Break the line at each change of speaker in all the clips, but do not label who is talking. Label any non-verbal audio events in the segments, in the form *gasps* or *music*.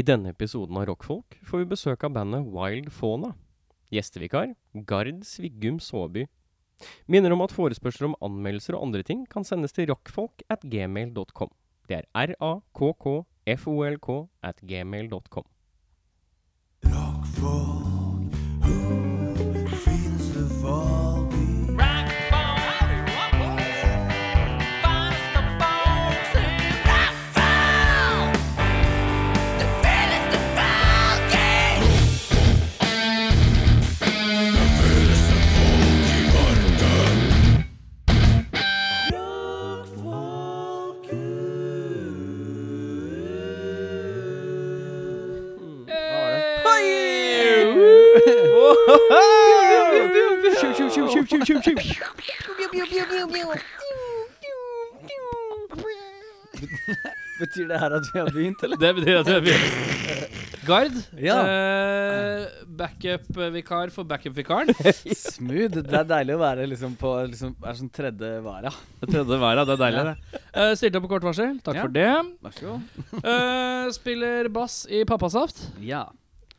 I denne episoden av Rockfolk får vi besøk av bandet Wild Fauna. Gjestevikar Gard Sviggum Saabye. Minner om at forespørsler om anmeldelser og andre ting kan sendes til rockfolk at gmail.com. Det er r-a-k-k-f-o-l-k at gmail.com.
Betyr det her at vi har begynt, eller?
Det betyr at vi har begynt. Gard,
Ja.
eh, backup-vikar for backup-vikaren.
Smooth. Det er deilig å være liksom på liksom, er sånn tredje vara.
Det tredje været, det er deilig. det. Eh, stilte opp på kort varsel, takk
Ja.
for det.
Vær så god.
Eh, spiller bass i Pappasaft.
Ja.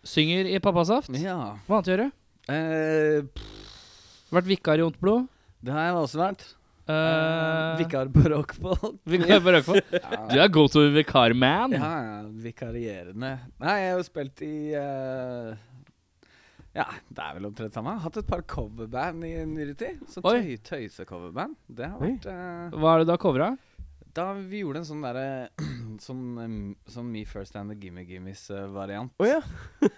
Synger i Pappasaft.
ja.
Hva annet gjør du?
Eh, pff,
Vært vikar i Ondt blod.
det har jeg også vært.
Eh,
Vikar på rockfolk.
vikar på Røkfold.
*laughs*
Du
Ja,
er go to vikar-man.
ja, ja, vikarierende. Nei, jeg har jo spilt i eh, Ja, det er vel omtrent samme. Hatt et par coverband i nyere tid. Så
Oi.
tøy, tøyse-coverband. Det har
Oi.
vært eh,
Hva er det du har covra?
Da vi gjorde en sånn derre *clears throat* sånn, em, sånn Me First and the Gimme Gimmies-variant.
Å ja.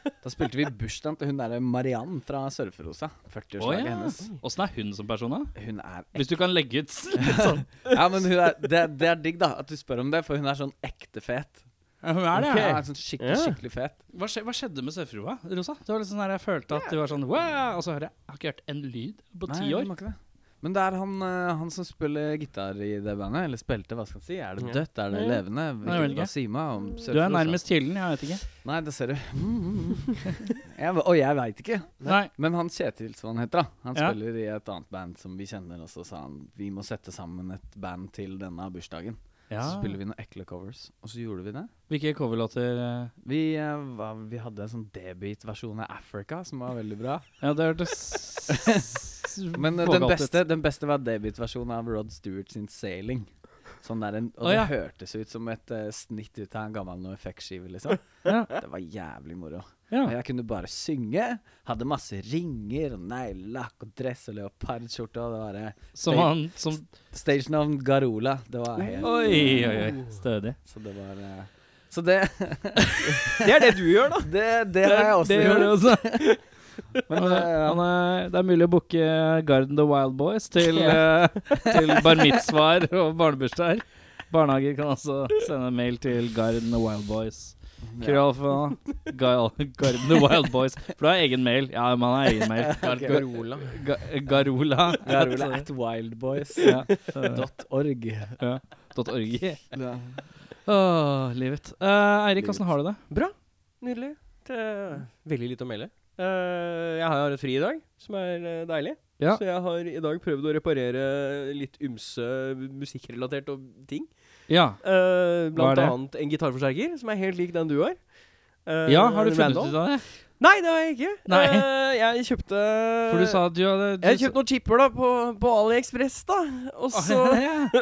*laughs* da spilte vi bursdagen til hun derre Mariann fra Sørferosa. 40-årslaget
Å ja.
hennes.
Åssen er hun som person, da?
Hun er ek-
Hvis du
*laughs*
kan legge ut litt sånn.
Ja, men hun er, det, det er digg, da, at du spør om det, for hun er sånn ekte fet.
Ja, Hun er det,
Hun
ja.
er sånn skikkelig,
Ja.
skikkelig fet.
Hva, skje, hva skjedde med Sørfrua, Rosa? Det var litt sånn her, Jeg følte at du var sånn wow, Og så hører jeg Jeg har ikke hørt en lyd på ti
Nei,
år.
hun var ikke det. Men det er han, eh, han som spiller gitar i det bandet. Eller spilte, hva skal jeg si. Er det
Ja.
dødt? Er det
Ja.
levende?
jeg vet ikke.
Hva sier man om
Du er
Sørfjordsa?
nærmest kilden, jeg vet ikke.
Nei, det ser du. *laughs* Mm, mm, mm. Jeg- Og jeg veit ikke.
Nei.
Men han Kjetil, som han heter, da. Han
Ja.
spiller i et annet band som vi kjenner, og så sa han vi må sette sammen et band til denne bursdagen.
Ja.
Så spiller vi noen ekle covers, og så gjorde vi det.
Hvilke coverlåter eh?
Vi, eh, var, vi hadde en sånn debutversjon av Africa som var veldig bra.
Ja, det hørtes
*laughs* Men eh, den,
vågalt ut.
beste, den beste var debutversjonen av Rod Stewart sin 'Sailing'. Sånn der, en- og
Å, ja.
det hørtes ut som et eh, snitt ut av en gammel noe effektskive, liksom.
*laughs* Ja.
Det var jævlig moro.
Ja.
Og jeg kunne bare synge. Hadde masse ringer og neglelakk og dress og leopardskjorte. Og det var eh,
Som han som
Stagenavn Garola. Det var helt
Oi, oi, oi. Stødig.
Så det var eh, Så det
Det er det du gjør, da.
*laughs* Det, det har jeg også
det gjør det
gjort.
også.
Men
Han
eh,
er, han er, det er mulig å booke Garden the Wild Boys til, eh, til bar mitzvaer og barnebursdager. Barnehager kan altså sende mail til Garden the Wild Boys.
ja.
Krøllalfa Gal- Garden the Wild Boys. For du har egen mail. Ja, man har egen
*laughs*
mail. Gar
Garola.
Ga- Garola.
Garola at wildboys
Ja.
dot org.
ja. Dot org.
Ja.
Åh, livet. Eh, Eirik, åssen har du det?
Bra. Nydelig. Det er veldig lite å melde. Eh, jeg har et fri i dag, som er eh, deilig.
Ja.
Så jeg har i dag prøvd å reparere litt ymse musikkrelatert og ting.
Ja.
Eh,
Hva er
blant
det?
annet en gitarforsterker som er helt lik den du har. Eh,
ja, har du
en
funnet
random.
ut av det?
Nei, det har jeg ikke.
Nei.
Eh, jeg kjøpte
For du sa at du hadde du,
Jeg har kjøpt noen chipper da på, på AliExpress, da. Og, så,
*laughs* Ja.
*laughs*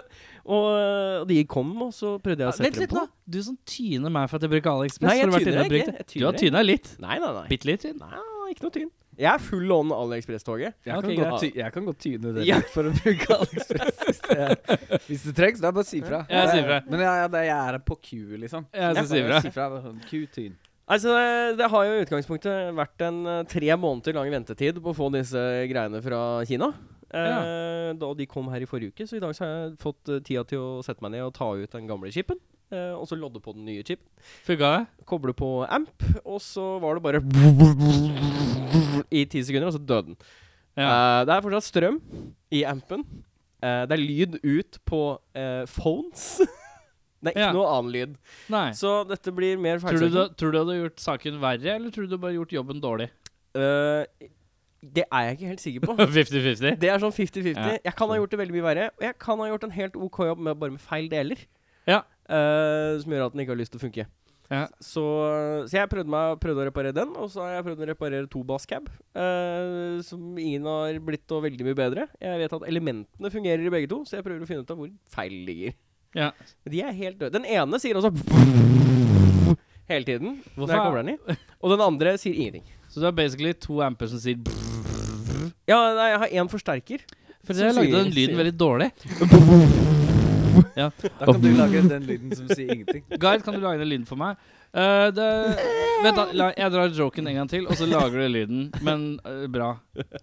og eh, de kom, og så prøvde jeg å sette
Vent litt,
dem på.
da. Du som tyner meg for at jeg bruker AliExpress.
Nei, jeg
har du vært
tyner
inne og
ikke.
brukt det?
Jeg
Du har
tyner
tyna litt.
Nei, nei, nei.
Bitte litt tynn.
Nei, Ikke noe tynn. Jeg er full on AliExpress-toget.
Jeg,
Ok,
kan godt ty
greit.
jeg kan godt tyne det
Ja.
litt for å
*laughs*
bruke AliExpress. Hvis det, hvis det trengs, da er det bare å si fra.
Ja, jeg sier fra.
Men ja, ja, det, jeg er på Q, liksom.
Ja, så
Jeg
sier vi
bare
det.
det er sånn Q-tyn.
Altså, det, det har jo i utgangspunktet vært en eh, tre måneder lang ventetid på å få disse greiene fra Kina. Eh, Da de kom her i forrige uke, så i dag så har jeg fått eh, tida til å sette meg ned og ta ut den gamle chipen. eh, og så lodde på den nye chipen.
Funka det?
Koble på amp, og så var det bare I ti sekunder, og så døde den.
Ja.
Eh, det er fortsatt strøm i ampen. Eh, det er lyd ut på eh, phones. *laughs* det er ikke
Ja.
noe annen lyd.
Nei.
Så dette blir mer
Tror du,
feilsøking.
du- tror du hadde gjort saken verre, eller tror du du bare gjort jobben *laughs* dårlig?
Eh, det er jeg ikke helt sikker
*laughs*
på.
50-50.
Det er sånn 50-50.
Ja.
Jeg kan ha gjort det veldig mye verre, og jeg kan ha gjort en helt OK jobb med bare med feil deler.
Ja.
Eh, som gjør at den ikke har lyst til å funke.
Ja.
Så, så jeg prøvde, meg, prøvde å reparere den, og så har jeg prøvd å reparere to basscab. eh, som ingen har blitt og veldig mye bedre. Jeg vet at elementene fungerer i begge to, så jeg prøver å finne ut av hvor feilen ligger.
Ja.
Men de er helt døde. Den ene sier altså *laughs* hele tiden når jeg
Hvorfor?
kobler den i, og den andre sier ingenting.
Så du har basically to amper som sier brrr.
Ja, nei, jeg har én forsterker.
For
Som
dere lagde
sier-
den lyden
sier-
veldig dårlig.
Da kan du lage den lyden som sier
*laughs*
ingenting.
Guide, kan du lage den lyden for meg? Eh, det, *laughs* vent, da. La, jeg drar joken en gang til, og så lager du lyden. Men eh, bra. *laughs*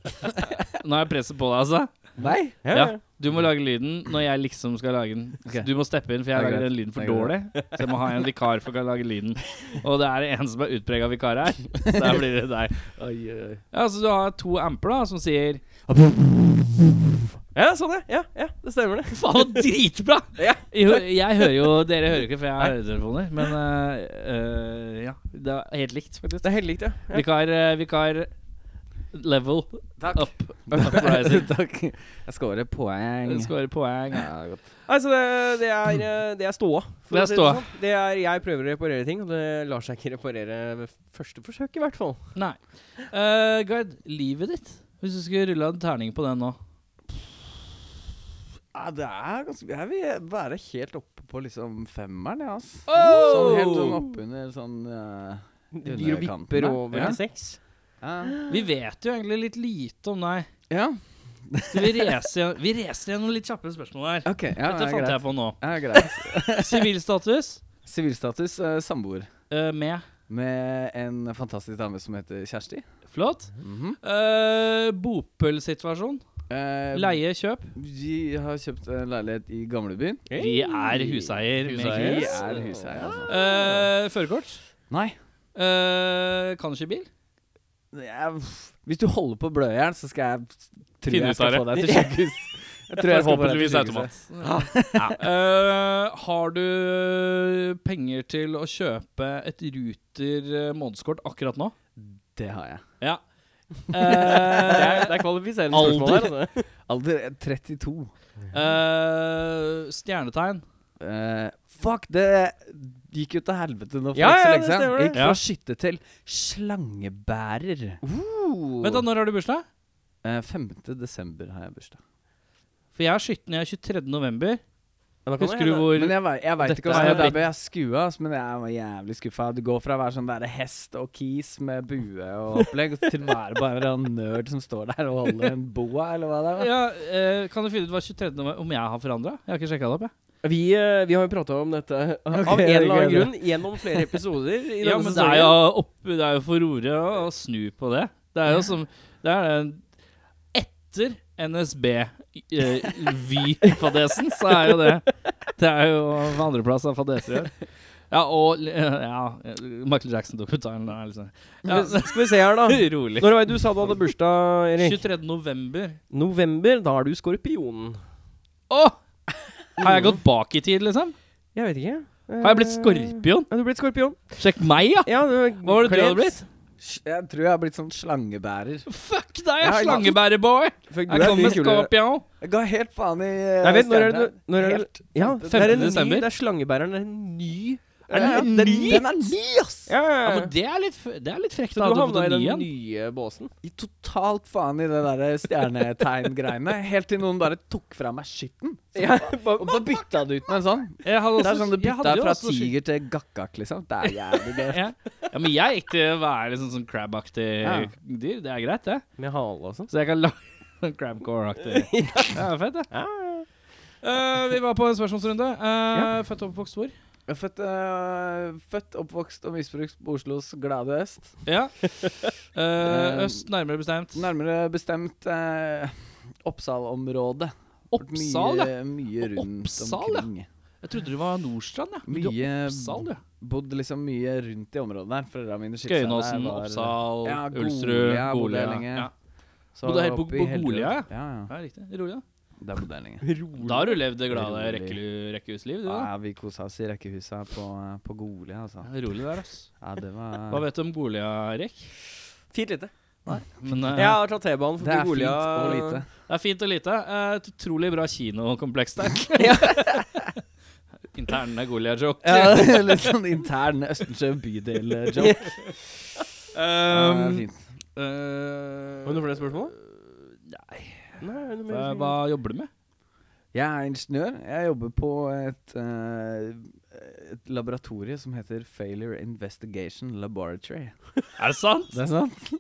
Nå er presset på deg, altså.
Nei?
Ja. Du må lage lyden når jeg liksom skal lage *laughs* den.
Ok.
Du må steppe inn, for jeg
Det er
lager
greit.
den lyden for
Det er
dårlig. Så jeg må ha en vikar for å lage lyden. Og det er en som er utprega vikar her. Så der blir det deg. Ja, Så du har to amper da som sier
ja, sånn, ja. ja. Ja, det stemmer, det.
Faen, det var dritbra! *laughs*
Ja.
Jo, jeg hører jo Dere hører jo ikke, for jeg har høretelefoner. Men eh, eh, ja. Det er helt likt, faktisk.
Det er helt likt, ja. ja.
Vikar, eh, vikar level
Takk.
up. Uprising.
*laughs* Takk. Jeg scorer poeng.
Skårer poeng.
Ja, godt.
Altså, det, det er, eh, det er ståa. for
Det er
å si
ståa.
sånn. Det er, jeg prøver å reparere ting, og det lar seg ikke reparere ved første forsøk, i hvert fall.
Nei. Eh, Gard, livet ditt? Hvis du skulle rulla en terning på den nå?
Ja, det er ganske Jeg vil være helt oppe på liksom femmeren, jeg, ass.
Oh!
Sånn helt sånn oppunder sånn eh,
Det blir og
Underkanten,
vipper
da.
over
Ja.
til seks.
ja.
Vi vet jo egentlig litt lite om deg.
ja.
Så vi racer vi racer gjennom litt kjappere spørsmål her.
OK. Ja,
Dette
ja,
fant
greit.
jeg på nå.
Ja, greit.
Sivilstatus
Sivilstatus eh, samboer
eh, med
med en fantastisk dame som heter Kjersti.
Flott.
Mhm.
Eh, Bopølsituasjon.
Eh,
Leie, kjøp.
Vi har kjøpt en leilighet i gamlebyen.
Vi er huseier. med
Huseier.
Vi
hus.
er huseier, altså.
Eh, Førerkort.
Nei.
Eh, kan ikke bil.
Jeg, hvis du holder på blødjern, så skal jeg tror
Finne
jeg
ut
skal
av
få deg til
*laughs*
sykehus. Jeg tror jeg skal få deg til sykehuset.
*laughs* Ja. Eh, har du penger til å kjøpe et Ruter eh, månedskort akkurat
*laughs*
nå?
Det har jeg.
Ja.
Det
Eh,
er, det er kvalifiserende
Alder.
spørsmål her. altså.
Alder er 32.
eh, stjernetegn.
Eh, fuck, det gikk jo til helvete nå for
Ja,
ikke så
ja,
lenge
det
siden.
stemmer
Jeg
det.
gikk fra skytte til slangebærer.
Vent da, Når har du bursdag?
Eh, 5. desember har jeg bursdag.
For jeg er skytten, jeg er 23. november.
Men da kan
Husker
det
du
hende-
hvor
Men jeg, vei- jeg veit
Dette
ikke åssen
er
det der ble jeg skua, ass, men jeg var jævlig skuffa. Du går fra å være sånn der hest og kis med bue og opplegg, til å være bare en nerd som står der og holder en boa, eller hva det er.
ja, eh, Kan du finne ut hva 23. november Om jeg har forandra? Jeg har ikke sjekka det opp, jeg.
Vi, eh, vi har jo prata om dette av
det
en
er
eller annen
gøy,
grunn gjennom flere episoder. I
Ja,
denne
men det
sesongen.
er jo, opp, det er jo for ordet å, å snu på det. Det er jo som Det er den Etter
*laughs*
NSB-Vy-fadesen, eh, så er jo det Det er jo på andreplass av fadeser i år. Ja, og eh, ja, Michael Jackson-dokumentaren. da, Liksom. Ja,
Men Skal vi se her,
*laughs*
da.
rolig.
Når var det du sa du hadde bursdag, Erik?
23. november.
November. Da er du skorpionen.
Å! Har jeg gått bak i tid, liksom?
Jeg vet ikke.
Har jeg blitt skorpion?
Eh, Ja, du er blitt skorpion.
Sjekk meg, ja!
Ja, du,
Hva var det du hadde blitt?
Jeg tror jeg har blitt sånn slangebærer.
Fuck deg,
Ja, jeg-
slangebæreboy!
Fikk du
Jeg
deg
kommer
mye kulere?
skorpion.
Jeg ga helt faen i eh,
Nei, vet, når er det
stjerner.
du- når er det-
Helt
Ja,
femte
det er en ny,
desember.
det er slangebæreren. Det er en ny
Er den-
Ja, ja,
den,
ny?
den er ny, ass!
Ja, ja,
Ja,
ja.
men det er litt, f- det er litt frekt.
Så
at
du
du har
havna
fått
i
en ny
den
en.
nye båsen.
I totalt faen i det der eh, stjernetegn-greiene. Helt til noen bare tok fra meg skytten.
Ja,
Og da bytta du ut med en sånn.
Jeg hadde
Altså,
Det er sånn du
jeg
bytta
hadde jo
fra
også skyld.
tiger til gakkak, liksom. Det er jævlig gøy.
Ja. ja, men jeg gikk til å være liksom sånn crab-aktig
Ja.
dyr. Det er greit, det.
Med hale og sånn.
Så jeg kan lage *laughs* sånn
*laughs*
crabcore-aktig. Det er fett, det.
Ja,
Eh, vi var på en spørsmålsrunde. Eh, Født og oppvokst hvor?
Jeg er født, eh, født, oppvokst og misbrukt på Oslos glade øst.
Ja. Eh,
Eh,
øst, nærmere bestemt.
Nærmere bestemt eh, Oppsal-området.
Oppsal, ja.
mye, mye rundt
Oppsal, ja.
omkring.
Jeg trodde det var Nordstrand, ja. Men du-
Mye
Oppsal, ja.
Bodde liksom mye rundt i området der. Foreldra mine skilte seg da jeg
Skøyenåsen,
var-
Oppsal,
Ja, Golia
Ulsrud,
bodde jeg
Golia.
lenge.
Ja.
Så
Bodde helt på-
oppe i
på
Hellerud.
Golia, ja.
Ja, ja.
ja, riktig. Rolig, da.
Der bodde jeg lenge.
Da har du levd det glade
Rolig.
rekkelu- rekkehusliv, du, da.
Ja, vi kosa oss i rekkehuset på, på Golia, altså.
Ja, rolig der, ass.
Ja, det
Hva
var
vet du om Golia, Erik?
Fint lite.
Men, eh,
Jeg har tatt T-banen
Det
forbi
er fint
Golia.
og lite.
*laughs*
*laughs*
*laughs* Det er fint og lite. Eh, Et utrolig bra kinokompleks der. Interne Golia-joke.
Ja, *laughs* Litt sånn intern Østensjø bydel-joke.
*laughs* Um,
det er fint.
eh,
Har du noen flere spørsmål?
Øh, Nei.
Nei, er det noe
Hva,
mer?
hva jobber du med?
Jeg er ingeniør. Jeg jobber på et, eh, et laboratorie som heter Failure Investigation Laboratory.
Er det sant?
Det er sant?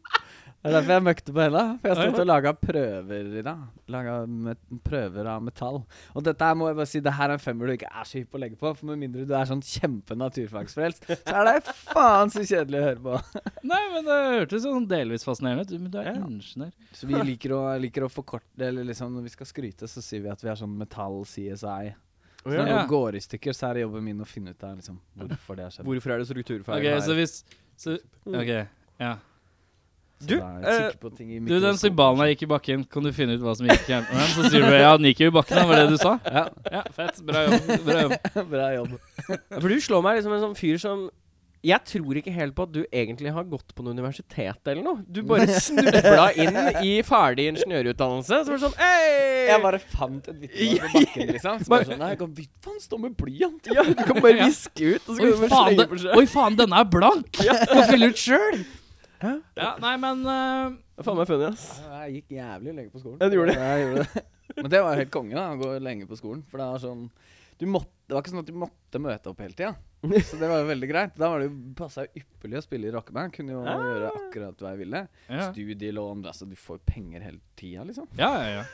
Det er derfor jeg møkte på Hella. For jeg har stått og laga prøver i dag. Laga met- prøver av metall. Og dette her må jeg bare si, det her er en femmer du ikke er så hypp på å legge på. For med mindre du er sånn kjempe naturfagsfrelst, så er det faen så kjedelig å høre på.
Nei, men det hørtes sånn delvis fascinerende ut. Men du er ingeniør.
Så vi liker å, liker å forkorte Eller liksom når vi skal skryte, så sier vi at vi er sånn metall-CSI. Så
Å, ja.
når
Ja.
noe går i stykker, så er det jobben min å finne ut av liksom, hvorfor det har skjedd.
Hvorfor er det strukturfeil
Ok, så
her?
hvis så,
Mm.
Ok, ja.
Så
Du,
da er jeg sikker på ting i
Du, den
mikroskop.
symbolen her gikk i bakken. Kan du finne ut hva som gikk i den? Så sier du bare, ja, den gikk jo i bakken, da, var det du sa?
Ja.
Ja, fett. Bra jobb. Bra
*laughs*
jobb.
Bra jobb.
Ja, For du slår meg liksom en sånn fyr som Jeg tror ikke helt på at du egentlig har gått på noe universitet eller noe. Du
*laughs*
bare snubla inn i ferdig ingeniørutdannelse. Så var det sånn Hei!
Jeg bare fant et vitne på bakken, liksom. Så bare sånn, Nei, jeg kan vidt faen stå med blyant. *laughs*
Ja, du kan bare viske ut, og så
Oi
kan du bare
faen,
slenge
den,
på
oi,
sjøen.
faen, denne er blank! Må fylle ut sjøl! Ja, nei, men eh,
Det er Faen meg funny, ass.
Jeg gikk jævlig lenge på skolen.
Ja, du gjorde det.
Jeg gjorde det. Men det var jo helt konge, da, å gå lenge på skolen. For det var sånn du måtte, Det var ikke sånn at du måtte møte opp hele tida. Så det var jo veldig greit. Da var det jo passa ypperlig å spille i rockeband. Kunne jo gjøre akkurat hva jeg ville.
Ja,
Studielån altså Du får jo penger hele tida, liksom.
ja, ja. ja.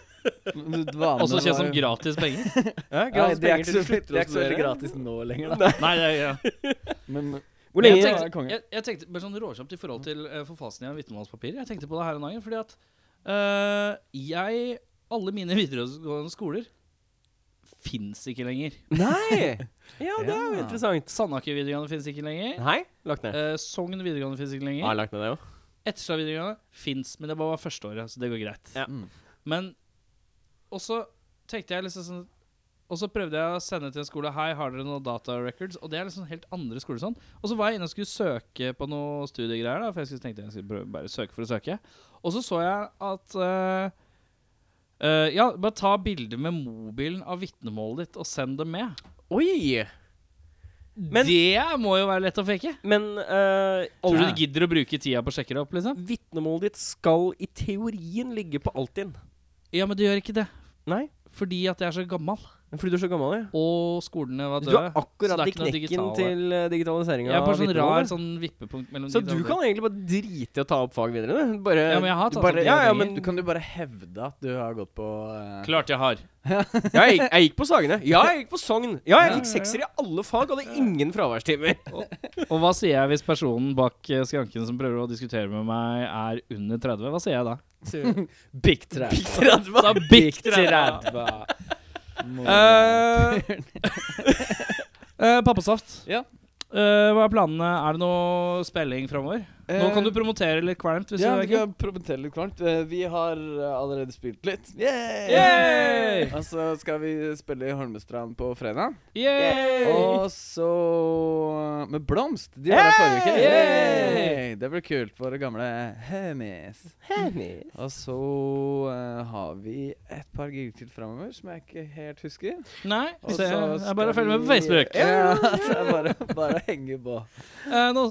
Også kjent som gratis penger.
Ja,
Ja,
gratis
det er
penger
ikke
til
så,
slutter
det er
å
ikke så veldig
studere.
gratis nå lenger, da.
Nei, ja, ja.
*laughs* Men
Hvor
Men
lenge
jeg
Ja,
tenkte,
konge.
jeg, jeg tenkte bare sånn råkjapt i forhold til uh, forfasning av vitnemålspapir. Jeg tenkte på det her en dag, fordi at eh, jeg Alle mine *laughs* videregående skoler fins ikke lenger.
Nei! Ja, det er jo
Ja.
interessant.
Sandaker videregående fins ikke lenger.
Nei, lagt ned.
Eh, Sogn videregående fins ikke
Ja,
lenger.
lagt ned det òg.
Etterstad videregående fins, men det bare var førsteåret, så det går greit.
Ja.
Mm.
Men Og så tenkte jeg liksom sånn Og så prøvde jeg å sende til en skole Hei, har dere noen data records? Og det er liksom helt andre skoler sånn. Og så var jeg inne og skulle søke på noe studiegreier, da, for jeg skulle- tenkte jeg skulle prøve, bare søke for å søke. Og så så jeg at eh, eh, Ja, bare ta bilde med mobilen av vitnemålet ditt og send dem med.
Oi! Men-
det må jo være lett å fake.
Men eh,
Tror du
alle
du gidder å bruke tida på å sjekke det opp, liksom?
vitnemålet ditt skal i teorien ligge på Altinn.
Ja, men det gjør ikke det.
Nei,
Fordi at jeg er så gammel,
fordi du er så gammel, ja.
og skolene var
Du har
døde. så det
akkurat
er
i
ikke noe
knekken
digitale.
til eh, digitaliseringa.
Jeg er på sånn rar sånn vippepunkt mellom
Så
de
du
to.
kan egentlig bare drite i å ta opp fag videre? Du. Bare,
Ja, men jeg har
du
tatt
bare,
opp
ja, ja,
videregående.
men
du kan jo bare hevde at du har gått på eh,
Klart jeg har.
ja, jeg, gikk, jeg gikk på Sagene. Ja, jeg gikk på Sogn. Ja, jeg
Ja,
fikk
ja, ja.
sekser i alle fag, hadde ingen fraværstimer.
Og hva sier jeg hvis personen bak eh, skranken som prøver å diskutere med meg, er under 30? Hva sier jeg da?
Big Trap.
Da bikk 30. Eh, *laughs* pappasaft.
Ja.
Eh, hva er planene? Er det noe spilling framover? Nå kan
Eh,
du promotere litt kvalmt. Hvis
Eh, ja,
du
vi
er
kan promotere litt kvalmt. Eh, Vi har eh, allerede spilt litt. Yay!
Yay!
Og så skal vi spille i Holmestrand på fredag.
Yay!
Og så med Blomst. De var her forrige uke.
Yay!
Yay! Det blir kult. Våre gamle homies. Og så eh, har vi et par gig til framover som jeg ikke helt husker.
Nei,
Og
se,
så
jeg bare
skal
følger med på
vi-
Facebook.
Ja,
*laughs*
så jeg bare, bare henger på.
Eh, noe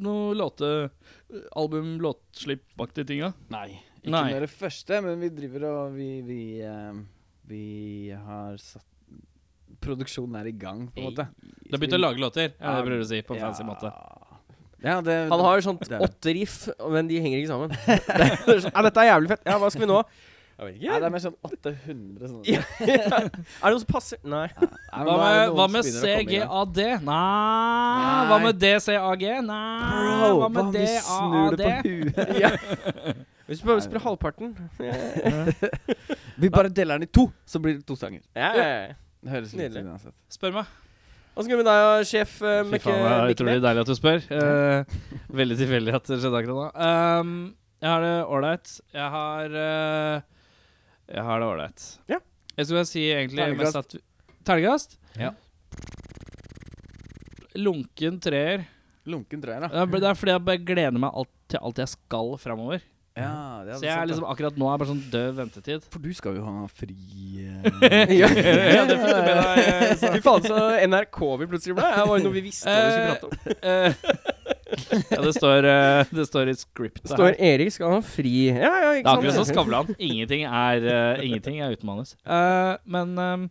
noe låte... eh, Album, låtslippaktige ting, da?
Nei. Ikke
Nei.
med det første, men vi driver og Vi, vi, eh, vi har satt Produksjonen er i gang, på en måte.
Du har begynt å lage låter? Ja, det prøver du å si på en
Ja.
fancy måte.
Ja, det,
Han har sånt
Det er det.
åtte riff, men de henger ikke sammen. *laughs* Det er sånn, Ja, dette er jævlig fett. Ja, hva skal vi nå? Jeg vet
Nei, det
ikke.
er mer sånn 800 sånne.
Ja. *laughs* Er det noe som passer? Nei.
Nei, men
Hva
nå er
med,
det noen
hva
som
med
begynner å komme i gang.
CGAD? Nei. Hva med DCAG? Nei.
Bro,
hva med
vi snur
DAAD?
det på huet?
Hvis du bare spiller halvparten
*laughs* Vi bare deler den i to, så blir det to sanger.
Ja, ja, ja.
Det høres litt
Nydelig.
ut uansett.
Spør meg.
Hva skal vi med deg og sjef eh,
Fy
Mekke?
faen, det er utrolig
Mekke?
deilig at du spør. Eh, veldig tilfeldig at det skjedde akkurat nå. Um, jeg har det ålreit. Jeg har eh, Jeg har det ålreit.
Ja.
Jeg skulle bare si egentlig
Terningkast.
mest at Terningkast?
Ja.
Lunken treer.
Lunken treer, da.
Det er det er fordi jeg bare gleder meg alt, til alt jeg skal framover.
Ja, det
Så jeg er liksom akkurat nå er bare sånn døv ventetid.
For du skal jo ha fri eh,
*laughs*
Ja.
Ja, det fikk du med deg, eh, så-
*laughs* Fy faen, så NRK vi plutselig ble. Det var jo noe vi visste vi skulle prate om.
Eh, *laughs* ja, det står, eh, det står i scriptet
Det står
her.
Erik skal ha fri Ja, ja,
Det er akkurat
ikke
som
sant?
Skavlan. Ingenting er, eh, ingenting er uten manus. Eh, men ehm,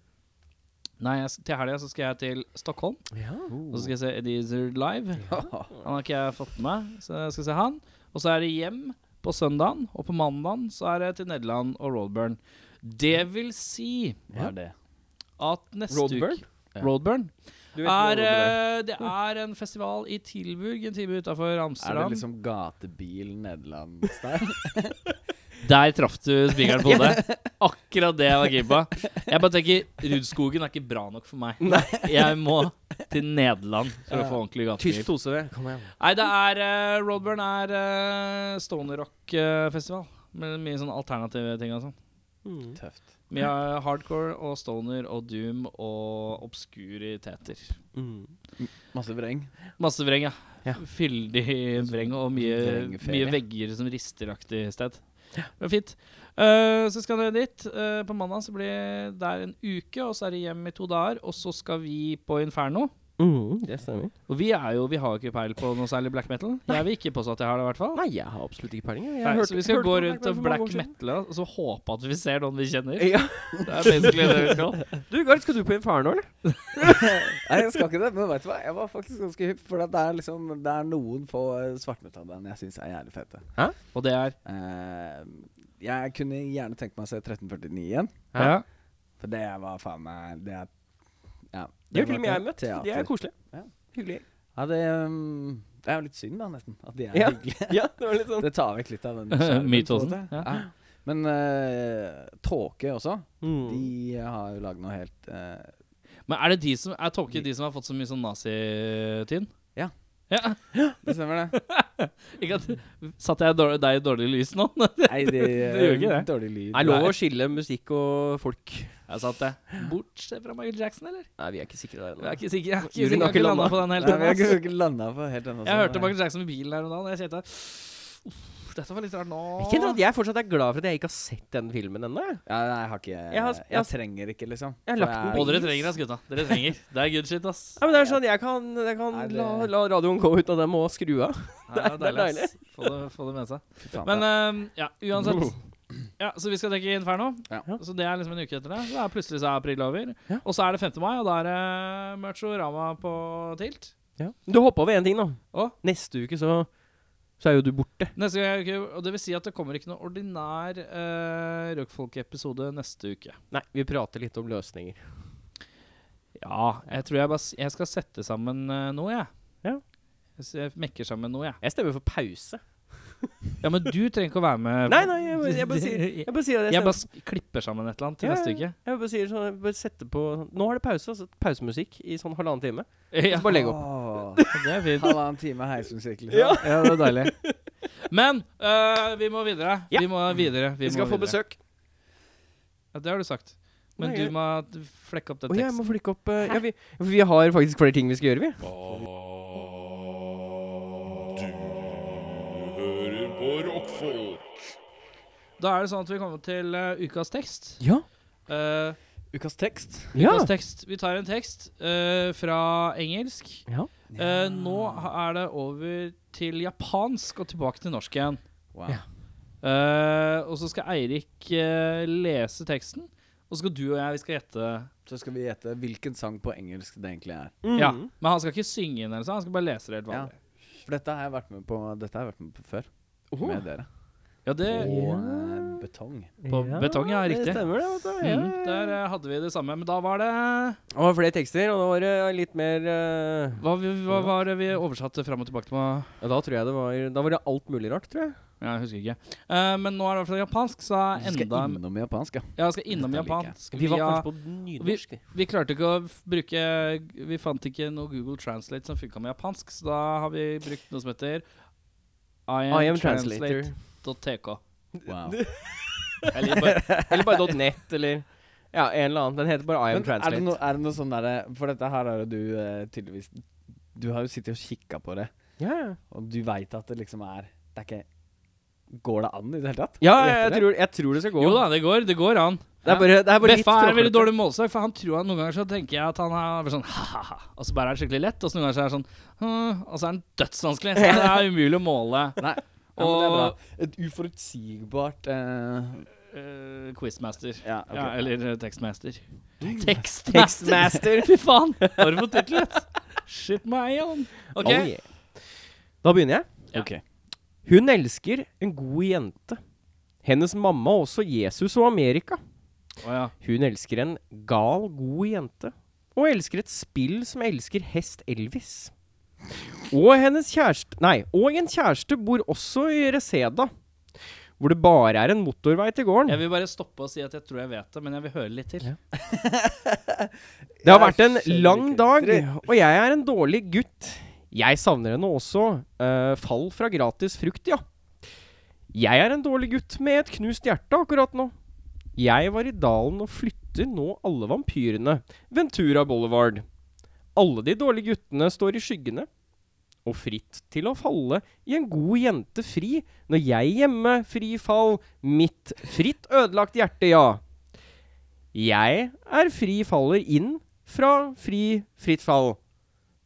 Nei, jeg, s- til helga så skal jeg til Stockholm.
Ja.
Og så skal jeg se Eddie Izzard live. Han har ikke jeg fått med meg, så jeg skal se han. Og så er det hjem på søndagen, og på mandagen så er det til Nederland og Roadburn. Det vil si
Hva er det?
at neste
Roadburn?
uke Roadburn
Du vet
er,
hvor Roadburn er.
eh, det er en festival i Tilburg, en time utafor
Er det
Amsterdam.
liksom gatebil *laughs* Nederland-style?
Der traff du spikeren på hodet. Akkurat det jeg var keen på. Jeg bare tenker Rudskogen er ikke bra nok for meg. Jeg må til Nederland for å få ordentlig gatebil.
Tyst hose, det. Kom igjen.
Nei, det er eh, Roadburn er uh, stoner rock-festival. med mye sånn alternative ting og sånn.
Mm.
Tøft.
Mye eh, hardcore og stoner og doom og obskuriteter.
Mm.
Masse vreng.
Masse vreng, ja.
Ja.
Fyldig vreng og mye,
Vrengferie.
mye vegger som risteraktig sted. Det var fint. Eh, så skal dere dit. Eh, på mandag så blir det der en uke, og så er det hjem i to dager. Og så skal vi på Inferno.
Mm, det stemmer.
Og vi er jo, vi har jo ikke peil på noe særlig black metal. Jeg vil ikke påstå at jeg har det, i hvert fall.
Nei, jeg har absolutt ikke peiling. jeg. Jeg
Nei,
hørte-
så vi skal
hørte
gå
på
rundt
for
og
mange
black
år siden.
metale og så håpe at vi ser noen vi kjenner.
Ja.
Det er basically det vi
*laughs*
skal.
Du, Gard, skal du på Inferno, eller?
Nei, jeg skal ikke det, men vet du hva? Jeg var faktisk ganske hypp, for at det er liksom Det er noen få eh, svartmetallband jeg syns er jævlig fete.
Og det er
Eh, jeg kunne gjerne tenkt meg å se 1349 igjen,
Ja.
ja.
for
for
det var faen meg Det er ja,
De har til
var
og med jeg
te-
møtt.
teater.
De er koselige.
Ja.
Hyggelige.
Ja, det, um, det er jo litt synd, da, nesten. At de er
Ja.
hyggelige.
*laughs* *laughs* Ja, det var litt sånn
Det tar vekk litt av den *laughs* skjermen,
Mytosen,
på en måte.
ja.
Ja. Men eh, Tåke også.
mm.
De har jo lagd noe helt eh,
Men er det de som Er Tåke de som har fått så mye sånn nazityn?
Ja.
ja.
Det stemmer, det.
Ikke at Satte jeg dårlig, deg i dårlig lys nå? *laughs*
Nei, de
gjør ikke det.
Dårlig lyd.
Er lov å skille musikk og folk.
Jeg satt det. Bortsett fra Michael Jackson, eller?
Nei, vi er ikke sikre der
Jeg er
ennå.
ikke sikker. Jeg, er ikke
Juryen
sikker. jeg
har
har
ikke
ikke landa på den helt
Nei, vi har
ennå. ass.
ikke landa på helt ennå. så-
Jeg hørte Michael Jackson med bilen her om dagen, og jeg kjente Uff, dette var litt rart nå.
Jeg kjenner at jeg fortsatt er glad for at jeg ikke har sett den filmen ennå. jeg.
ja, Nei, jeg har ikke
Jeg
Jeg,
har- jeg har-
trenger ikke, liksom.
Jeg har
For
lagt den
Og
på-
dere trenger ass, gutta. Dere
*laughs*
trenger. Det er good shit, ass.
Ja, men det er sånn, Jeg kan, jeg kan
Nei, det-
la, la radioen gå uten at jeg må skru av.
Ja,
det er
ass. Få det, få det med seg.
Fy faen,
Men
da.
ehm, ja, uansett. Ja, Så vi skal dekke Inferno.
Oh. Ja.
Så det er liksom en uke etter det. Så er plutselig så er april over.
Ja.
Og så er det 5. mai, og da er det Merchorama på Tilt.
Du hoppa over én ting, da.
Å?
Neste uke så, så er jo du borte.
Neste gang, er uke, og det vil si at det kommer ikke noen ordinær uh, Rockfolk-episode neste uke.
Nei, vi prater litt om løsninger.
Ja, jeg tror jeg bare s- Jeg skal sette sammen eh, noe, jeg.
Ja.
Jeg s- Jeg mekker sammen noe, jeg.
Jeg stemmer for pause.
Ja, men du trenger ikke å være med.
*laughs* Nei, nei, jeg, bare- jeg bare *laughs* sier Jeg bare sier at jeg,
Jeg bare
stemmer-
s- klipper sammen et eller annet til
Ja,
neste
ja. *laughs*
uke.
jeg bare sier sånn jeg bare setter på Nå er det pause. Altså, pausemusikk i sånn halvannen time.
Ja,
Så bare legg opp.
Åh,
det er fint.
Halvannen time heisumsirkel, liksom. Ja. det var
*laughs*
deilig.
Men eh, vi må videre.
Ja.
Vi må videre. Vi,
Vi skal
må
få
videre.
besøk.
Ja, det har du sagt. Men
Nei,
du
jeg-
må t- flekke opp den
Å, jeg
teksten.
må flikke opp eh, ja, vi, vi har faktisk flere ting vi skal gjøre, vi.
Hører på rockfolk.
Da er det sånn at vi kommer til eh, ukas tekst.
Ja.
Eh,
Ukas tekst.
ja.
ukas tekst. Vi tar en tekst eh, fra engelsk.
Ja.
Eh, nå ha- er det over til japansk og tilbake til norsk igjen.
Wow.
Ja.
Eh, og så skal Eirik eh, lese teksten, og så skal du og jeg vi skal gjette.
Så skal vi gjette hvilken sang på engelsk det egentlig er.
Ja,
Mm.
Men han skal ikke synge den, eller sånn, han skal bare lese det helt
Ja.
vanlig.
For dette har jeg vært med på, dette har jeg vært med på før.
Åh.
Med dere.
Ja, det,
Og
Ja.
eh, betong.
på betong, ja, riktig.
Det stemmer, det. Vet du. Ja.
mm, der eh, hadde vi det samme, men da var det
Det var flere tekster, og da var det litt mer eh,
Hva, vi- hva var det vi oversatte fram og tilbake til? hva-
ja, Da tror jeg det var Da var det alt mulig rart, tror jeg.
Ja, jeg husker ikke. Eh, men nå er det i hvert fall japansk, så
Du
er
skal
enda
innom
*laughs*
japansk, ja.
Ja, jeg skal innom
Dette liker jeg.
japansk.
Vi var
via-
kanskje på nynorsk. Vi,
Vi klarte ikke å f- bruke Vi fant ikke noe Google Translate som funka med japansk, så da har vi brukt noe som heter
I am translator.
iamtranslate.tk.
Wow.
Eller bare, eller bare .net, eller Ja, en eller annen. Den heter bare I am
Men er det,
translate.
no, er det noe sånn derre For dette her har jo du eh, tydeligvis Du har jo sittet og kikka på det,
Ja, ja.
og du veit at det liksom er Det er ikke Går det an i det hele tatt?
Ja, jeg,
Gjetter
jeg,
det?
tror, jeg tror det skal gå.
Jo da, det går. Det går an.
Det er bare, det er bare litt
Beffa er en veldig
tråklete.
dårlig målestokk, for han tror han noen ganger så tenker jeg at han er bare sånn ha-ha-ha, og så bare er det skikkelig lett, og så noen ganger så er det sånn hm, og så er han dødsvanskelig. Så det er umulig å måle
Nei. Ja, men det er bra. Et uforutsigbart eh,
eh, quizmaster.
ja, ok.
Ja, eller eh, tekstmaster. Tekstmaster!
Textmaster.
*laughs* Fy faen! Har du fått titlet? Shit my own. OK.
Oh, yeah. Da begynner jeg.
Ja.
Ok.
Hun elsker en god jente. Hennes mamma og også Jesus og Amerika.
Å ja.
Hun elsker en gal, god jente. Og elsker et spill som elsker hest Elvis. Og hennes kjæreste Nei, og en kjæreste bor også i Reseda. Hvor det bare er en motorvei til gården.
Jeg vil bare stoppe og si at jeg tror jeg vet det, men jeg vil høre litt til.
Ja. Det har
Jeg
vært en
skjønner
lang
ikke.
dag, og jeg er en dårlig gutt. Jeg savner henne også. eh, fall fra gratis frukt, ja. Jeg er en dårlig gutt med et knust hjerte akkurat nå. Jeg var i dalen og flytter nå alle vampyrene. Ventura Boulevard. Alle de dårlige guttene står i skyggene. Og fritt til å falle i en god jente fri, når jeg hjemme fri fall, mitt fritt ødelagt hjerte, ja. Jeg er fri faller inn fra fri fritt fall.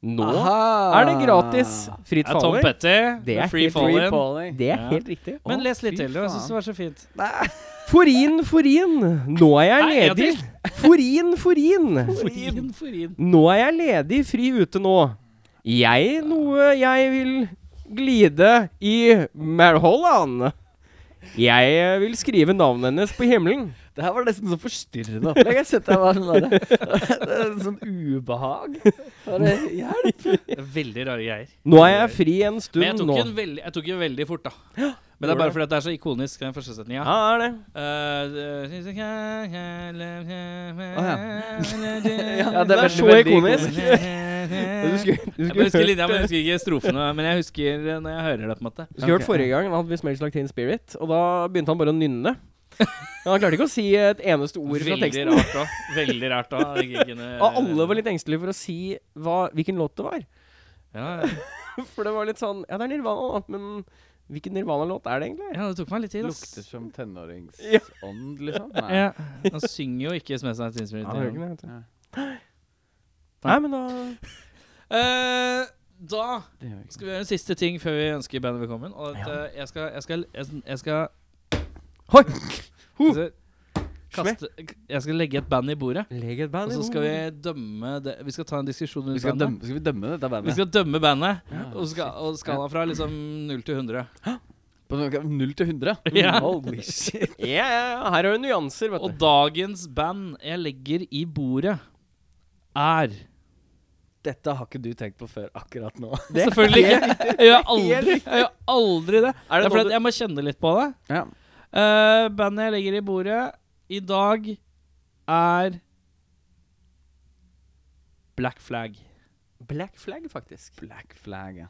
Nå
Aha.
er det gratis fritt
Det er Tom
faller.
Petty.
Det er
med Free
helt
Fall
Free
In.
balling.
Det er
Ja.
helt riktig.
Men
Å,
les litt
fy
til. Jeg
faen.
syns det var så fint.
Forin, forin, nå er jeg
Nei, en
ledig. Forin, forin.
Forin, forin.
Nå er jeg ledig, fri ute nå. Jeg noe jeg vil glide i Merholland. Jeg vil skrive navnet hennes på himmelen.
Det her var nesten så *laughs* forstyrrende opplegg. Jeg kjente jeg var sånn der, *laughs* det er sånn ubehag. *laughs* Bare, hjelp!
Det er Veldig rare greier.
Nå er jeg fri en
Men jeg
stund
tok,
nå.
den veldig, jeg tok den veldig fort, da. Men det er
gjorde
bare fordi at det er så ikonisk, den første setninga.
Ja, er det.
Ja, det er
Det er
veldig,
så
veldig
ikonisk.
*laughs*
Du
Jeg
skulle, du
bare
skulle,
husker
hørt,
linja, men jeg husker ikke strofene. Men jeg husker eh, når jeg hører det. på en måte
du skulle hørt
Ok,
forrige gang da hadde vi 'Smells Like Teen Spirit', og da begynte han bare å nynne. Men han klarte ikke å si et eneste ord fra
Veldig
teksten.
rart da. Veldig rart da. Jeg gikk inn i-
Og alle var litt engstelige for å si hva, hvilken låt det var.
ja, ja.
For det var litt sånn Ja, det er Nirvana, da, men hvilken Nirvana-låt er det egentlig?
ja, det tok meg litt tid. ass.
Lukter som tenåringsånd, liksom. Nei.
Ja. Han synger jo ikke Smells Like Teen Spirit.
Ja, det
liksom.
er jo ikke det, vet du.
Ja.
*gasps* Nei, men da
Eh, da
Det gjør jeg ikke.
skal vi gjøre en siste ting før vi ønsker bandet velkommen. Og at, eh, jeg skal Jeg skal, jeg, jeg skal
*gasps* Hoi!
altså, kaste, Jeg skal legge et band i bordet,
Leg et
og
band
så skal vi dømme det. Vi skal ta en diskusjon rundt
Vi skal,
bandet.
dømme, skal vi dømme dette
Vi
bandet?
skal dømme bandet,
Ja,
og, skal, og skala fra liksom 0 til 100.
På noe- null til 100?
*laughs* Ja.
Holy shit.
Ja, ja, ja, her er det nyanser, vet
Og
du.
dagens band jeg legger i bordet, er
Dette har ikke du tenkt på før akkurat nå.
Selvfølgelig *laughs* ikke. Jeg gjør aldri, jeg gjør aldri
Er
det. Det
det
er
noe
fordi at
du
jeg må kjenne litt på det.
Ja.
Eh, bandet jeg legger i bordet i dag, er Black Flag.
Black flag, faktisk.
Black flag, ja.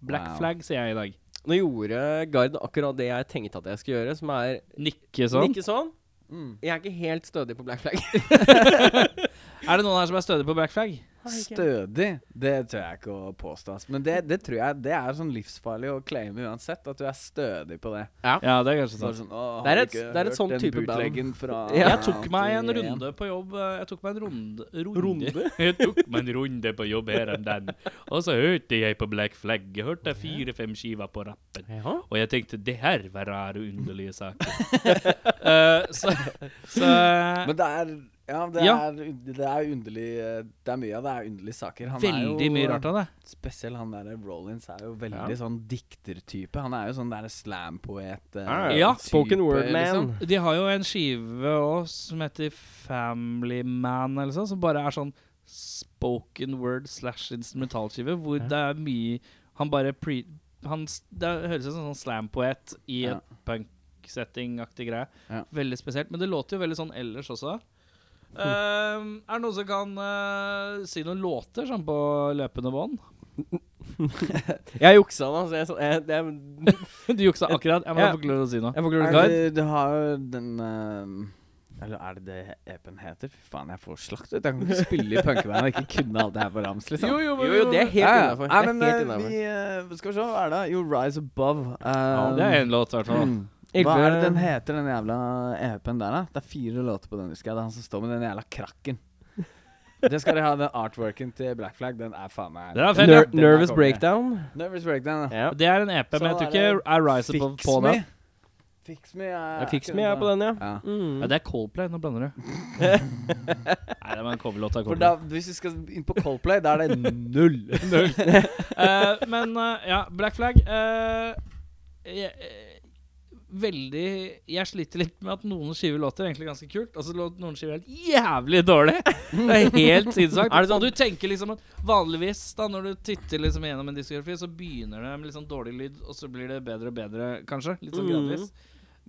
Black
Wow.
Flag sier jeg i dag.
Nå gjorde Gard akkurat det jeg tenkte at jeg skulle gjøre, som er
Nikke sånn.
Ikke sånn.
Mm.
Jeg er ikke helt stødig på black flag. *laughs*
Er det noen her som er stødig på Black Flag?
Stødig, det tør jeg ikke å påstå. ass. Men det, det tror jeg det er sånn livsfarlig å claime uansett, at du er stødig på det.
Ja, det er kanskje
Så er det
sant.
sånn, «Å, har
Det er
du
et-
ikke
det er et
hørt
sånn
den
type band.
bootleggen fra
Ja.
Jeg tok meg en
81?»
runde på jobb eh, Jeg tok meg en runde Runde? *laughs* Jeg tok meg en runde på jobb her om dagen. Og så hørte jeg på Black Flag. Jeg hørte fire-fem skiver på rappen.
Ja.
Og jeg tenkte det her var rare, underlige
*laughs*
saker. Eh, så, så
Men det er ja, det,
Ja.
Er, und- det er underlig eh, Det er mye av det er underlige saker. Han
Veldig
er jo,
mye rart av det.
Spesielt han der Rollins er jo veldig
Ja.
sånn diktertype. Han er jo sånn der slampoet eh,
Ah,
Ja.
type,
Spoken word man.
liksom.
De har jo en skive òg som heter Family Man, eller sånn, som bare er sånn spoken word slash instrumentalskive, hvor
Ja.
det er mye Han bare pre... Han, s- det høres ut som en sånn slampoet i
Ja.
et punksetting-aktig greie.
Ja.
Veldig spesielt. Men det låter jo veldig sånn ellers også. Ehm, er det noen som kan eh, si noen låter sånn på løpende bånd? *laughs*
Jeg juksa da, så jeg, så jeg, det,
du juksa akkurat. Jeg må
Ja.
få lov til å si noe.
*laughs* jeg får ikke lov til å
Er
klare. ehm,
det, du har jo den eh, Eller er det det apen heter? Fy faen, jeg får slakt. vet du. Jeg kan ikke spille i punkeband og ikke kunne alt det her på rams. liksom
jo,
Jo, jo, det er helt
Ja, ja.
innafor.
Nei, men eh, vi eh, Skal vi se, hva er det? Jo, Rise Above. eh,
det er én låt, i hvert fall.
mm. Hva er det den heter, den jævla EP-en der, da? Det er fire låter på den, husker jeg. Det er han som står med den jævla krakken. Det skal de ha, den artworken til Black Flag. Den er faen meg
Den er fett, ja.
Ner
Den er
Nervous
konge.
Breakdown.
Nervous Breakdown. ja.
Ja.
Det er en EP,
Så
men jeg tror
er det
ikke I Rise Above
Fix
på
Me.
den.
Fix Me er
Jeg fikk med jeg på den, ja.
Ja.
Ja,
Mm.
det er Coldplay. Nå blander
*laughs*
du. Nei, det var en coverlåt av
For
Coldplay.
da, hvis vi skal inn på Coldplay, da er
*laughs*
det null.
Null. Eh, men eh, ja, Black Flag eh, jeg, eh, Veldig Jeg sliter litt med at noen skiver låter er egentlig ganske kult, og så lå- noen skiver helt jævlig dårlig. Det er helt sinnssvakt.
Er det sånn-
Og du tenker liksom at vanligvis da når du titter liksom gjennom en diskografi, så begynner det med litt sånn dårlig lyd, og så blir det bedre og bedre, kanskje. Litt sånn
Mm.
gradvis.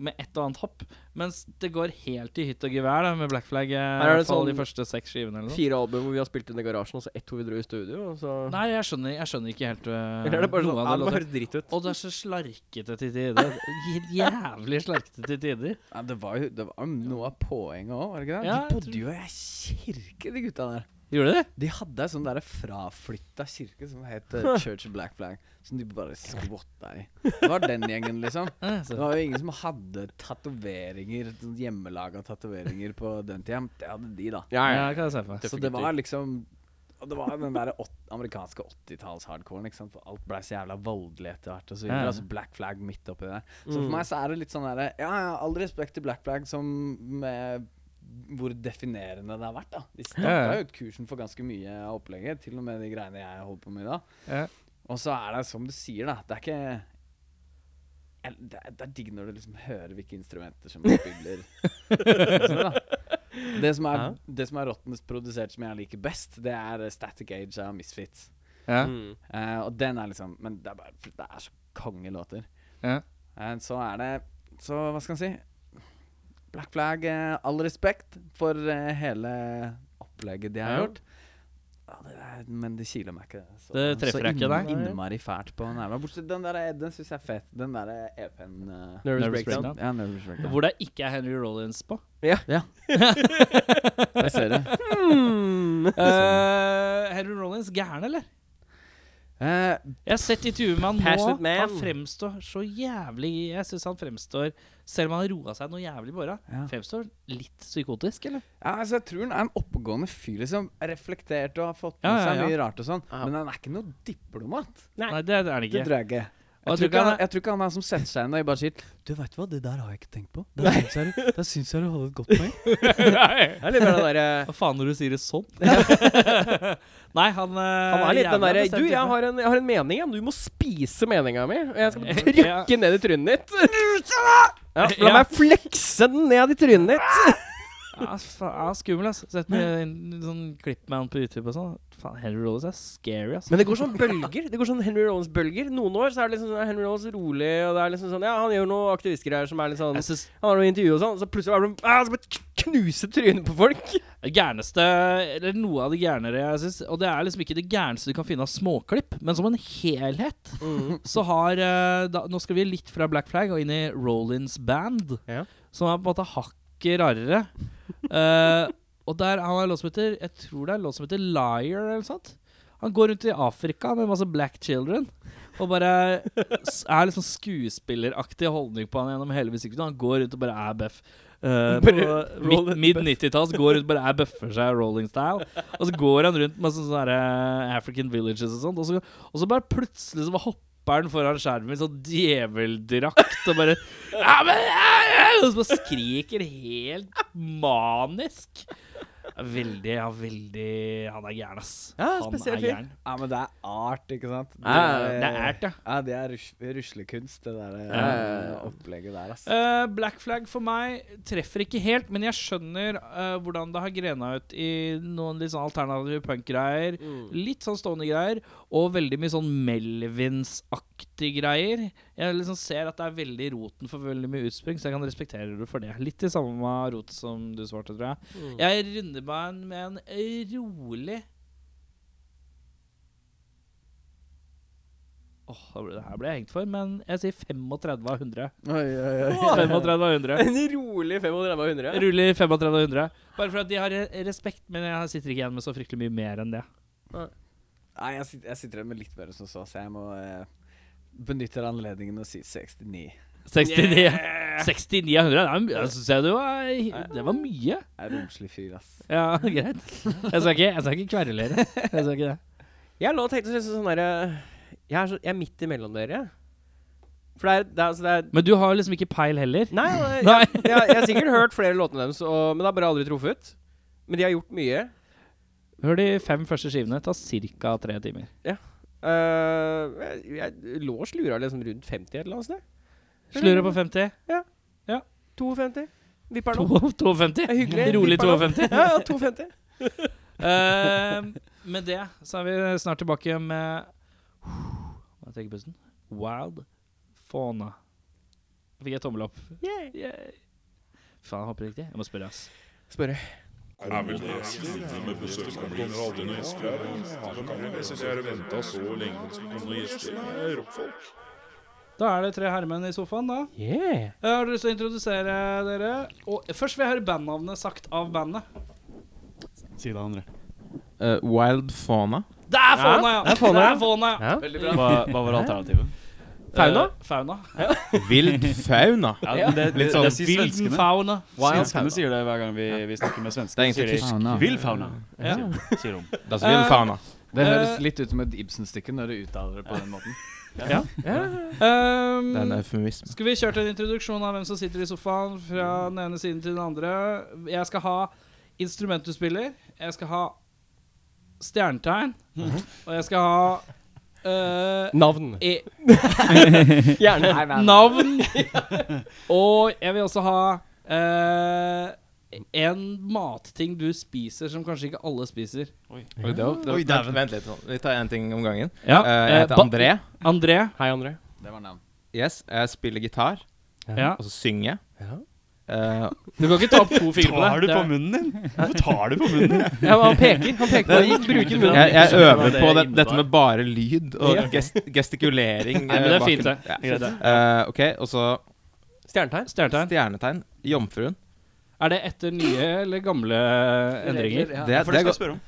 Med et og annet hopp. Mens det går helt i hytt og gevær da med Black Flag. eh, I
er
hvert
det
fall
sånn
de første seks skivene eller noe.
Fire album hvor vi har spilt inn i garasjen, og så ett hvor vi dro i studio. Og så
Nei, jeg skjønner, jeg skjønner ikke helt
*laughs*
eh,
Eller er det bare
noe
sånn?
av
Ja,
det
det
låter.
høres dritt ut.
Og det er så slarkete til tider. J- Jævlig slarkete til tider.
Ja, det var jo det var noe av poenget òg, var det ikke det?
Ja, jeg
de bodde jo i ei kirke, de gutta der.
Gjorde det?
De hadde ei sånn derre fraflytta kirke som het
*laughs*
eh, Church of Black Flag, som de bare skvotta i. Det var den gjengen,
*laughs*
liksom.
Eh,
Det
så-
var jo ingen som hadde tatoveringer, sånn hjemmelaga tatoveringer på den tida. Det hadde de, da.
Ja, ja.
Ja, det kan jeg se for meg.
Så det var liksom og det var den derre åt- amerikanske 80-talls-hardcoren. ikke sant? For alt blei så jævla voldelig etter hvert. og så videre,
Ja.
altså Black Flag midt oppi der. Så for meg så er det litt sånn derre Ja, ja, all respekt til Black Flag som med hvor definerende det har vært. da De staka
Ja, ja.
jo ut kursen for ganske mye av opplegget. Til og med de greiene jeg holder på med i dag.
Ja.
Og så er det som du sier, da. Det er ikke Jeg- det er, det er digg når du liksom hører hvilke instrumenter
*laughs*
som spiller. Sånn, da. det som er, det som er Rottens produsert som jeg liker best, det er eh, Static Age av Misfits.
Ja.
Mm.
Eh, og den er liksom Men det er, bare, det er så kongelåter.
Ja.
Eh, så er det Så hva skal en si? Black Flag, eh, all respekt for eh, hele opplegget de har
Ja.
gjort. Ja, det er, men det kiler meg ikke så,
Det treffer
så
deg ikke, nei.
innmari fælt på nerva. Bortsett den der, eh, den syns jeg er fet. Den derre EP-en eh,
Nervous
Nervous
Breakdown.
Breakdown.
Ja, Nervous Breakdown.
Hvor det ikke er Henry Rollins på.
Jeg
*laughs*
ser det.
Mm. *laughs*
Eh, Henry Rollins gæren, eller?
Eh,
Jeg har sett intervjuet med han nå.
Passionate man.
Han fremstår så jævlig Jeg syns han fremstår, selv om han har roa seg noe jævlig på åra,
Ja.
fremstår litt psykotisk, eller?
Ja, altså Jeg tror han er en oppegående fyr. liksom Reflektert og har fått med
Ja, ja, ja.
seg mye rart. og sånn
Ja.
Men han er ikke noe diplomat.
Nei.
Nei, det er han
Det
ikke.
tror jeg ikke. Jeg
Og du
tror ikke,
kan-
han, jeg tror ikke han er som setter seg ned og bare sier Du vet hva, det der har jeg ikke tenkt på. Da syns jeg, du- da syns jeg du hadde et godt
*laughs*
poeng.
Det er litt mer den derre
Hva faen når du sier det sånn? Nei, han
Han er litt den derre Du, jeg har, en, jeg har en mening, ja, men du må spise meninga mi. Og jeg skal
Ja.
trykke ned i trynet *laughs* ditt. Ja, la meg flekse den ned i trynet ditt.
Ja, faen, ja, skummel, ass. Sett med en, en sånn klipp med han på YouTube og sånn. Faen, Henry Rollins er scary, ass.
Men det går sånn bølger. Det går sånn Henry Rollins-bølger. Noen år så er det liksom sånn Henry Rollins rolig, og det er liksom sånn Ja, han gjør noe aktivistgreier som er litt sånn
Jeg synes
Han har noe intervju og sånn, så plutselig er det sånn ah, så bare knuse trynet på folk.
det gærneste Eller noe av det gærnere jeg syns Og det er liksom ikke det gærneste du kan finne av småklipp, men som en helhet så har eh, da, Nå skal vi litt fra Black Flag og inn i Rollins Band,
Ja.
som er på en måte hakket rarere. Eh, og der han har en låt som heter Jeg tror det er en låt som heter Liar, eller noe sånt. Han går rundt i Afrika med masse black children og bare s- er liksom skuespilleraktig holdning på han gjennom hele musikkvideoen. Han går rundt og bare er bøff. Eh,
Bare
på
roll-
mid- mid 90-talls går rundt bare er bøffer seg rolling style. Og så går han rundt med sånne der, eh, African villages og sånt. Og så, og så bare plutselig så bare hopper han foran skjermen i sånn djeveldrakt og bare ja, men, ja, ja, Og så bare skriker helt manisk. Veldig, ja, veldig Han er gæren, ass.
Ja,
han
spesiell
er
fyr.
gæren.
Ja, men det er art, ikke sant? Det
Ja,
Det er ært, ja.
Ja, det er rus ruslekunst, det der eh,
Ja, ja, ja.
opplegget der, ass.
Eh, Black Flag for meg treffer ikke helt, men jeg skjønner eh, hvordan det har grena ut i noen litt sånn alternative punk-greier.
Mm.
Litt sånn stående greier, og veldig mye sånn Melvins-aktige greier. Jeg liksom ser at det er veldig roten for veldig mye utspring, så jeg kan respektere det for det. Litt i samme rot som du svarte, tror jeg. Jeg runder meg en- med en rolig Åh, da ble- det her ble jeg hengt for, men jeg sier 35 av 100.
Oi, oi, oi.
35 av *laughs* 100.
En rolig 35 av 100.
Ruller 35 av 100. Bare for at de har re- respekt, men jeg sitter ikke igjen med så fryktelig mye mer enn det.
Nei, jeg sitter, jeg sitter igjen med litt mer enn som så, så jeg må eh, benytte anledningen og si 69.
69, 69 av 100, det, er, mye- jeg synes jeg det, var, det var mye.
Jeg er romslig fyr, ass.
Ja, greit. Jeg skal ikke, jeg skal ikke kverulere. Jeg skal ikke det.
Jeg lå og tenkte sånn- sånn derre jeg, er så- jeg er midt imellom dere. For det er, det er, altså det er
Men du har liksom ikke peil heller.
*laughs* Nei, jeg,
Nei.
jeg, jeg har sikkert hørt flere låtene deres, og, men det har bare aldri truffet. Men de har gjort mye.
Hør de fem første skivene. Ta ca. tre timer.
Eh, jeg, jeg lå og slura liksom rundt 50 et eller annet sted.
Slurre på 50.
52. Vipper nå.
To- 52.
Det er hyggelig.
Rolig
Vipper nå.
52.
Ja, ja, 52.
Ehm, med det så er vi snart tilbake med Må jeg trekke pusten? Wild Fauna. Da fikk jeg tommel opp.
Yeah.
Yay. Faen, jeg håper riktig. Jeg må spørre, ass.
Spørre.
Er vel det siste med besøkende så lenge som noen gjester er rockfolk.
Da er det tre herremenn i sofaen, da.
Yeah.
Jeg har dere lyst til å introdusere dere. Og først vil jeg høre bandnavnet sagt av bandet.
Si det, André.
Wild Fauna.
Det er Fauna, ja!
Det er Fauna,
Det
ja.
er fauna, ja.
Ja.
Veldig
Hva, hva var alternativet?
Fauna?
Eh, fauna.
Vild fauna.
Ja, men det,
Litt sånn
det sier
Vilden
svenskene.
Mm. fauna.
Svenskene sier det hver gang vi, vi snakker med svenskene.
Det er egentlig
sier de,
tysk.
Fauna.
Vildfauna,
Ja.
sier- sier de.
Das Wild Fauna.
Det høres
Eh,
litt ut som et Ibsen-stykke når du uttaler det på den måten.
Eh,
Det er en
Um,
eufemisme.
skal vi kjøre til en introduksjon av hvem som sitter i sofaen fra den ene siden til den andre? Jeg skal ha instrument du spiller. Jeg skal ha stjernetegn. Og jeg skal ha eh,
Navn.
e *laughs*
Gjerne.
navn. Og jeg vil også ha eh, en matting du spiser som kanskje ikke alle spiser.
Oi, det var- det var-
Oi, dæven.
Vent litt. nå. Vi tar én ting om gangen.
Ja,
Eh, jeg heter
ba-
André.
André.
Hei, André.
Det var navn.
Yes, jeg spiller gitar,
Ja.
og så synger jeg.
Ja.
Eh,
Du kan ikke ta opp to fingre
Tar du
*laughs* det.
på munnen din? Hvorfor tar du på
*laughs*
munnen din?
Ja, men han peker. Han peker på det. Bruker munnen.
jeg, jeg øver
det
på det,
innebar.
dette med bare lyd og gest gestikulering.
Nei, men det
eh,
er fint,
bak-
det.
Ja.
Greit, det.
Eh, ok, og så
Stjernetegn.
Stjernetegn.
stjernetegn. Jomfruen.
Er det etter nye eller gamle endringer?
Det, det
For det
er
skal jeg
godt.
spørre om.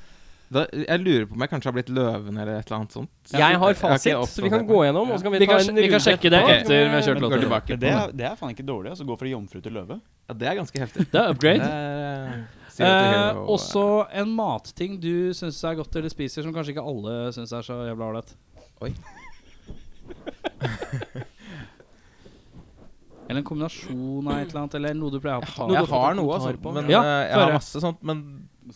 Da, jeg lurer på om jeg kanskje har blitt løven eller et eller annet sånt.
Jeg har
Jeg har
fasit,
ikke
så vi kan
oppdatert
gå gjennom. Og så kan vi,
Vi
ta en
kan, sj- vi kan
runde
sjekke det
Ok.
etter vi har kjørt
Går
låta.
tilbake på
Det
det.
er, det er faen ikke dårlig. altså Gå fra jomfru til løve.
Ja, det er ganske heftig.
Det er upgrade.
Eh, Zero to
Eh,
Hero,
også en matting du syns er godt eller spiser, som kanskje ikke alle syns er så jævla ålreit.
Oi.
*laughs* eller en kombinasjon av et eller annet, eller noe du pleier å ha på
Jeg
tavlen.
har noe, altså.
tar på.
Men,
Ja,
eh, jeg har
høre.
masse sånt, men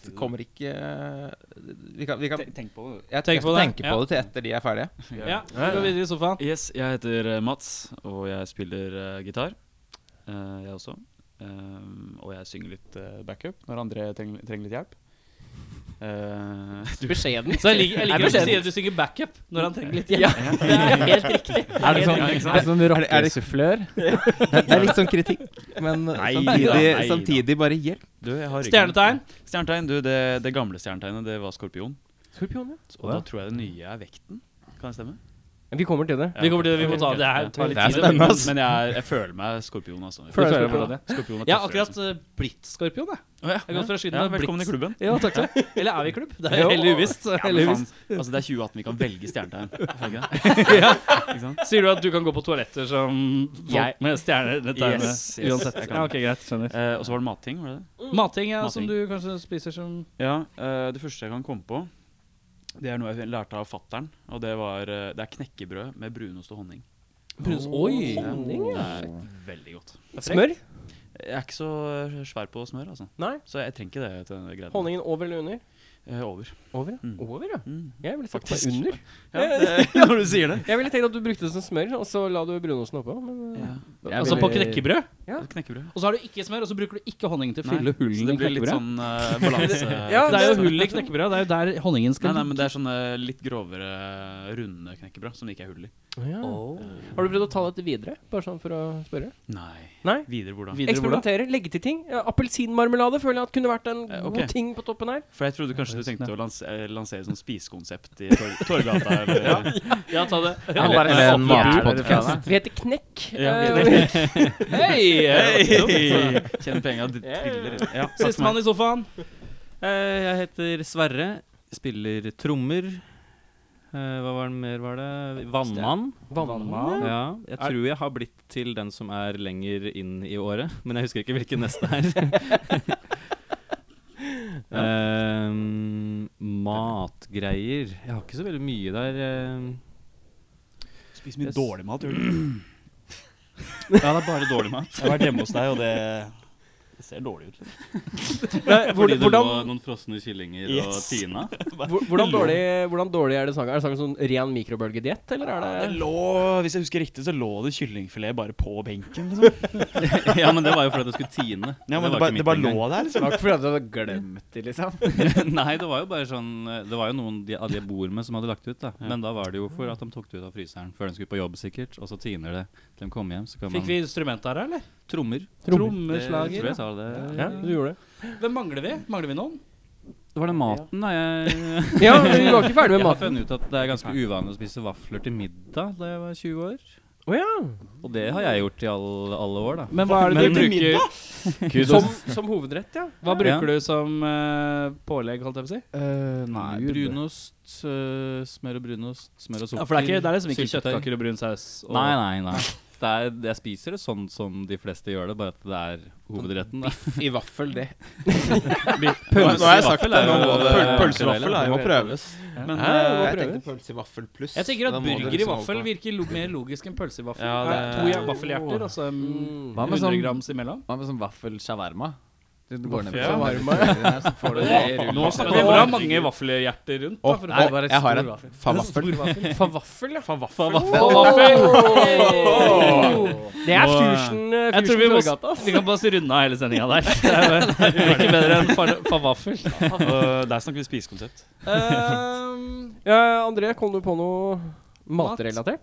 det kommer ikke eh, Vi kan, vi kan
Tenk- Tenk på det.
Tenk
Jeg tenker
på
på,
det,
tenke på
ja.
det til etter de er ferdige.
Ja, vi går videre i sofaen.
Yes, jeg heter eh, Mats, og jeg spiller eh, gitar. Eh, jeg også. Ehm, og jeg synger litt eh, backup når andre trenger, trenger litt hjelp. Eh, du,
Beskjeden.
Så jeg liker, jeg liker at du
beskjeden.
sier at du synger backup når han trenger litt hjelp. *laughs* Det er helt riktig.
Er det sånn, er det sånn
er det- er det-
rockesufflør?
*laughs* Det er litt sånn kritikk, men
Nei
samtidig,
da, nei da.
samtidig bare hjelp.
du, jeg har ryggen.
Stjernetegn.
Stjernetegn, du, det, det gamle stjernetegnet, det var skorpion.
Skorpion, ja.
Og da tror jeg det nye er vekten. Kan det stemme?
Vi kommer til det.
Vi kommer til det, vi må ta det her. Tar litt
Det er
tid.
spennende,
Men,
ass.
men jeg, er- jeg føler meg skorpion, altså.
Føler deg
Jeg
skorpion.
meg det. Skorpion er
Jeg
tøffere,
har akkurat
liksom.
eh, blitt skorpion, jeg.
Å, ja.
Jeg har gått fra skyten
ja,
og blitt.
velkommen i klubben.
Ja, takk takk. Eller er vi i klubb? Det er
Jo.
veldig uvisst.
Ja,
Veldig
men faen,
uvisst.
altså Det er 2018, vi kan velge stjernetegn. er det ikke det? Ikke sant?
Sier du at du kan gå på toaletter som folk
Jeg-
med stjernetegn?
Yes, yes,
uansett.
jeg kan
Ja, ok, greit, skjønner.
Eh, og så var det matting, var det det?
Mating, ja,
Mating.
som du kanskje spiser som
Ja, eh, det første jeg kan komme på, det er noe jeg lærte av fattern. Og det var eh, Det er knekkebrød med brunost og honning.
Brunost. Oi!
honning, ja. Det er veldig godt.
Smør.
Jeg er ikke så eh, svær på smør, altså.
Nei.
Så jeg trenger ikke det til denne greia.
Honningen over eller under?
Eh, over.
Over, ja.
Mm.
Over, ja.
Mm.
Jeg ville sagt meg
Faktisk.
under.
Ja, det, *laughs* når du sier
*laughs*
det.
Jeg ville tenkt at du brukte det som smør, og så la du brunosten oppå. Men eh,
Ja.
Altså på knekkebrød?
Ja.
Knekkebrød.
Og så har du ikke smør, og så bruker du ikke honningen til å
Nei,
fylle
så
hullene
det
i
blir litt
knekkebrødet?
sånn eh, balanse...
*laughs*
Ja,
Det er jo hull i knekkebrødet. Det er jo der honningen
Nei,
skal
nei, men det er sånne litt grovere, runde knekkebrød som det ikke er hull i.
ja. Har du prøvd å ta dette videre? Bare sånn for å spørre.
Nei.
Nei?
Videre hvordan?
Videre hvordan?
Eksperimentere, legge til ting. Ja, Appelsinmarmelade føler jeg at kunne vært en
Eh,
god
ok.
ting på toppen her.
For jeg trodde kanskje vi tenkte å lanse, eh, lansere sånn spisekonsept i Tor- Torgata.
*laughs*
Eller,
Ja, ta det.
Eller-
Alle-
eller en matpodcast.
matpodcast.
Vi heter Knekk.
Ja.
eh, og- *laughs*
Hei!
Hey! Kjenn penga d- triller inn. Ja, takk for meg.
Sistemann i sofaen.
Eh, Jeg heter Sverre, spiller trommer. Eh, Hva var det mer var det? Vannmann.
Vannmann.
Ja, jeg tror jeg har blitt til den som er lenger inn i året, men jeg husker ikke hvilken neste er. *laughs* Eh, matgreier Jeg har ikke så veldig mye der. eh.
Spiser mye
Yes.
dårlig mat. gjør du?
*clears throat*
Ja, det er bare dårlig mat.
Jeg har vært hjemme hos deg, og det, det ser dårlig ut.
Nei, hvor-
Fordi det lå
Hvordan
noen frosne kyllinger og
Yes.
tina.
hvor- hvordan dårlig hvordan dårlig er det sangen? Er det sangen sånn ren mikrobølgediett, eller er
Det
det
lå, Hvis jeg husker riktig, så lå det kyllingfilet bare på benken. Liksom.
ja, men det var jo fordi det skulle tine.
Ja, men
var
det, bare,
ikke
det
mitt
bare
engang.
lå der.
Det *laughs*
Liksom.
var ikke fordi at du hadde glemt det,
*laughs*
liksom.
Nei, det var jo bare sånn eh, Det var jo noen de, av de jeg bor med, som hadde lagt det ut. da Men da var det jo for at de tok det ut av fryseren før de skulle på jobb, sikkert. Og så tiner det til de kommer hjem. Så kan
Fikk
man
vi instrument her, eller?
Trommer. Jeg tror
Trommeslager.
jeg sa det.
Ja, du gjorde det.
Hvem mangler vi? Mangler vi noen?
Det var den maten, da. *laughs*
*laughs*
Jeg,
Ja, men vi var ikke ferdig
jeg
med
har
maten.
funnet ut at det er ganske uvanlig å spise vafler til middag da jeg var 20 år.
Å ja.
Og det har jeg gjort i all, alle år, da.
Men hva er det
Men
du
til
bruker?
Som, som hovedrett, ja.
Hva bruker du som eh, pålegg, holdt jeg på å si?
Nei, brunost, eh, smør og brunost, smør og sukker.
Ja, for det er, ikke, det er liksom ikke
syltetøy.
kjøttkaker og brun saus. Og
Nei, nei, nei. Det er, jeg spiser det sånn som de fleste gjør det, bare at det er hovedretten. da. I vaffel, *laughs* det. Pølse Nå har jeg sagt det, nå må det-
Pøl- Pølsevaffel er
Det
jo
må
helt-
prøves.
Men,
Hæ?
eh,
Hva
jeg
prøver?
pølse i vaffel pluss.
Jeg tenker at
Da må du
burger i
liksom
vaffel
holde på.
virker lo mer logisk enn pølse i vaffel.
Ja,
Nei,
det-
to ja- vaffelhjerter, altså mm,
Mm.
Hva med
100
sånn-
grams imellom.
Hva med sånn vaffel-shawarma? Du går ned på
Vaffel-
shawarma, så får du det i rull.
Nå
Men
snakker
det
vi
må ha
om
mange vaffelhjerter rundt.
Å,
da, for å
Nei,
få-
bare
Jeg har
stor
en.
vaffel.
Favaffel.
Favaffel, ja.
Vaffel!
Det er
Nå, eh,
fusion eh,
Jeg tror
fusion
vi må
Torgata, ass.
Vi kan bare runde av hele sendinga der. Det er jo ikke bedre enn fa- favaffel.
Eh, Der snakker vi spisekonsept.
*laughs* Ehm,
Ja, André, kom du på noe matrelatert?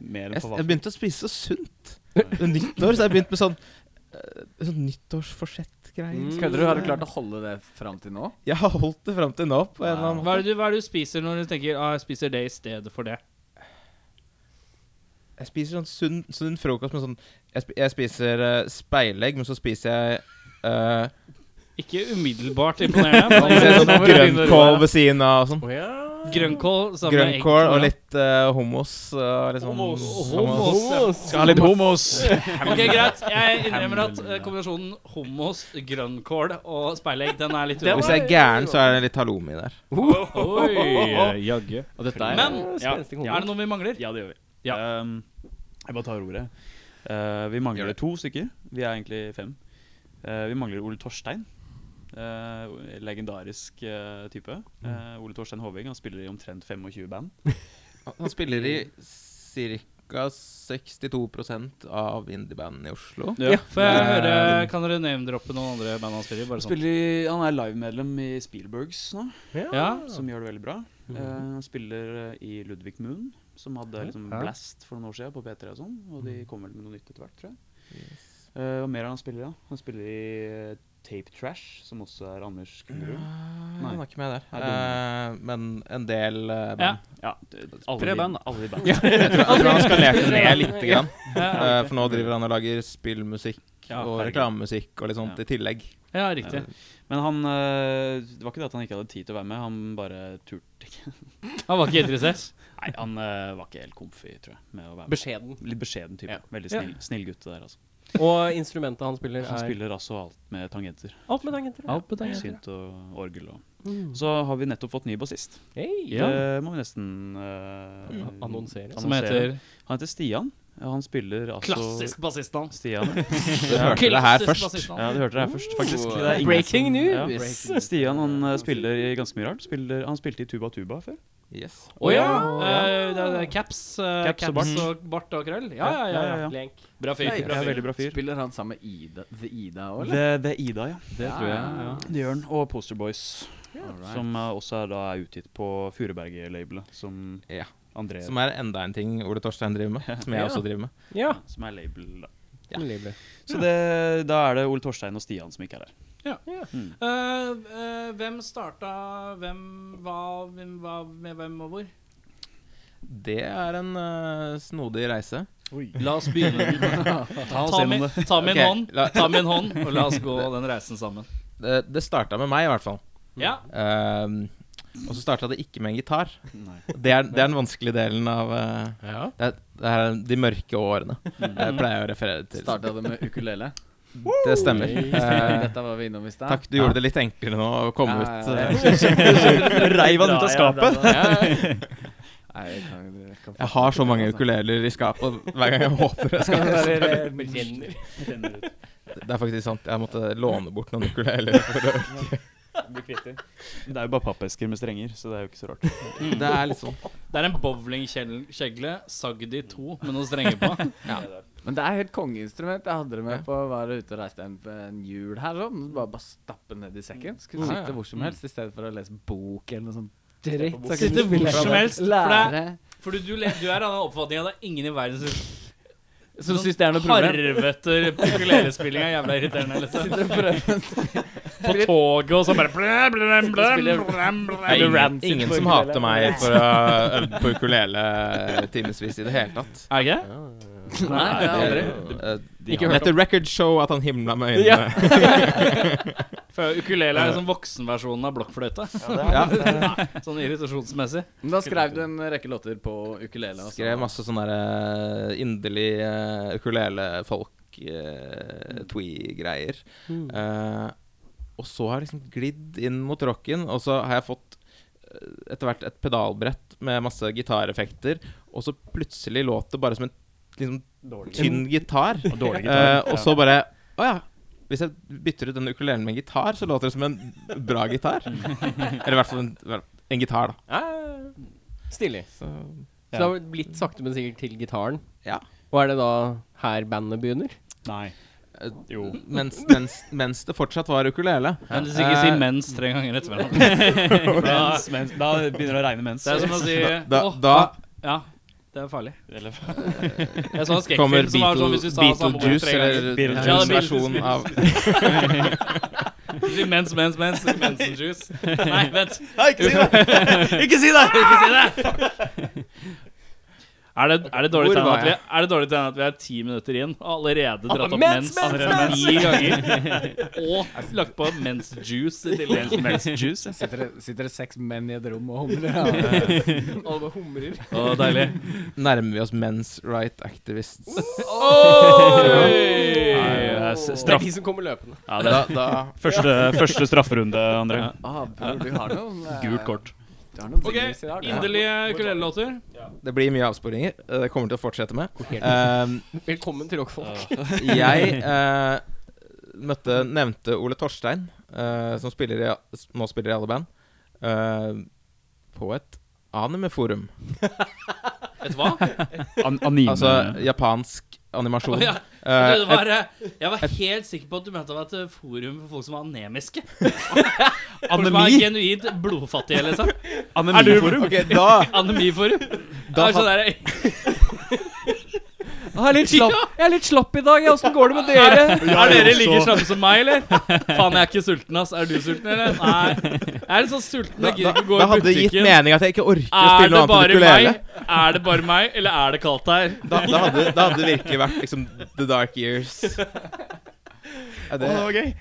Mer enn
Jeg,
på
jeg
vaffel.
begynte å spise så sunt. Ved nyttår så har jeg begynt med sånn, eh, sånn nyttårsforsett-greier.
Kødder du? Har du klart å holde det fram til nå?
Jeg har holdt det fram til nå. på en eller annen måte.
hva, er det du, hva er det du spiser når du tenker ah, jeg spiser det i stedet for det?
Jeg spiser sånn sunn, sunn frokost med sånn Jeg, sp jeg spiser eh, speilegg, men så spiser jeg eh,
Ikke umiddelbart imponerende. men-
jeg spiser sånn grønnkål ved siden av og sånn.
Å ja.
Grønnkål sammen med egg.
Grønnkål og
ja.
litt eh, hummus. Og litt sånn,
Hummus.
hummus.
Skal ha litt homos!
Ok, greit. Jeg innrømmer at eh, kombinasjonen hummus, grønnkål og speilegg, den er litt
Og Hvis jeg er gæren, så er det litt halloumi der.
Oi, jagge.
Og dette er
Men
Ja.
Spenstig
er det noe vi mangler?
Ja, det gjør vi.
Ja.
Ehm, jeg bare tar ordet. Eh, vi mangler to stykker. Vi er egentlig fem. Eh, vi mangler Ole Torstein. Eh, legendarisk eh, type. Eh, Ole Torstein Håving han spiller i omtrent 25 band.
Han spiller i ca. 62 av indiebandene i Oslo.
Ja.
Får jeg høre, Kan dere name-droppe noen andre band han spiller i? Bare sånn.
Spiller i, han er livemedlem i Spielbergs nå,
Ja.
som gjør det veldig bra. Eh, han spiller eh, i Ludvig Moon, som hadde liksom Blast for noen år siden på P3 og sånn. Og de kom vel med noe nytt etter hvert, tror jeg. Eh, hva mer er det han spiller i? da? Han spiller i eh, Tape Trash, som også er Anders Kungerud.
Nei,
Nei.
han var ikke med der.
Nei, det
Eh, men en del eh,
Ja.
band.
Ja, d- alle
Tre
de-
band, da.
Alle de band.
Jeg, tror, jeg tror han skalerte ned lite grann.
Ja,
Eh, for nå driver han og lager spillmusikk
Ja,
og
herregud.
reklamemusikk og litt sånt i tillegg.
ja, riktig.
Men han eh, Det var ikke det at han ikke hadde tid til å være med, han bare turte ikke.
Han var ikke interessert.
Nei, han eh, var ikke helt komfy, tror jeg, med å være med.
Beskjeden.
Litt beskjeden type.
Ja.
Veldig snill, snill gutt det der, altså.
Og instrumentet han spiller,
Han
er
spiller altså alt med tangenter.
Alt med Mm. tangenter.
Alt på den
Synt og orgel og Så har vi nettopp fått ny bassist.
Hei.
Det må vi nesten eh,
Mm.
Annonsere.
Som heter
Han heter Stian. Ja, Han spiller altså
Klassisk bassistnavn.
Stian.
Du hørte det her
Klassisk
først.
bassistnavn.
Ja, du hørte det her først, faktisk.
Oh.
Det er ingen
Breaking
som-
news!
Ja. *laughs* Stian han eh, spiller i ganske mye rart. Spiller, han spilte i Tuba Tuba før.
Yes.
Å ja! eh, det er caps, eh,
Caps
caps
og
og bart. og krøll. Ja, ja, ja. ja,
Ja, ja, ja.
Lenk.
Altså,
Bra fyr.
Ja, veldig bra fyr.
Spiller han sammen med Ida, The Ida òg, eller?
Det, det er Ida, ja.
Det tror jeg.
Det gjør han. Og Poster Boys. Som eh, også er, da er utgitt på Furuberget-labelet, som
Ja.
André
Som er enda en ting Ole Torstein driver med, som jeg også driver med.
Ja.
som er label, da.
Nydelig.
Så det, da er det Ole Torstein og Stian som ikke er der.
Eh, eh, hvem starta hvem, hva, hvem, hva med hvem og hvor?
Det er en eh, snodig reise.
La oss begynne.
Ta
ta, min, ta min
Ok,
hånd,
la-
ta min hånd,
*laughs*
og la oss gå den reisen sammen.
Det, det starta med meg, i hvert fall.
Ja,
Ehm, og så starta det ikke med en gitar. Det er, det er den vanskelige delen av eh, det, er, det er de mørke årene.
Mm.
Jeg pleier å referere til
Starta det med ukulele?
Det stemmer. Eh,
Dette var vi innom i stad.
takk, du gjorde det litt enklere nå å komme
Ja,
ut.
ja, ja.
eh.
Reiv han ut av skapet.
Nei, jeg kan, jeg kan
Jeg har så mange ukuleler i skapet hver gang jeg *laughs* håper jeg skal Det er faktisk sant. Jeg måtte låne bort noen ukuleler. For å,
Det er jo bare pappesker med strenger, så det er jo ikke så rart.
det er litt sånn.
Det er en bowlingkjegle sagd i to med noen strenger på.
Men det er helt kongeinstrument. Jeg hadde det med på var ute og reiste en, en jul her. Sånn. Så Bare, bare stappe ned i sekken. Skulle
Ja, ja.
sitte hvor som helst i stedet for å lese bok eller noe sånt. Dritt. Så jeg
Sitte
kunne
hvor
spille
som
det.
helst, for det er-
Lære.
Fordi du, le- du er av den oppfatningen at det er ingen i verden som
Som syns det er noe problem.
Harvete ukulelespilling er jævla
*laughs*
irriterende. Liksom.
Sitter og prøver.
På toget og så bare blæ, blæ, blæ, blæ,
Spiller-
blæ, blæ.
Det er ingen,
rancid
ingen
på
som
ukulele.
hater meg for å
*laughs*
ha øvd på ukulele timevis i det hele tatt.
Er det ikke? det?
Nei, det er aldri.
Eh, Let the record show at han himla med øynene.
For ukulele er liksom voksenversjonen av blokkfløyte.
*laughs*
Sånn irritasjonsmessig.
Men da skrev du en rekke låter på ukulele. altså. og så-
Skrev masse sånn derre inderlig eh, ukulelefolk eh, twee-greier.
Mm.
Eh, og så har jeg liksom glidd inn mot rocken, og så har jeg fått eh, etter hvert et pedalbrett med masse gitareffekter, og så plutselig låt det bare som en liksom, tynn gitar. Eh, og så bare Å ja. Hvis jeg bytter ut den ukulelen med en gitar, så låter det som en bra gitar. Eller i hvert fall en, en gitar, da.
Stilig.
Så,
Så det har blitt sakte, men sikkert til gitaren.
Ja.
Og er det da her bandet begynner?
Nei. *laughs* Jo.
mens, mens, mens det fortsatt var ukulele.
Men hvis ikke si
Eh,
'mens' tre ganger
*laughs*
etter hverandre.
Mens, mens, da begynner det å regne mens.
Det er som å si
Da,
«Åh,
da
Ja, det er farlig.
Eller-
*laughs* Jeg så en
kommer
skrekkfilm som var sånn hvis du
Beatle-
sa samme ord
Beetlejuice,
tre ganger.
eller
Beetlejuice.
Beetlejuice
Ja,
versjon av
Si Mens, mens, mens. Mensenjuice. Nei, vent.
Nei, ikke
*laughs*
si det! Ikke si det!
Ikke si det! Er det, er det dårlig
Hvor
tegn
var
at, vi-
jeg?
er det dårlig tegn at vi er ti minutter igjen og allerede dratt opp
mens,
mens,
mens,
allerede ni ganger? Og lagt på mens juice i tillegg.
Mens juice.
Sitter det, sitter det seks menn i et rom og humler?
Alle humrer.
Å, deilig.
Nærmer vi oss men's right activists.
Oi!
Det er de som kommer løpende.
Da, da
Første, første strafferunde, André.
Ah, bror, du har *laughs* noen eh,
Gult kort.
Du har noen
Ok,
singles i dag, da.
Inderlige ukulelelåter.
Det blir mye avsporinger. eh, Det kommer til å fortsette med. Um,
Velkommen til rockfolk.
jeg eh, møtte nevnte Ole Torstein, eh, som spiller i, nå spiller i alle band, eh, på et animeforum.
Vet du hva?
An anime.
Altså japansk animasjon.
Å, ja.
Eh,
Det var, eh, jeg var helt sikker på at du mente det var et eh, forum for folk som var
*laughs*
anemiske. Folk som var
Anemi?
genuint blodfattige, liksom.
Anemiforum?
*laughs* ok, da
Anemiforum. Det
Da
er sånn der,
Jeg er litt slapp, jeg er litt slapp i dag. Åssen går det med dere?
Er dere like slappe som meg, eller? Faen, jeg er ikke sulten, ass. Er du sulten,
*laughs*
eller? Nei. Jeg er litt sånn sulten
Da,
og gidder
da,
ikke gå
da
i
hadde det gitt
butikken.
mening at jeg ikke orker å
Er det
spille noe annet enn
bare
ukulele.
meg? Er det bare meg, eller er det kaldt her?
Da, da, hadde, da hadde det virkelig vært liksom The Dark Years. Ja, det,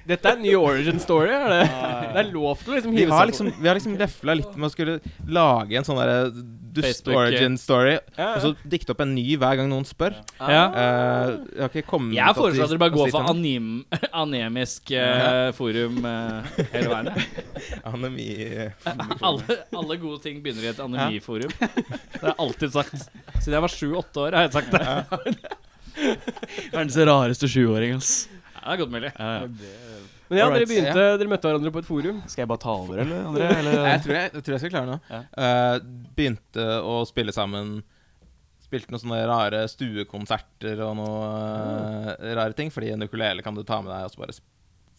Dette er en ny origin story, er det? Det er lov til å liksom
vi
hive
har
seg
liksom, vi har liksom lefla litt med å skulle lage en sånn derre dust
Facebook, eh,
origin story, og så dikte opp en ny hver gang noen spør.
Ja.
Eh, jeg har ikke kommet
Jeg
til at
foreslår at
de-
dere bare går
at de
for
sitter
anim, anemisk eh, forum eh, hele veien. ja.
med Anemi
Alle, alle gode ting begynner i et anemiforum. Det har jeg alltid sagt. Siden jeg var sju-åtte år, har jeg sagt det.
Verdens rareste sjuåring, ass.
Ja, det er godt mulig.
Men ja, dere
Alright.
begynte, dere møtte hverandre på et forum.
Skal jeg bare ta over, eller, André?
jeg, tror jeg, jeg tror jeg skal klare det nå. Eh, begynte å spille sammen. Spilte noen sånne rare Ah. stuekonserter og noe eh, rare ting. Fordi en ukulele kan du ta med deg og så bare s-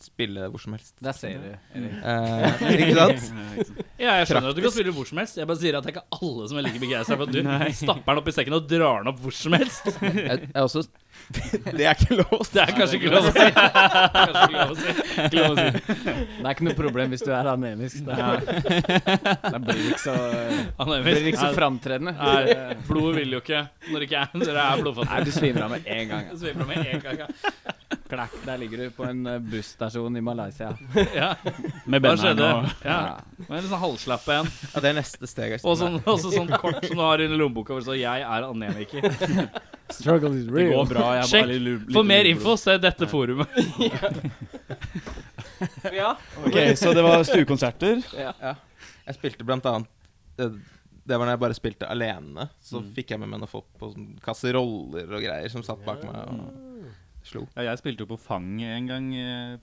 spille hvor som *laughs* helst.
Der ser du. Erik.
Eh, ikke sant?
Ja, jeg skjønner at du kan spille hvor som helst. Jeg bare sier at det er ikke alle som er like begeistra for at *laughs* du stapper den opp i sekken og drar den opp hvor som *laughs* helst.
Jeg, jeg er også Det er ikke lov.
Det er kanskje ikke lov å si. *laughs* Det er kanskje ikke lov å si. Ikke lov å si.
Det er ikke noe problem hvis du er anemisk. Det, *laughs* det blir ikke så,
Han er
det blir ikke så
visst-
framtredende.
Nei, blodet vil jo ikke når ikke er, dere
*laughs*
er blodfattige.
Nei, du svimer av med en gang.
Så vi får med en gang, ja.
Klakk, der ligger du på en eh, busstasjon i Malaysia.
Ja,
Med
hva
benderen
skjedde?
og-
Ja, det var en sånn halvslapp en.
Ja, det er neste steg.
Og sånn, også sånn kort som du har i lommeboka hvor det står 'Jeg er anemiker'.
Struggle is
Det går bra. Jeg er
Sjekk
bare litt lu-
*laughs* For
litt
mer
lublod.
info, se dette forumet. *laughs*
Ok, Så det var stuekonserter. *laughs*
Jeg spilte blant annet eh, Det var når jeg bare spilte alene. Så fikk jeg med meg noen folk på sånn kasseroller og greier som satt bak meg og slo.
Ja, jeg spilte jo på Fang en gang eh,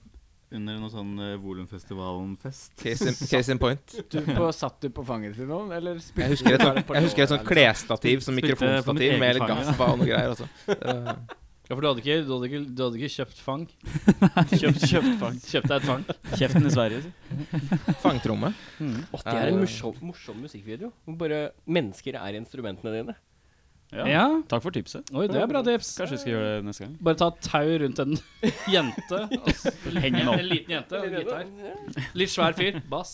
under noe sånn eh, Volumfestivalen-fest.
Case in, case in point.
Du på, satt du på fanget til noen, eller spilte
Jeg husker et,
du
sånt-
bare på
jeg husker et sånt
låra, liksom?
klesstativ som
Spilte på mitt
mikrofonstativ
eget
med litt
fang, ja.
gaffa og noe greier. Også. Eh,
Ja, for du hadde ikke, du hadde ikke, du hadde ikke kjøpt fang? Kjøpt, kjøpt fang. Kjøpt deg et fang.
Kjeften i Sverige. si.
fangtromme.
Åh, det er en morsom, morsom musikkvideo. Hvor bare mennesker er instrumentene dine.
Ja. Takk for tipset.
Oi, det er bra tips.
Kanskje vi skal gjøre det neste gang.
Bare ta et tau rundt en *laughs* jente. altså,
Heng den
en, en
opp.
liten jente og en gitar. Litt svær fyr. Bass.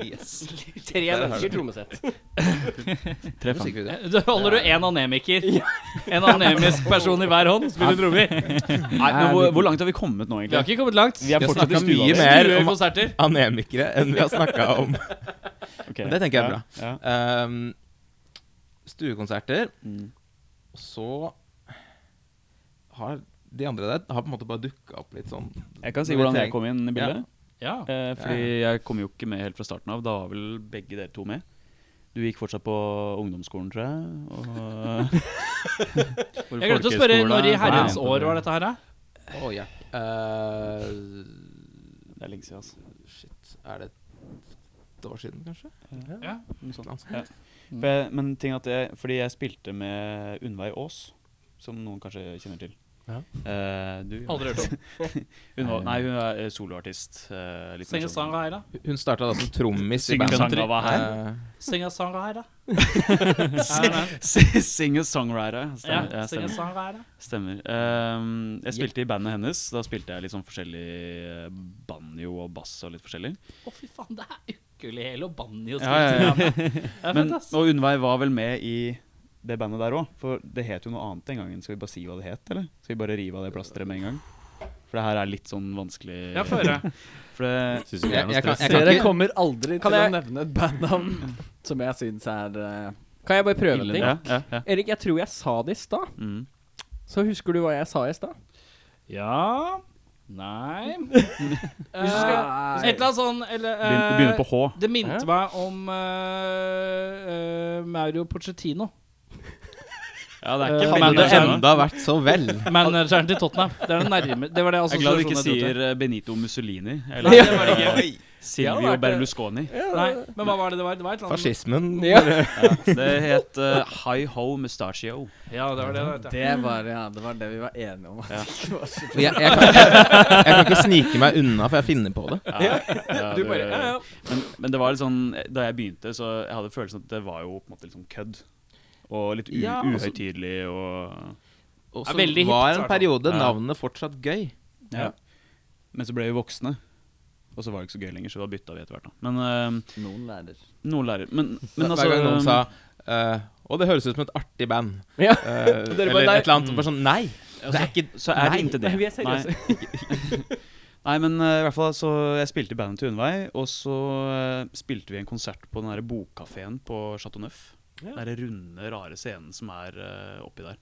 Yes.
Tre mennesker trommesett.
Treff han.
Musikkvideo.
Du Eh, holder du én anemiker. En anemisk person i hver hånd spiller trommer.
Nei, men hvor, hvor langt har vi kommet nå, *laughs*
Vi har
egentlig?
ikke kommet langt.
Vi er
Vi har
fortsatt i
snakket
stua.
mye
vår.
mer
Stue
om
konserter.
anemikere enn vi har snakka om
Ok.
Men det tenker jeg er bra.
Ja, ja.
Ehm, stuekonserter.
Mm.
Og så har de andre der har på en måte bare dukka opp litt sånn
Jeg kan si
Men vi
hvordan jeg
trenger-
kom inn i bildet.
Ja.
Eh, fordi jeg kom jo ikke med helt fra starten av. Da var vel begge dere to med. Du gikk fortsatt på ungdomsskolen, tror *laughs* jeg.
Hvor
Jeg glemte å spørre
folkehøyskolen
når i
er-
herrens
Nei,
år var dette her, da?
Å ja. Eh,
Og det er lenge siden, altså.
shit. Er det et år siden, kanskje?
Noe sånt.
Noe sånt.
Ja. For jeg, men ting at jeg, fordi jeg spilte med Unnveig Aas, som noen kanskje kjenner til.
Ja.
Eh, du,
Aldri hørt om.
Hun var, nei, hun er eh, soloartist. eh, litt mer
Synge
sånn-
sang her, da.
Hun starta da som trommis i
Synge
bandet.
sangava *laughs* her.
Eh,
Synge sang her, da.
Singer-songwriter.
Ja,
Stemmer. Ja,
synge
stemmer.
sang her, da.
stemmer. Ehm, jeg spilte i bandet hennes. Da spilte jeg litt sånn forskjellig eh, banjo og bass og litt forskjellig.
Å, fy faen, det er ukulele og banjo.
Ja, ja, ja. *laughs* Men,
Men,
og Unnveig var vel med i det bandet der òg, for det het jo noe annet den gangen. Skal vi bare si hva det het, eller? Skal vi bare rive av det plasteret med en gang? For det her er litt sånn vanskelig
ja, få høre.
*laughs* For det,
Synes ikke det er
Jeg,
noe
jeg, kan,
stress.
jeg,
Dere
kan ikke,
kommer aldri
Kan
til
jeg-
å nevne et bandnavn *laughs* som jeg syns er eh,
Kan jeg bare prøve en
Ille,
ting?
ja, ja, ja.
Erik, jeg tror jeg sa det i stad.
Mm.
Så husker du hva jeg sa i stad?
Ja
*laughs*
Nei Eh,
Nei.
Et eller annet sånn eller, eh,
Begynner, begynner på H.
Det minte meg om eh, eh, Mauro Pochettino.
Ja, det
er ikke
han
veldig
er
det
jeg
der
hadde
skjønner.
ennå.
enda vært så vel.
Manageren til Tottenham. Det, er den nærme, det var det
Jeg er glad du ikke
assosiasjonen jeg sånn
sier
trodde.
eh, Benito
*laughs*
Mussolini
Nei,
eller
det var det ikke.
Silvio Berlusconi.
Nei, men hva var det det var? Det var et eller annet
Fascismen.
Det het eh, Hi Ho Mustachio.
Ja, det var det. det,
Det var, ja, det var det vi var enige om.
Jeg, jeg, kan, jeg kan ikke snike meg unna, for jeg finner på det.
Ja, ja,
Du
det-
bare ja, ja.
Men, men det var litt sånn Da jeg begynte, så jeg hadde følelsen at det var jo på en måte litt sånn kødd. Og litt u
Ja, altså-
uhøytidelig og
Og
Ja,
så
veldig hipt,
var
i
en
hvert fall.
periode
Ja.
navnet fortsatt gøy.
ja. Men så ble vi voksne, og så var det ikke så gøy lenger, så da bytta vi etter hvert. da Men eh,
*laughs* Noen lærer.
noen lærer Men, men
Hver
altså
gang noen sa eh, Å, det høres ut som et artig band.
Ja.
Eh, eller
bare, nei.
et eller annet. Bare sånn Nei! Det er ikke
Så er
Nei,
det ikke det.
nei, vi er seriøse.
Nei. *laughs* Nei, men eh, i hvert fall så Jeg spilte i bandet til Unnvei, og så eh, spilte vi en konsert på den derre bokkafeen på Chateau Neuf. Den derre runde, rare scenen som er eh, oppi der.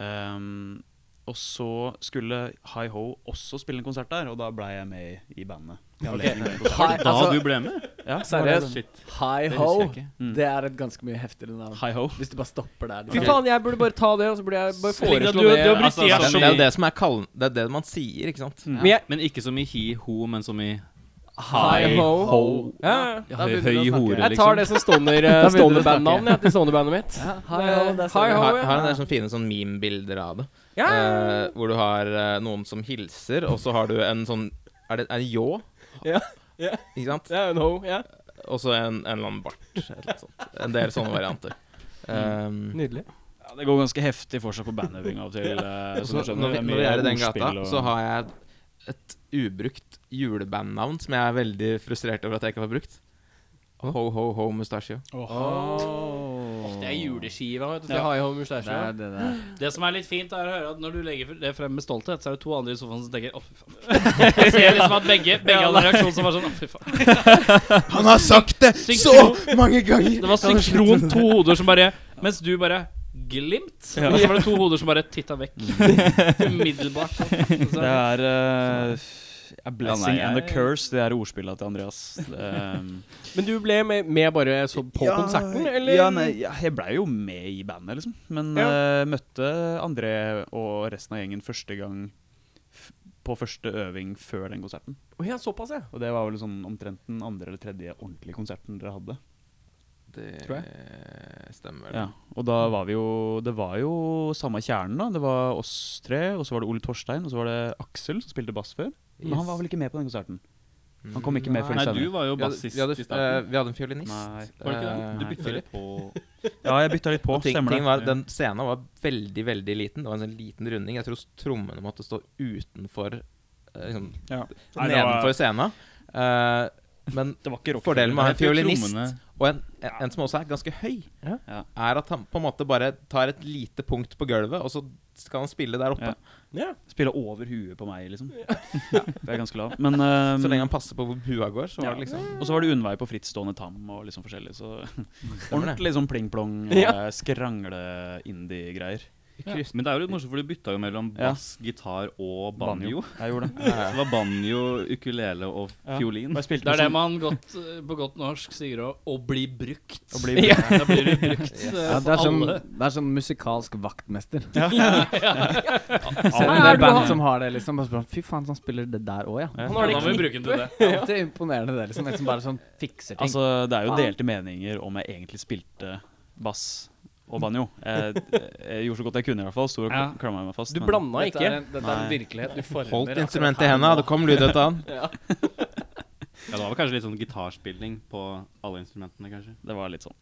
Ehm, og så skulle Hi Ho også spille en konsert der, og da blei jeg med i bandet. I anledning til den konserten.
Var det da Altså, du ble med?
Ja,
Seriøst? altså, Hi Ho.
husker jeg
Det er et ganske mye heftigere navn.
Hi Ho.
Hvis du bare stopper der. liksom.
Fy faen, jeg burde bare ta det, og så burde jeg bare
Slik at
foreslå
du-
det.
du har brukt
altså,
tida
Det
så
er jo det som er kallen... Det er det man sier, ikke sant?
Men jeg,
Men ikke som i hi ho, men som i High Ho.
Ja,
Høy, høy hore,
Jeg tar
liksom.
det som stoner, eh,
Da begynner du å
stoner
snakke.
bandnavn jeg, til stonerbandene mitt.
Ja, hi, ho, sånn- der ser
Hi,
vi.
ho.
Har, har en del sånne fine sånn meme-bilder av det. Eh, hvor du har eh, noen som hilser, og så har du en sånn Er det en ljå?
Ja, ja.
Ikke sant?
Ja, en ho, ja.
Og så en, en eller annen bart. Et eller annet sånt. En del sånne varianter. Um,
Nydelig.
Ja, det går ganske heftig for seg på bandøving av og *laughs* til. eh,
Og
som
så,
du skjønner.
når,
Det
vi,
mye
når vi er i den gata,
ordspill og-
så har jeg et ubrukt julebandnavn som jeg er veldig frustrert over at jeg ikke har brukt. Ho Ho Ho Mustachio.
Det er juleskiva, vet du. Ja. Hi, ho,
Det
mustasje.
er det der.
Det som er litt fint, er å høre at når du legger det frem med stolthet, så er det to andre i sofaen som tenker 'Å, fy faen'. *laughs* Jeg ser liksom at begge, begge hadde en reaksjon som var sånn 'Å, fy faen'.
*laughs* Han har sagt det
Synkron.
mange ganger!
Det var synkront to hoder som bare Mens du bare Glimt. Og så var det to hoder som bare titta
*laughs*
vekk. Umiddelbart. Så-
Det er eh, A blessing
Ja,
and
nei,
a
jeg-
curse, det er ordspillet til Andreas. Um,
Men du ble med, med bare så på konserten, eller?
Ja, nei, ja, jeg blei jo med i bandet, liksom. Men eh, møtte André og resten av gjengen første gang f på første øving før den konserten.
Å ja, såpass, ja.
Og det var vel sånn omtrent den andre eller tredje ordentlige konserten dere hadde. Tror
Det stemmer. vel.
Ja, og da var vi jo Det var jo samme kjernen, da. Det var oss tre, og så var det Ole Torstein, og så var det Aksel som spilte bass før. Men han var vel ikke med på den konserten? Han kom ikke med før
Nei, du
senere.
var jo
Vi hadde,
bassist
vi, hadde,
i starten.
eh, vi hadde en fiolinist.
Nei.
Var det ikke det? Du
Eh,
bytta litt på
*laughs* Ja, jeg bytta litt på.
ting,
Stemmer det.
ting var, den scenen var veldig veldig liten. Det var en sånn liten runding. Jeg tror trommene måtte stå utenfor eh, liksom,
Ja. Nei, det var-
Nedenfor scenen. Eh, men
Det var ikke rock.
fordelen med å ha en
Jeg tror
fiolinist
trommene-
og en, en, en som også er ganske høy,
Ja.
er at han på en måte bare tar et lite punkt på gulvet, og så skal han spille der oppe.
Ja. Spille over huet på meg, liksom. Ja. Jeg er ganske lav.
*laughs*
Men ehm,
Så lenge han passer på hvor bua går, så var det liksom
Og så var det unnvei på frittstående tam og liksom forskjellig. Så
*laughs* det.
ordentlig sånn pling-plong,
Ja.
eh, skrangle-indie-greier.
Ja. Men det er jo litt morsomt, for du bytta jo mellom
Ja.
bass, gitar og banjo.
Jeg gjorde det.
Så det var banjo, ukulele og
Ja.
fiolin.
Og jeg spilte
Det er
liksom-
det man godt, eh, på godt norsk sier å, å bli
*laughs*
brukt.
Å
*laughs*
bli brukt.
Da blir du brukt eh,
Ja, det,
for
er sånn,
alle.
det er sånn musikalsk vaktmester. *laughs* Selv om
Ja,
det
ja,
er
du
band
har-
som har det, liksom. Bare sånn, Fy faen, han spiller det der òg, ja.
Ja.
Da må vi bruke den til det.
Det er imponerende, det, liksom. En som bare sånn fikser ting.
Altså, det er jo delte meninger om jeg egentlig spilte bass og banjo.
*laughs*
Jeg, jeg gjorde så godt jeg kunne, i hvert fall. Sto og
Ja.
klamra meg fast.
Du
men-
blanda ikke.
er en, dette er en virkelighet du former.
Holdt
akkurat
instrumentet i
her
henda,
nå.
det kom lyd ut av han.
Ja, det var vel kanskje litt sånn gitarspilling på alle instrumentene, kanskje.
Det var litt sånn.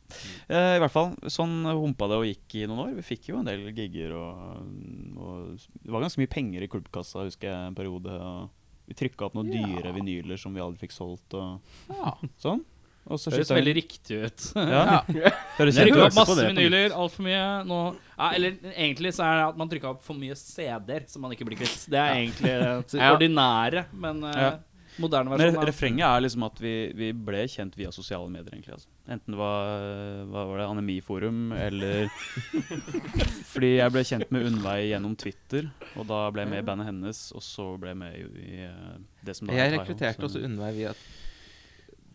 Eh, I hvert fall, sånn humpa det og gikk i noen år. Vi fikk jo en del gigger og, og Det var ganske mye penger i klubbkassa, husker jeg, en periode. Og vi trykka opp noen dyre vinyler som vi aldri fikk solgt, og sånn. Og så
Det høres
skifta vi
veldig riktig ut.
ja. Høres
Trykker
kjempe-
opp masse
det på nytt.
vinyler, altfor mye. Nå, ja, eller egentlig så er det at man trykker opp for mye CD-er som man ikke blir kvitt. Det er egentlig det
Ja.
ordinære, men eh,
Ja.
moderne
Men
versjon. av-
refrenget er liksom at vi, vi ble kjent via sosiale medier, egentlig. Altså. Enten det var, hva var det, Anemiforum, eller Fordi jeg ble kjent med Unnvei gjennom Twitter, og da ble jeg med i bandet hennes, og så ble jeg med i, i eh, det som da
Jeg
er Taiho,
rekrutterte
så-
også Unnveig via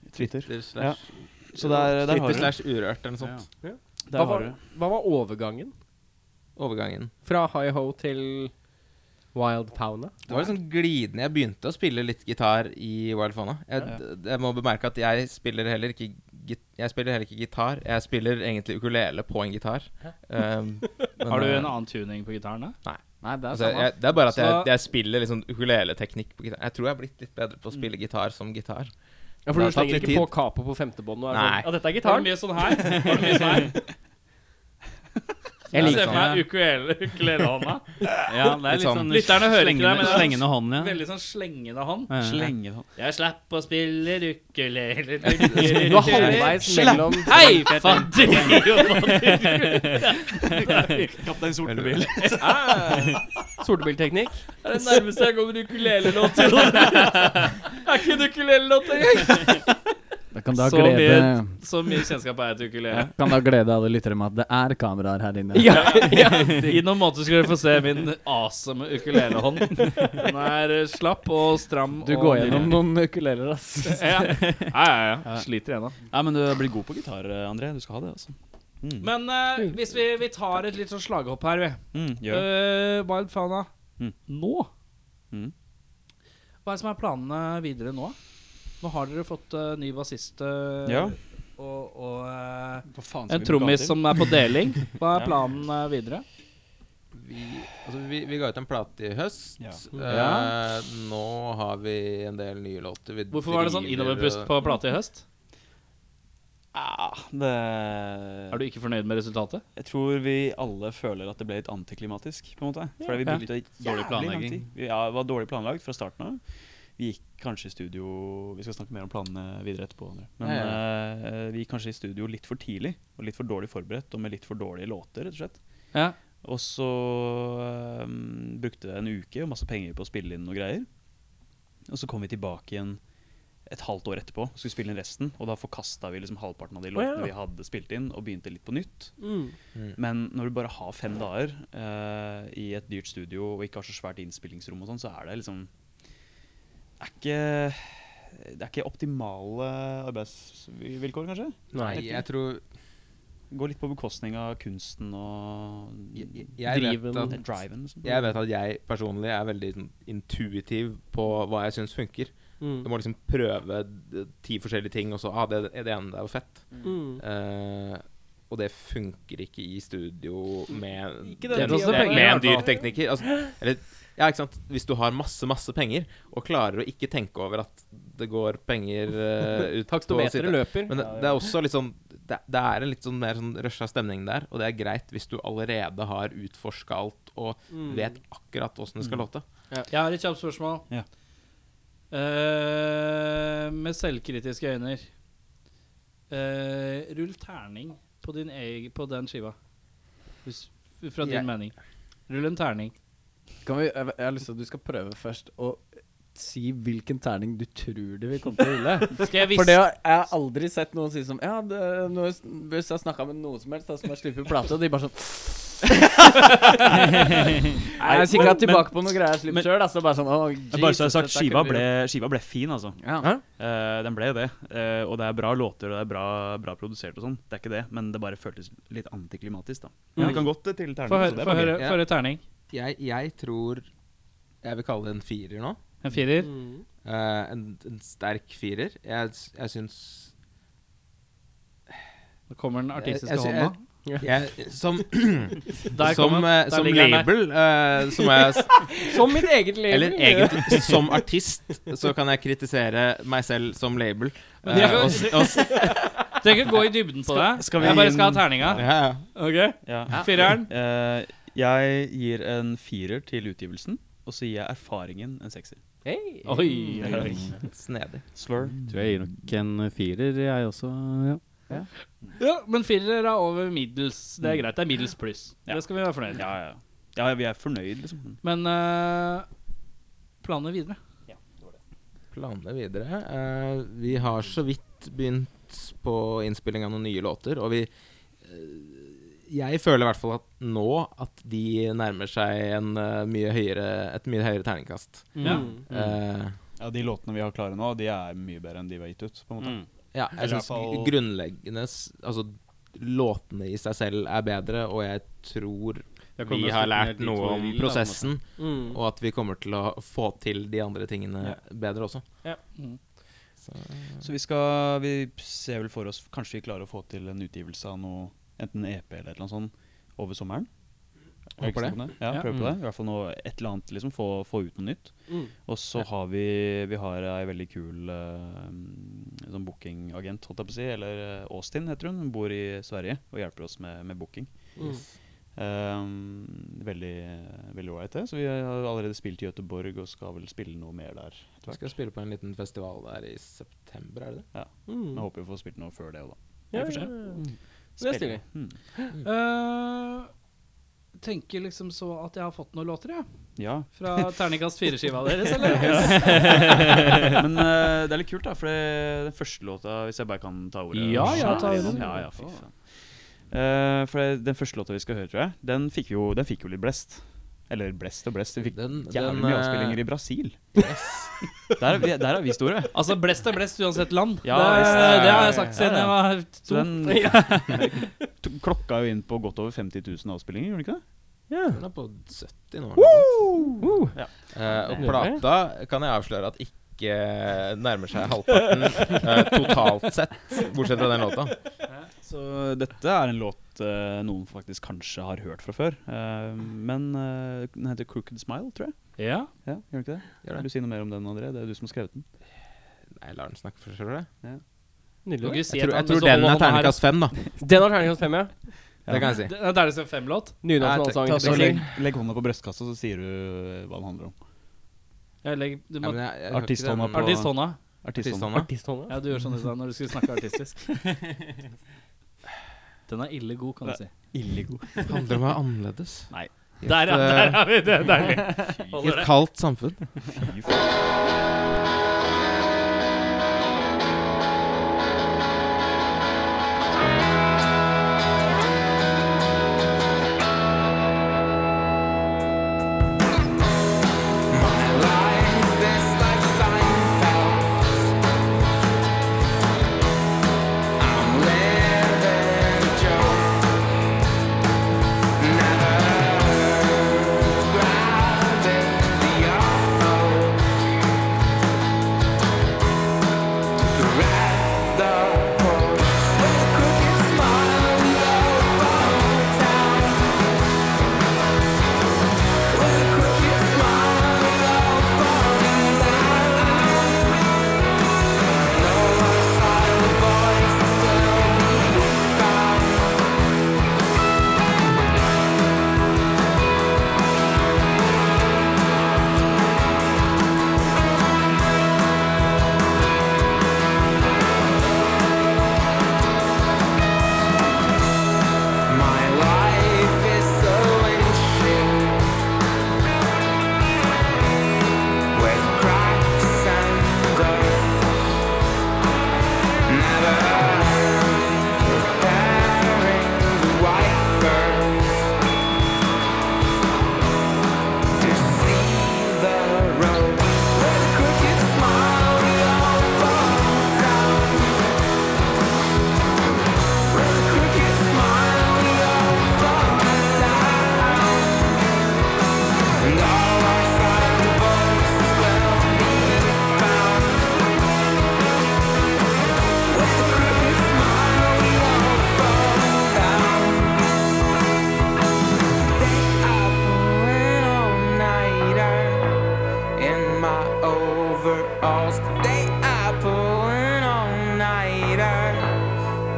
Twitter.
Twitter slash
Så der, der har du
Twitter
det.
slash Urørt eller noe sånt.
Der
Hva var-
har du. det.
Hva var overgangen
Overgangen.
fra High Ho til Wild Fauna?
Det var litt sånn glidende. Jeg begynte å spille litt gitar i Wild Fauna. Jeg, d- jeg må bemerke at jeg spiller heller ikke git jeg spiller heller ikke gitar. Jeg spiller egentlig ukulele på en gitar.
*laughs*
Um, men,
Har du
eh,
en annen tuning på gitaren? da?
Nei, det er
altså,
samme.
jeg, det er bare at jeg,
Så-
jeg spiller liksom ukuleleteknikk på gitar. Jeg tror jeg har blitt litt bedre på å
Mm.
spille gitar som gitar.
Ja,
Det
for
har
du
tatt
slenger
litt
ikke på capo på femtebånd? og er
Nei.
sånn, Ja, dette er
Var det
gitaren.
mye sånn her? Var det mye sånn her?
Jeg
Jeg
liker
ser for
sånn.
meg ukulele- ukulelehånda.
Ja, det er
Litt
litt
sånn-
sånn
Lytterne hører ikke det,
slengende,
men det er-
slengende hånd, ja.
Veldig sånn slengende hånd.
Ja, ja.
Slenge det.
Jeg slapp å spille ukulele
Du var halvveis mellom
Hei, fader!
Kaptein Sortebil.
sortebilteknikk.
Det er det nærmeste jeg kommer ukulelelåt til. Det *laughs* er ikke en ukulelelåt engang.
Da kan du ha
Så
glede
Så mye kjennskap er jeg til ukulele.
Kan da glede alle lyttere med at det er kameraer her inne.
Ja,
*laughs*
ja.
I noen måneder skal dere få se min awesome ukulelehånd. Den er eh, slapp og stram.
Du
og
går gjennom noen ukuleler, ass.
nydelig. Ja, ja, ja. ja. Sliter ennå.
Nei, men du blir god på gitar, André. Du skal ha det, altså. Mm.
Men eh, hvis vi, vi tar et litt sånn slaghopp her, vi.
Mm, gjør det.
Eh, Wild Fauna,
Mm.
nå?
Mm.
Hva er det som er planene videre nå? Nå har dere fått eh, ny bassist eh,
Ja.
og, og eh,
Hva faen
en trommis som er på deling. Hva
*laughs*
er planen eh, videre?
Vi, altså, vi, vi ga ut en plate i høst.
Ja.
Eh,
Ja.
Nå har vi en del nye låter. Vi
Hvorfor var det sånn
driver
innoverpust
og-
på plate i høst?
ah, det
Er du ikke fornøyd med resultatet?
Jeg tror vi alle føler at det ble litt antiklimatisk. på en måte Fordi vi
Ja.
brukte
Dårlig
jævlig lang
planlegging.
tid. Vi ja, det var dårlig planlagt fra starten av. Vi gikk kanskje i studio Vi skal snakke mer om planene videre etterpå. Andre. Men eh, vi gikk kanskje i studio litt for tidlig og litt for dårlig forberedt og med litt for dårlige låter. rett og slett
Ja.
Og så eh, brukte det en uke og masse penger på å spille inn noe greier. Og så kom vi tilbake igjen et halvt år etterpå og skulle spille inn resten. Og da forkasta vi liksom halvparten av de låtene vi hadde spilt inn, og begynte litt på nytt.
Mm,
Men når du bare har fem dager eh, i et dyrt studio og ikke har så svært innspillingsrom, og sånn, så er det liksom det er ikke, Det er ikke optimale arbeidsvilkår, kanskje?
Nei, jeg tror
Går litt på bekostning av kunsten og
Jeg, jeg vet
eh,
at
driven. Liksom.
jeg vet at jeg personlig er veldig sånn intuitiv på hva jeg syns funker.
mm,
Du må liksom prøve d- ti forskjellige ting, og så ah, det, det ene der var fett.
Mm.
Eh, og det funker ikke i studio med,
Ikke
med,
denne tida
med,
på
med
året, i
en dyr
hvert fall.
tekniker. Altså, eller, ja, ikke sant? Hvis du har masse, masse penger, og klarer å ikke tenke over at det går penger eh,
*laughs*
ut på å
Takstometeret
sitte
løper.
men det, det er også litt sånn det, det er en litt sånn mer sånn rusha stemning der, og det er greit hvis du allerede har utforska alt og
Mm.
vet akkurat åssen det skal låte.
Jeg har et kjapt spørsmål.
Ja.
Eh, med selvkritiske øyne eh, Rull terning på, din eg- på den skiva. Hvis, fra din
Jeg-
mening. Rull en terning.
Kan vi, jeg, jeg har lyst til at du skal prøve først å si hvilken terning du tror det vil komme til å rulle.
Skal jeg
For det
vise
har jeg aldri sett noen si som Ja, det, nå, hvis jeg snakka med noen som helst da, som har sluppet plate, og de bare sånn Nei, jeg kikka
men-
tilbake på noen greier jeg
men-
slapp sjøl. Altså, bare sånn, «Å,
Men Bare så jeg
Jesus,
har sagt,
dette
skiva
kunne
ble,
bli-
skiva ble fin, altså.
ja.
Eh, den ble jo det. Eh, og det er bra låter, og det er bra, bra produsert og sånn. Det er ikke det, men det bare føltes litt antiklimatisk, da. Men vi kan godt eh, til terning.
Få
så
høre,
det er
få
bare gøy.
høre,
Ja.
få høre terning.
Jeg, jeg tror jeg vil kalle det en firer nå.
En firer.
Mm.
Eh, en, en sterk firer. Jeg, s- jeg syns
Nå kommer den artistiske
Jeg- jeg-
hånda.
jeg, Som,
Der
som,
kommer der
eh, som
ligger den der.
label, eh, så må jeg s-
Som mitt eget label.
Eller egentlig, som artist, så kan jeg kritisere meg selv som label.
Men det er
Eh,
jo- *laughs*
og s- og s-
Du trenger ikke gå i dybden på det.
skal vi
jeg
gi
bare skal ha
en-
terninga.
ja, ja.
Ok,
Ja.
Fireren.
Eh, jeg gir en firer til utgivelsen, og så gir jeg erfaringen en sekser.
Hey.
Oi, oi, oi.
Snedig.
Slur.
Tror jeg gir nok en firer, jeg også. Ja.
Ja, men firer er over middels. Det er greit. Det er middels pluss. Det skal vi være fornøyd med.
Ja, ja. ja, vi er fornøyd, liksom.
Men uh, planene videre.
Planene videre. Eh, vi har så vidt begynt på innspilling av noen nye låter, og vi eh, Jeg føler i hvert fall at nå at de nærmer seg en, eh, mye høyere, et mye høyere terningkast.
Ja.
Mm.
Eh,
Ja, De låtene vi har klare nå, de er mye bedre enn de vi har gitt ut. på en måte
ja, jeg
Eller i hvert
syns
fall-
grunnleggende s- Altså, låtene i seg selv er bedre, og jeg tror
Jeg kommer
vi
nesten
har
litt
lært
mer dit
noe
hvor vi vil,
om
da, på en
prosessen,
Mm.
og at vi kommer til å få til de andre tingene bedre også.
Så vi skal Vi ser vel for oss Kanskje vi klarer å få til en utgivelse av noe Enten EP eller et eller annet sånt over sommeren. Er
Håper
ikke snakk om Ja,
Ja.
prøv på det. I hvert fall noe, et eller annet. liksom Få, få ut noe nytt.
Mm.
Og så har vi Vi har ei veldig kul eh, sånn bookingagent, holdt jeg på å si. Eller eh, Austin heter hun. Hun bor i Sverige og hjelper oss med, med booking.
Mm.
Eh, veldig Veldig ålreit, det. Så vi har allerede spilt i Göteborg og skal vel spille noe mer der.
Vi skal spille på en liten festival der i september, er det det?
Jeg håper vi får spilt noe før det òg, da.
Mm. Ja,
Vi får se.
ja, ja. Det er stilig.
Mm.
Eh, tenker liksom så at jeg har fått noen låter, jeg.
Ja.
Fra terningkast fire-skiva deres, eller?
Men eh, det er litt kult, da, for det, den første låta Hvis jeg bare kan ta ordet
Ja, ja, ta
Skjære
ordet.
igjennom. Ja, ja, fy faen. Eh, for det, den første låta vi skal høre, tror jeg, den fikk jo, den fikk jo litt blest. Eller blest og blest. Vi fikk
Den- den,
jævlig mye
eh,
avspillinger i Brasil. Der, er vi, der er vi store.
*laughs* Altså, blest er blest uansett land.
Ja,
det,
visst, det er-
det har jeg sagt siden
ja, ja.
jeg var
Så
to.
den
*laughs*
*laughs* to, klokka jo inn på godt over 50 000 avspillinger, gjorde den ikke det?
Den er på 70 nå. eller noe sånt. Eh, og plata kan jeg avsløre at ikke ikke nærmer seg halvparten eh, totalt sett, bortsett fra den låta.
Så dette er en låt eh, noen faktisk kanskje har hørt fra før. Eh, men eh, den heter 'Crooked Smile', tror jeg.
Ja.
Ja, gjør den ikke det?
Gjør det.
Vil du si noe mer om den, André? Det er jo du som har skrevet den.
Nei, lar den snakke for seg sjøl, jeg.
Du kan
Nydelig.
ikke si
Jeg
at
tror, jeg
han-
tror
så
den
holder
er
han her-
terningkast fem, da.
Den har terningkast fem, ja.
Det kan jeg si.
Det det er deres en femlåt?
Nynorsk
Nei, ta- ta
Så
allsang.
legg, legg hånda på brystkassa, så sier du eh, hva den handler om.
Jeg legger, du
Ja,
må,
men jeg- jeg hører ikke
Artisthånda
den-
på-
artisthånda.
*laughs*
Artisthånda.
Artisthånda.
Ja, du gjør sånn i stedet når du skulle snakke artistisk. Den er ille god, kan du si.
Illegod.
Det handler om å være annerledes.
Nei.
I et,
Der, ja, der
eh,
er vi! Det er deilig.
I
Holder
et
det.
kaldt samfunn.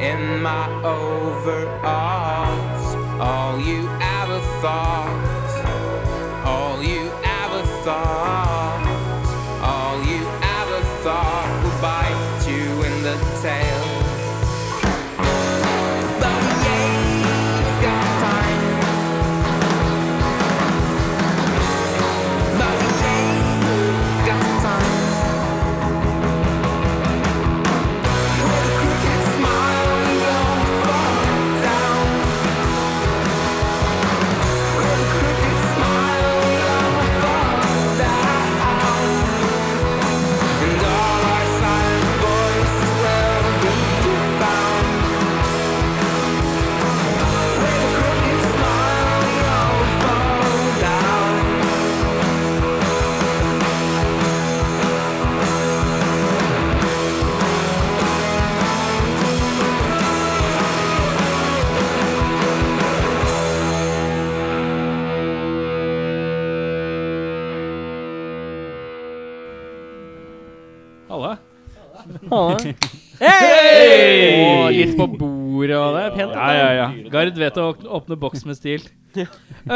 In my overalls, all you ever thought, all you ever thought, all you ever thought would bite you in the tail. But we ain't got time. But we ain't got time. With a crooked smile, we all fall down. With a crooked smile, we all fall down. And all our silent voices will be found. With a crooked smile, we all fall down.
Halla.
Halla. Og litt på bordet og det. er Pent.
Ja, ja, ja. Gard vet å åpne- åpne boks med
*laughs*
stil. Eh, ja,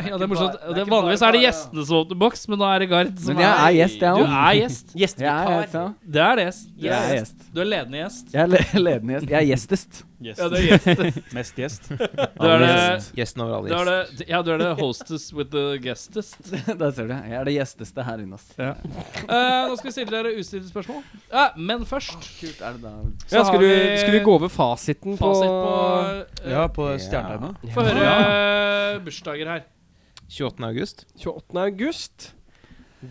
det er morsomt. Det, vanligvis er det gjestene som åpner boks, men nå er det Gard som
Men jeg er gjest, jeg
Du
òg.
er gjest.
Jeg er gjest, jeg også.
Det er det. Du
Jeg
er
er
gjest.
gjest.
Du er ledende gjest.
Jeg er le- *laughs* ledende gjest. Jeg er gjestest.
Ja, du er
*laughs*
gjest.
Mest
*laughs*
gjest.
Du er det,
Gjest- Gjesten over alle
du er
gjester.
det, ja, du er det hostess with the *laughs* guestest.
Der ser du. Jeg er det gjesteste her inne, altså. ass.
Eh, nå skal vi stille dere ustilte spørsmål. Ja, men først
Kult er det da.
så
Ja, skal,
har
du,
vi
skal vi gå over fasiten på
fasit på eh,
Ja, på
Ja.
stjernetegnet.
Få høre eh, bursdager her.
28. august.
28. august?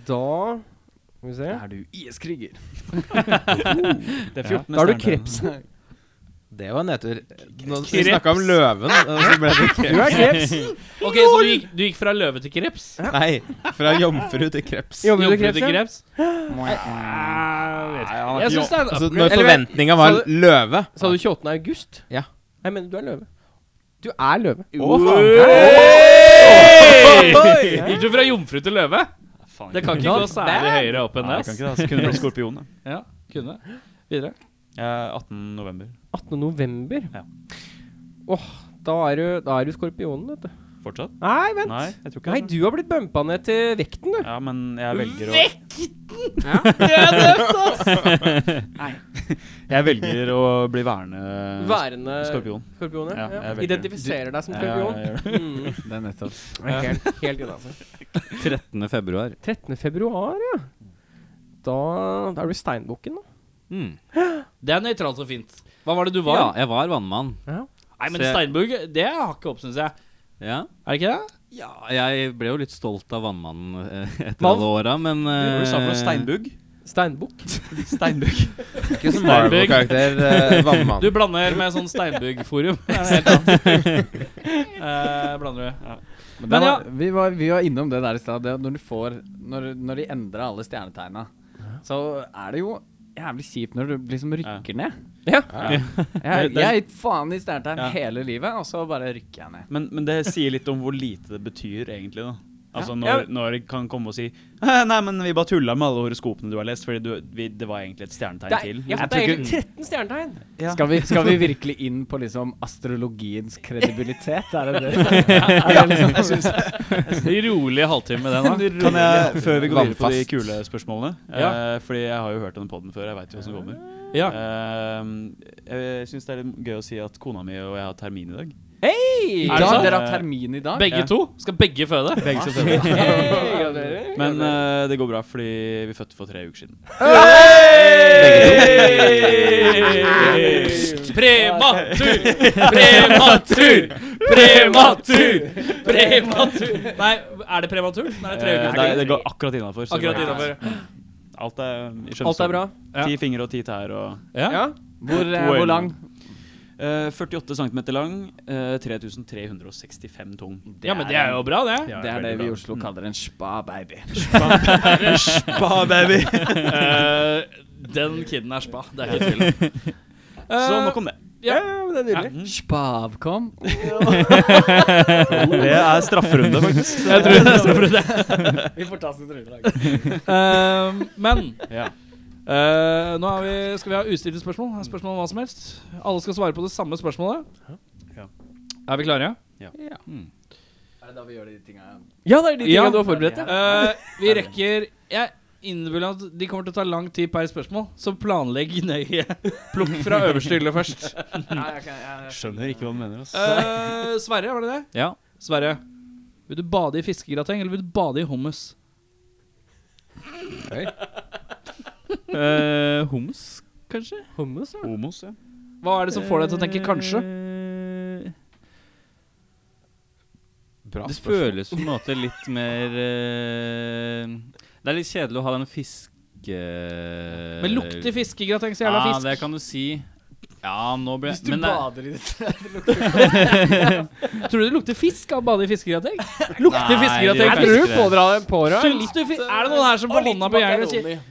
Da Skal vi se.
Er du IS-kriger?
Det
Da har
er 14.
du
stjernetegnet.
krepsen.
Det var en nedtur. Nå vi snakka om løven, og så ble det
*laughs*
Du
kreps.
er kreps.
Ok, Så du gikk, du gikk fra løve til kreps?
Nei, fra jomfru til kreps.
Jobber du
Jomfru
kreps,
til
ja?
*gasps* kreps?
Nei,
Jeg synes det er en
altså, når
Eller-
forventninga var
Sa
løve
Sa du 28. august?
Ja.
Nei, men du er løve. Du er løve.
Å, faen.
Hey! *laughs* Gikk du fra jomfru til løve? Det kan ikke gå særlig høyere opp enn det.
Nei, jeg kan ikke det. altså. Kunne blitt skorpion. da.
ass. Ja, kunne. Videre.
Jeg er 18. november.
18. november.
Ja.
Åh, da er du, da er du skorpionen, vet du.
Fortsatt?
Nei, vent.
Nei, jeg tror ikke
Nei,
det.
du har blitt bumpa ned til vekten, du.
Ja, men jeg velger å *laughs* Jeg velger å bli værende
Værende
skorpion.
skorpion. Ja,
Ja,
ja.
jeg velger.
Identifiserer deg som skorpion.
jeg gjør det.
Mm.
Det er nettopp.
Helt, helt innafor.
13. februar.
13. februar, ja. Da, da er du steinbukken, da.
Mm.
Det er nøytralt og fint. Hva var det du var?
Ja, jeg var vannmann.
Nei, men
Se-
Steinbugg, det har ikke opp, syns jeg.
Ja.
Er det ikke det?
ja, jeg ble jo litt stolt av vannmannen eh, *laughs* etter
Vann?
alle åra, men
Du sa for noe steinbugg?
Steinbukk.
Steinbugg.
Ikke som Marvel-karakter. *laughs* eh, Vannmann.
Du blander med sånn
*laughs*
Steinbugg-forum. Det er noe helt annet. Eh, blander du. Ja.
Men
Men
det
ja.
var, vi, var, vi var innom det der i stad. det at Når, du får- når, når de endrer alle stjernetegna, så er det jo jævlig kjipt når du liksom rykker ned.
Ja.
*laughs*
Jeg,
Det- det-
jeg har gitt faen i stjernetegn
Ja.
hele livet, og så bare rykker jeg ned.
Men, men det sier litt om hvor lite det betyr, egentlig. da Altså
Ja.
Når, når de kan komme og si «Eh, Nei, men vi bare tulla med alle horoskopene du har lest, fordi du, vi, det var egentlig et stjernetegn
Det er,
til.
ja,
Liksom.
det er egentlig 13 stjernetegn.
Skal, vi, skal
*laughs*
vi virkelig inn på liksom astrologiens kredibilitet? Er
*laughs*
det det? Er det liksom,
Rolig halvtime med den, da.
Kan jeg, før vi går videre på de
Vannfast.
kule spørsmålene eh, Fordi jeg har jo hørt denne poden før, jeg veit jo hva som kommer.
Ja.
Eh, jeg syns det er litt gøy å si at kona mi og jeg har termin i dag.
I
Er det
dag,
sant?
Dere har termin i dag?
Begge to? Skal begge føde?
Begge skal se det.
Gratulerer.
Men eh, det går bra, fordi vi fødte for tre uker siden.
Prematur! Prematur! Prematur! Prematur! Nei, er det prematur? Nei, tre
Eh,
uker.
det, det går akkurat innafor.
Akkurat innafor.
Alt er, eh, i skjønnhetsorden.
Alt er bra.
Ti fingre og ti tær og
Ja.
Hvor, eh,
To øyne.
hvor lang?
Eh, 48 cm lang, eh, 3365 tung.
*laughs* Ja, men det er jo bra, det.
Det er det
veldig
vi i
bra.
Oslo kaller en spa, baby.
Spa, baby!
Eh, Den kiden er spa. Det er ikke tvil. om.
Så
Eh,
nok om det.
Ja, men det er nydelig.
Spa-avkom.
Det er strafferunde, faktisk.
Jeg tror jeg tror det. Eh, Men
Ja.
eh, nå er vi, skal vi ha ustilte spørsmål. Spørsmål om hva som helst. Alle skal svare på det samme spørsmålet.
Ja.
Er vi klare? Hmm.
Er det da vi gjør de tinga?
Ja, det er de tingene
Ja.
du har forberedt deg.
Eh, vi rekker Jeg innbiller meg at de kommer til å ta lang tid per spørsmål, så planlegg nøye. Plukk fra øverste hylle først.
Skjønner ikke hva du mener. ass.
Eh, Sverre, var det det?
Ja.
Sverre, vil du bade i fiskegrateng, eller vil du bade i hummus?
Eh, homs, kanskje?
Hummus, ja.
Homos, ja.
Hva er det som får deg til å tenke kanskje?
Eh,
Bra
Det
spørsmål.
føles på en måte litt mer eh, Det er litt kjedelig å ha den fiske...
Men lukter fiskegrateng så jævla
Ja,
fisk?
det kan du si. Ja, nå ble
Hvis du
men det-
bader i det
Tror du det lukter fisk av å bade i fiskegrateng? Lukter
Nei, det
fiskegrateng
gjør
Jeg
det
fisk?
ikke.
tror du pådrar deg pådrar.
Syns du fi er det noen her som får hånda på hjernen og sier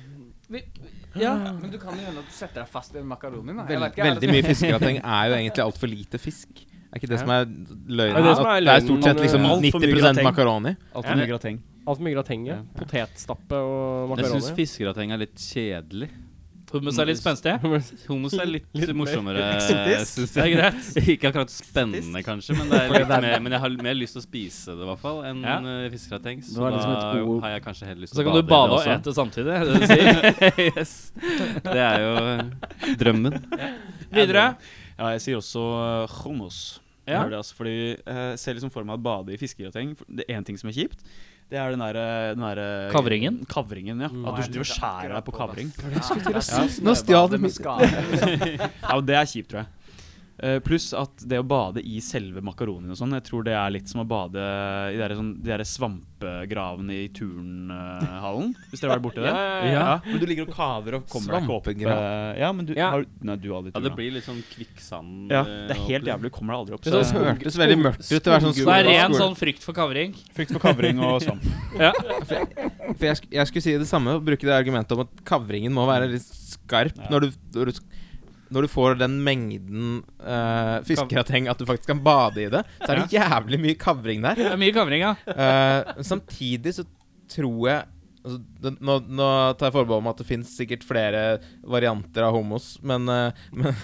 ja.
Men du kan jo hende at du setter deg fast i en makaroni. da. Jeg
Vel,
vet ikke, er det
veldig mye
*laughs*
fiskegrateng er jo egentlig altfor lite fisk. Er ikke det som er løgnen?
Er det det som er
At
løgnen?
stort sett liksom
eh, Alt for mye
90
grateng.
makaroni.
Alt er mye grateng.
Alt mye grateng, ja. potetstappe og
Jeg syns
makaroni.
fiskegrateng er litt kjedelig.
Hummus er litt spenstig.
Homos er litt, morsommere. synes
Det er
jeg.
greit.
*laughs* Ikke akkurat spennende, kanskje, men, det er litt mer, men jeg har mer lyst til å spise det, i hvert fall, enn
Ja.
eh, fiskegrateng.
Det var
Så
liksom
da
et ord.
har jeg kanskje heller lyst
Så
til
kan du
å
bade og
bade
ete samtidig. er det det du sier?
også. yes. Det er jo eh, drømmen.
Videre.
Ja, jeg sier også eh, hummus. Jeg
Ja.
gjør Det, altså, fordi jeg ser liksom for meg at bade i fiskegrateng for- Det er én ting som er kjipt. Det er den derre der,
Kavringen?
Kavringen, ja. At du driver og skjærer deg på kavring.
Ja,
Nå stjal du
med skade.
Ja, og Det er kjipt, tror jeg. Eh, Pluss at det å bade i selve makaronien og sånn, jeg tror det er litt som å bade i de der, sånn, de der svampegravene i turnhallen. *laughs* Hvis dere har vært borti det? Men du ligger og kaver og kommer deg ikke opp.
Svampegrav.
eh, Ja, men du
Ja.
har Nei, du har aldri
Ja, det
turna.
blir litt sånn kvikksand
Ja, det
eh,
er helt jævlig. Du kommer deg aldri opp.
Det sånn hørtes veldig mørkt ut. Det var sånn
Så det er
skole-
ren
skole-
sånn frykt for kavring.
frykt for kavring og sånn. *laughs* svamp.
For jeg, sk- jeg skulle si det samme og bruke det argumentet om at kavringen må være litt skarp
Ja.
når, du, når, du, sk- når du får den mengden uh, fiskegrateng at du faktisk kan bade i det. Så er det jævlig mye kavring der.
Det er mye kavring, ja.
Eh, samtidig så tror jeg altså, det, nå, nå tar jeg forbehold om at det fins sikkert flere varianter av homos, men, eh, men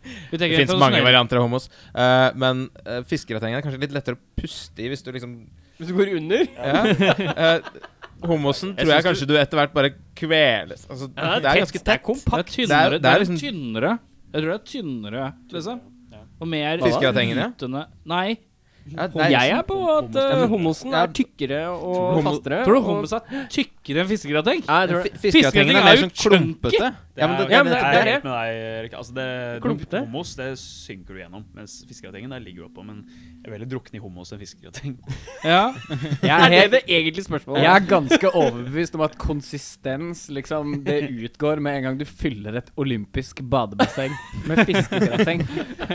Vi
Det
tenker
fins mange
tradisjonelt.
varianter av homos. Eh, men uh, fiskegrateng er kanskje litt lettere å puste i hvis du liksom
Hvis du går under
ja. Eh, Homosen tror jeg kanskje du etter hvert bare kveles altså, Det er ganske
Det er
tett.
kompakt. Det er tynnere.
Det er- det
Det
er
er,
liksom-
tynnere. Jeg tror det er tynnere, liksom. Og mer
Fiskeratengene?
ytende Nei.
Ja, det er-
Jeg er på at eh, homosen
Ja.
er tykkere og
Homo-
fastere.
Tror du
og-
homos er tykkere enn fiskegrateng?
Nei, jeg tror det.
Fi- Fiskeratengene er mer sånn
klunke.
klumpete. Ja, men det,
Ja, men det-
Jeg
det
er
er
helt med deg, Erik. Altså, det,
Klumpete.
Homos det synker du gjennom. Mens fiskegratengen der ligger du oppå. Men jeg vil heller drukne i homos enn fiskegrateng.
Ja.
*laughs* Jeg
Er
er,
det
helt,
det egentlige spørsmålet?
jeg er ganske overbevist om at konsistens, liksom, det utgår med en gang du fyller et olympisk badebasseng med fiskegrateng.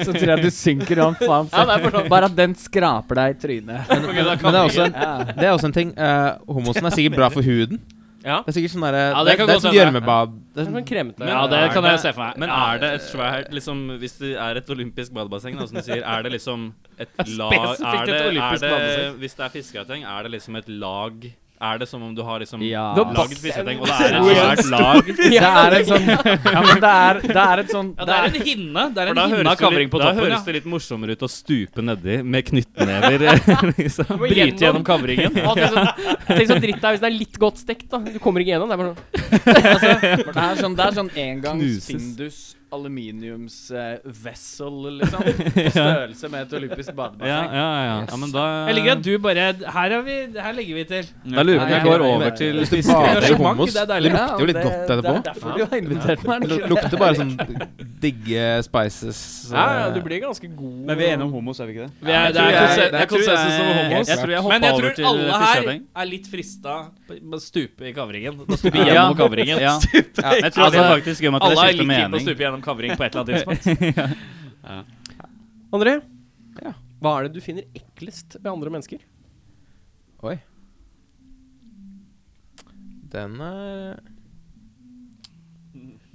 Så tror jeg du synker om faen
Ja, det er for sånn.
Bare at den skraper deg i trynet.
men det er også en,
Ja.
det er også en ting. eh, homosen er sikkert bra for huden.
Ja.
Det er sikkert sånn derre
Ja,
Det
det
er
kan
det er
godt
sånn
hende.
gjørmebad. Det er
Det er sånn
sånn-
kremete.
ja, det kan jeg se for meg.
Men er det et svært liksom, Hvis det er et olympisk badebasseng, da, som du sier, er det liksom et
*laughs*
lag
Spesifikt
er
et
det,
olympisk
er det,
badebasseng.
Hvis det er fiskegrateng, er det liksom et lag Er det som om du har liksom
Ja.
lagd fiskegrateng, og det er
Hvor
et
er
*laughs*
svært lag?
Det er en sånn Ja, men det er, det er et sånn
Ja, det er en hinne. Det er
For
en
da
hinne
høres,
av
det
kavring
litt,
på
da
toppen.
høres
Ja.
det litt morsommere ut å stupe nedi med knyttnever. *laughs* liksom.
Må
Bryte gjennom kavringen.
Å, Tenk så- tenk så dritt det er hvis det er litt godt stekt, da. Du kommer ikke gjennom. Det er bare sånn
Det er sånn, det er sånn engangs
Knuses.
Findus aluminiums-vessel, liksom. På størrelse med et olympisk
Ja,
badebasseng.
ja, ja. ja men da
Jeg liker at du bare Her, er vi, her legger vi til.
*laughs* Da lurer jeg på om jeg
Nei,
går
jeg-
over til
Hvis du
Det
bader i
er
homos,
det er
det
deilig.
lukter jo litt godt etterpå.
Det er derfor du har invitert meg. er det
Det
ikke det?
lukter bare sånn digge spices.
Ja, ja,
eh,
du blir ganske god.
Men vi er enige om homos, er vi ikke det?
Vi er, det
tror
er
jeg-
konsen- det er
jeg tror jeg-
konsensus om homos.
jeg tror
jeg
Men jeg
hopper over
tror
til
alle her
fiskegrateng.
er litt frista på å stupe i kavringen. Å stupe gjennom
Ja.
kavringen.
Ja. Jeg tror det Altså, faktisk gjør meg til *laughs*
Alle
det
er
skifter
litt keen på å
mening.
stupe gjennom kavring på
*laughs*
et eller annet tidspunkt.
André, hva er det du finner eklest ved andre mennesker?
Oi. Den er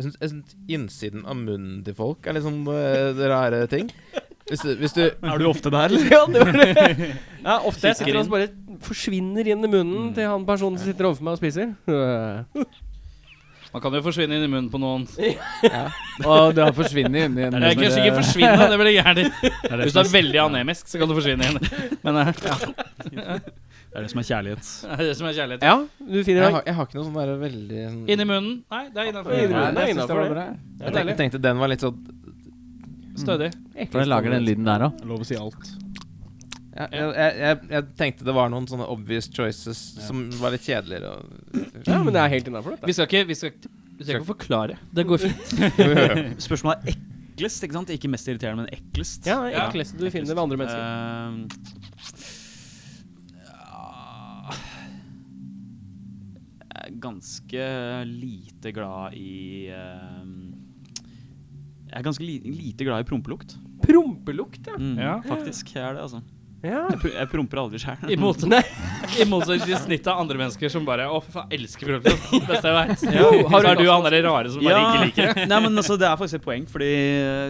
Jeg syns, jeg syns innsiden av munnen til folk er litt sånn eh, rare ting. Hvis du, hvis du
Er du ofte der, eller?
Ja, det var det. *laughs* Ja, ofte jeg
Kikker
sitter og bare forsvinner inn i munnen
Mm.
til han personen som sitter overfor meg og
*laughs*
spiser. Øh.
Man kan jo forsvinne inn i munnen på noen.
Og du har forsvunnet inn i en
Eller kanskje ikke forsvinne, det blir
*laughs*
gærent. Hvis du er veldig *laughs* anemisk, så kan du forsvinne inn. Men eh,
Det er det som er kjærlighet. *laughs*
det er det som er kjærlighet.
Ja, du finner
jeg
deg
har, jeg har ikke noe sånn der veldig sånn-
Inn i munnen. Nei, det er
Inn i
innafor.
munnen. Det er
Nei, jeg synes det
innenfor
var
det.
bra.
Jeg tenkte, jeg tenkte den var litt sånn
Stødig.
For den lager den lyden der òg.
Lov å si alt.
jeg, jeg, jeg, jeg tenkte det var noen sånne obvious choices som var litt kjedeligere. Og,
Ja, men det er helt innafor, dette.
Vi skal ikke Vi skal ikke vi skal ikke forklare. Det går fint.
Spørsmålet er eklest, ikke sant? Ikke mest irriterende, men eklest. Eh,
Ja, det ekleste du finner ved andre mennesker.
Jeg er ganske lite glad i eh, Jeg er ganske lite glad i prompelukt.
Prompelukt, ja.
Ja. Faktisk. Jeg er det, altså.
ja.
Jeg, pr jeg promper aldri sjøl. *laughs*
I mot- I motsetning til snittet av andre mennesker som bare Å, fy faen, elsker prompelukt. Det Beste jeg vet. Så er du han derre rare som bare ikke
*laughs*
liker det.
Nei, men altså, det er faktisk et poeng, fordi eh,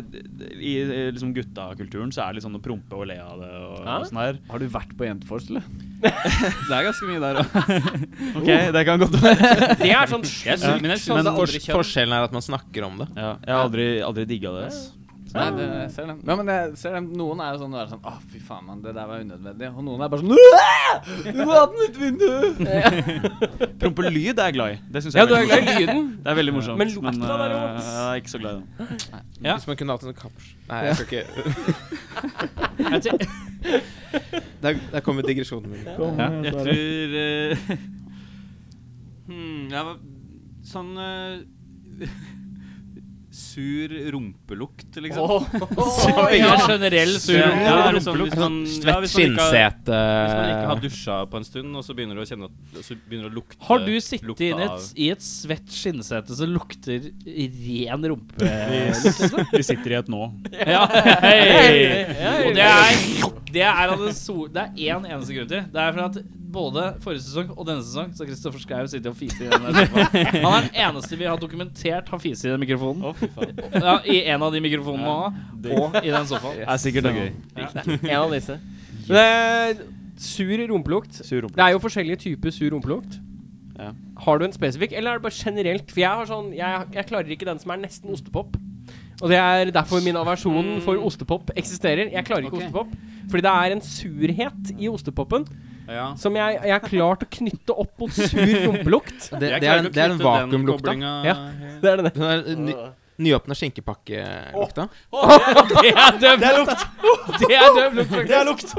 i eh, liksom, guttakulturen så er det litt sånn å prompe og le av det og,
Ja.
og sånn der.
Har du vært på
*laughs*
Jentefors, eller?
Det er ganske mye der òg.
Oh.
OK, det kan godt være.
Det er sånn sjukt.
Jeg synes- men jeg synes
men
det
fors-
andre kjønn
forskjellen er at man snakker om det.
Ja, jeg har aldri, aldri digga det. ass.
*laughs* Nei, det, jeg ser den. Nei, men jeg ser den. Noen er jo sånn, bare sånn Å, fy faen, mann, det der var unødvendig. Og noen er bare sånn «Uæ! Du må ha den ut vinduet!
Prompelyd er jeg glad i. Det synes jeg
Ja,
er
du er
veldig
glad i
morsomt.
lyden.
Det er veldig morsomt.
Men lukta
eh,
derimot?
Jeg er ikke så glad i den.
Ja.
Hvis man kunne hatt en sånn kaps... Nei, jeg
*laughs*
skal ikke
Jeg tenker-
*laughs* Der, der kommer digresjonen min.
Jeg tror eh, hmm, ja, hva- Sånn eh, sur rumpelukt, liksom.
ja, generell sur
Ja,
rumpelukt.
liksom, hvis man- ja,
Svett
hvis man ikke har-
skinnsete
Hvis man ikke har dusja på en stund, og så begynner du å kjenne at Så begynner du å lukte
Har du sittet
lukta
inne i
eh, av-
et, i et svett skinnsete som lukter
*laughs*
ren rumpe?
Vi sitter i et nå.
ja, hei! Og det er Det er, av det sol, det er én eneste grunn til. Det er for at både forrige sesong og denne sesong Så har Kristoffer Schou sittet og fiset i den der sofaen. Han er den eneste vi har dokumentert har fiset i den mikrofonen. Ja, I en av de mikrofonene han har, og i den sofaen.
Det er sikkert det gøy.
En av disse. Men, sur rumpelukt.
Sur rumpe.
Det er jo forskjellige typer sur rumpelukt.
Ja.
Har du en spesifikk, eller er det bare generelt? For jeg har sånn Jeg, jeg klarer ikke den som er nesten ostepop. Og det er derfor min aversjon for ostepop eksisterer. Jeg klarer ikke
Ok.
ostepop. Fordi det er en surhet i ostepopen
Ja.
som jeg, jeg har klart å knytte opp mot sur rumpelukt.
*laughs* Det, det,
Jeg
er,
klarer
en-
ikke
det
å
er
knytte
en
den
vakuumlukta.
koblingen-
Ja. Det er det.
Den er ny, nyåpna skinkepakkelukta.
Det er døv lukt! Det er døv lukt, faktisk. Det er lukt.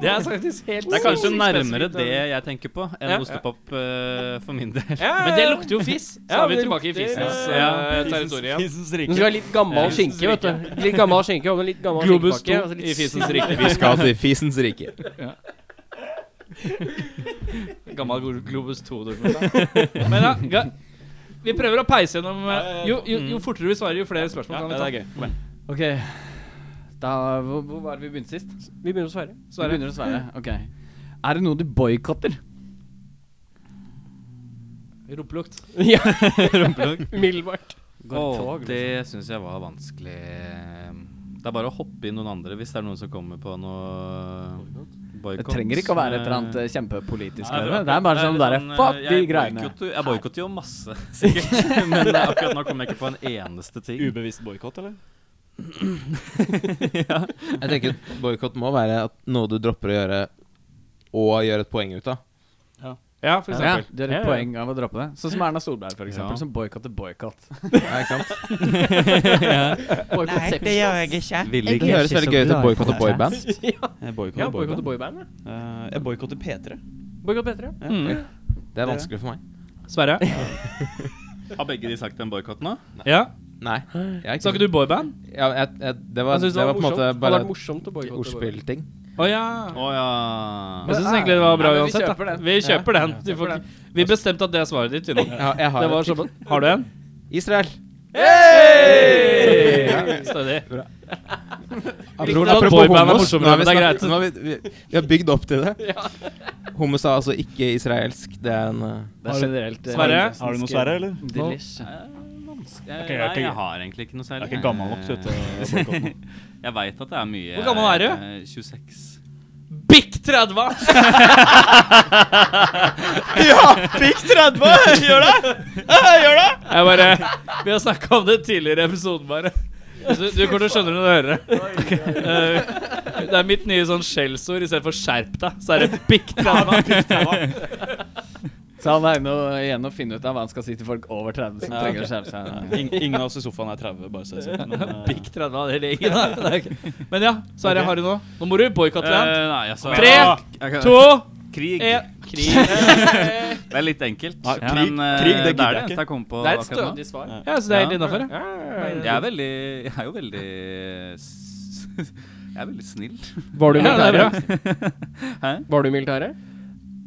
Det er faktisk helt
Det er kanskje
sinnssykt
nærmere
spesifikt.
det jeg tenker på, enn
Ja.
ostepop eh, for min del.
Men det lukter jo fis. Så
Ja,
er vi
det
tilbake i
lukter-
fisens
Ja.
eh, territorium.
Du skal ha litt gammal
Fisens
skinke, vet du. Litt gammal skinke og litt gammal
Globus
skinkepakke,
to
og så litt
i fisens
sur-
rike.
Vi skal til fisens rike.
Gammel Glo- Globus 2-dokumentar. Men ja, ga- vi prøver å peise gjennom eh, jo, jo, jo fortere vi svarer, jo flere spørsmål kan vi ta.
det er gøy.
Ok. Da, hvor, hvor var det vi begynte sist?
Vi begynner å svare.
Vi begynner å svare. Ok. Er det noe du boikotter?
Rumpelukt.
Ja. Umiddelbart.
Åh,
liksom.
det syns jeg var vanskelig. ehm, Det er bare å hoppe inn noen andre hvis det er noen som kommer på noe
Det
boikott.
trenger ikke å være et eller annet eh, kjempepolitisk.
Nei,
eller noe. det er bare sånn derre
eh,
Fuck de
jeg
greiene.
boykotter- Jeg boikotter jo masse, sikkert. Men det er akkurat nå kommer jeg ikke på en eneste ting.
Ubevisst boikott, eller?
*laughs* Jeg tenker Boikott må være at noe du dropper å gjøre, og gjør et poeng ut av.
Ja, for
Ja,
eksempel.
du har et poeng av å droppe det. Sånn som Erna Solberg, for eksempel.
Ja.
Som boikotter *laughs* boikott.
Ja, ikke *laughs* sant?
Boikott sepsis.
Vil
Det høres veldig gøy ut å boikotte boyband.
Jeg
Ja,
boikotter
boikott og
boyband.
boyband. ja.
Eh, jeg boikotter P3.
Boikott P3. ja.
Det er vanskelig for meg.
Sverre?
Har begge de sagt den boikotten nå?
Ja?
Nei. Jeg,
Sa ikke du boyband?
ja, jeg, jeg, det var,
Han
det
syntes det
var
var
på en
morsomt.
måte
Han
bare
hadde vært morsomt å boikotte boyband.
ordspillting.
Å ja.
Å ja.
Jeg syns egentlig det var bra
Ja, men vi
uansett. da.
kjøper den.
Vi kjøper den. Du får, ikke- vi bestemte at det er svaret ditt. Tina.
Jeg har-
Det
jeg har
var
et
sånn Har du en?
Israel.
Stødig.
Apropos,
at
apropos
boyband er
homos,
morsommere,
nå har
men
vi,
det er
snakket- nå har vi, vi, vi har bygd opp til det. Homos er altså ikke israelsk. Det er en eh,
Det er generelt eh,
Sverre?
Har du noe sverre, eller?
Delish.
Jeg,
jeg er
nei,
ikke-
jeg har egentlig ikke noe
Jeg
særlig.
er ikke gammel nok
*laughs*
til å boikotte noe.
Jeg veit at det er mye
Hvor gammel er du?
eh, 26.
Bikk *laughs* 30!
Pikk 30! Gjør det!
Jeg bare Vi har snakka om det tidligere i episoden, bare. Du, du kommer til å skjønne det når du hører det. *laughs* Eh, det er mitt nye sånn skjellsord. Istedenfor 'skjerp deg', så er det 'pikk deg'.
Så han er inne og, igjen å finne ut av hva han skal si til folk over 30 som trenger å skjerpe seg.
*laughs* Ing- Ingen av oss i sofaen er 30, bare så jeg sier. Men, eh,
Pikk 30, det ligger der. Det er ikke- Men ja, Sverre, har du noe? Eh, Nå må du boikotte land.
Eh, nei, altså,
Tre,
jeg kan-
To,
Krig.
én Krig.
Det er litt enkelt.
Nei,
Ja.
krig-
eh,
krig, det
det
gidder jeg
er det eneste jeg kom på
Det er et
akkurat nå.
stødig svar.
Ja, så det er helt
Ja.
innafor, det.
Jeg er veldig Jeg er jo veldig s- Jeg er veldig snill.
Var du i
Ja, det er bra.
militæret?
*laughs*
Var du i militæret?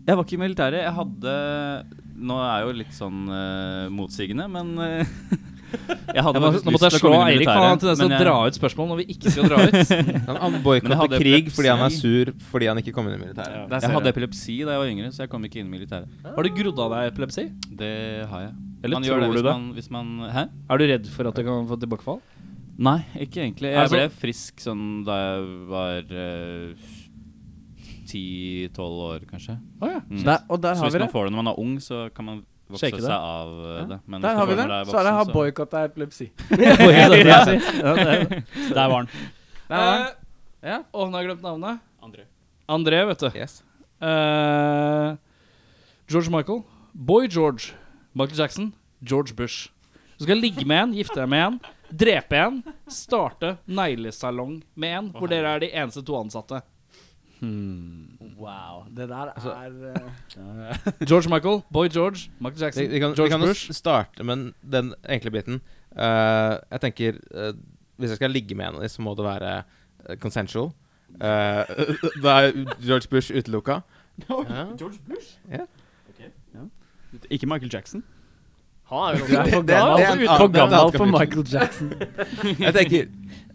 Jeg var ikke i militæret. Jeg hadde Nå er jeg jo litt sånn eh, motsigende, men eh, *laughs* Jeg hadde
Jeg må,
faktisk
nå måtte
lyst til å
jeg slå
komme inn i
Eirik, for han har
militæret,
tendens til
men
å
jeg-
dra ut spørsmål når vi ikke skal
*laughs*
dra ut.
Han, han
Men jeg hadde
boikotter krig
epilepsi.
fordi han er sur fordi han ikke kom inn i militæret.
ja.
Jeg hadde epilepsi da jeg var yngre, så jeg kom ikke inn i militæret.
Har du grodd av deg epilepsi?
Det har jeg.
Eller
man
tror
gjør det
du
hvis
det?
man, hvis man Hæ?
Er du redd for at du kan få tilbakefall?
Nei, ikke egentlig. Jeg
Altså-
ble frisk sånn da jeg var ti-tolv år, kanskje.
Å ja.
Mm.
Der, og der
så
har
hvis
vi
man
det.
får det når man er ung, så kan man vokse
Shake det.
seg av eh, det. Men hvis
Der
du
har
får
vi
det når
det.
du er voksen,
Sverre har
så-
boikotta epilepsi.
Der var den.
Eh,
Ja.
Og hun har glemt navnet.
André.
André, vet du.
Yes.
Eh, George Michael. Boy George. Michael Jackson. George Bush. Du skal ligge med en, gifte deg med en, drepe en, starte neglesalong med en, hvor dere er de eneste to ansatte.
Wow. Det der er eh,
George Michael, Boy George, Michael
Vi,
Jackson,
vi kan, vi
George
kan jo
Bush.
starte med den enkle biten. Eh, jeg tenker eh, Hvis jeg skal ligge med en av dem, så må det være eh, consensual. Eh, *laughs* da er George Bush utelukka.
George Bush?
Ja.
Ikke Michael Jackson.
Han er jo
Det- det-
for
det-
gammel,
det er
altså,
en
utenfor
annen- det er en annen
gammel.
For Michael Jackson.
*laughs* Jeg tenker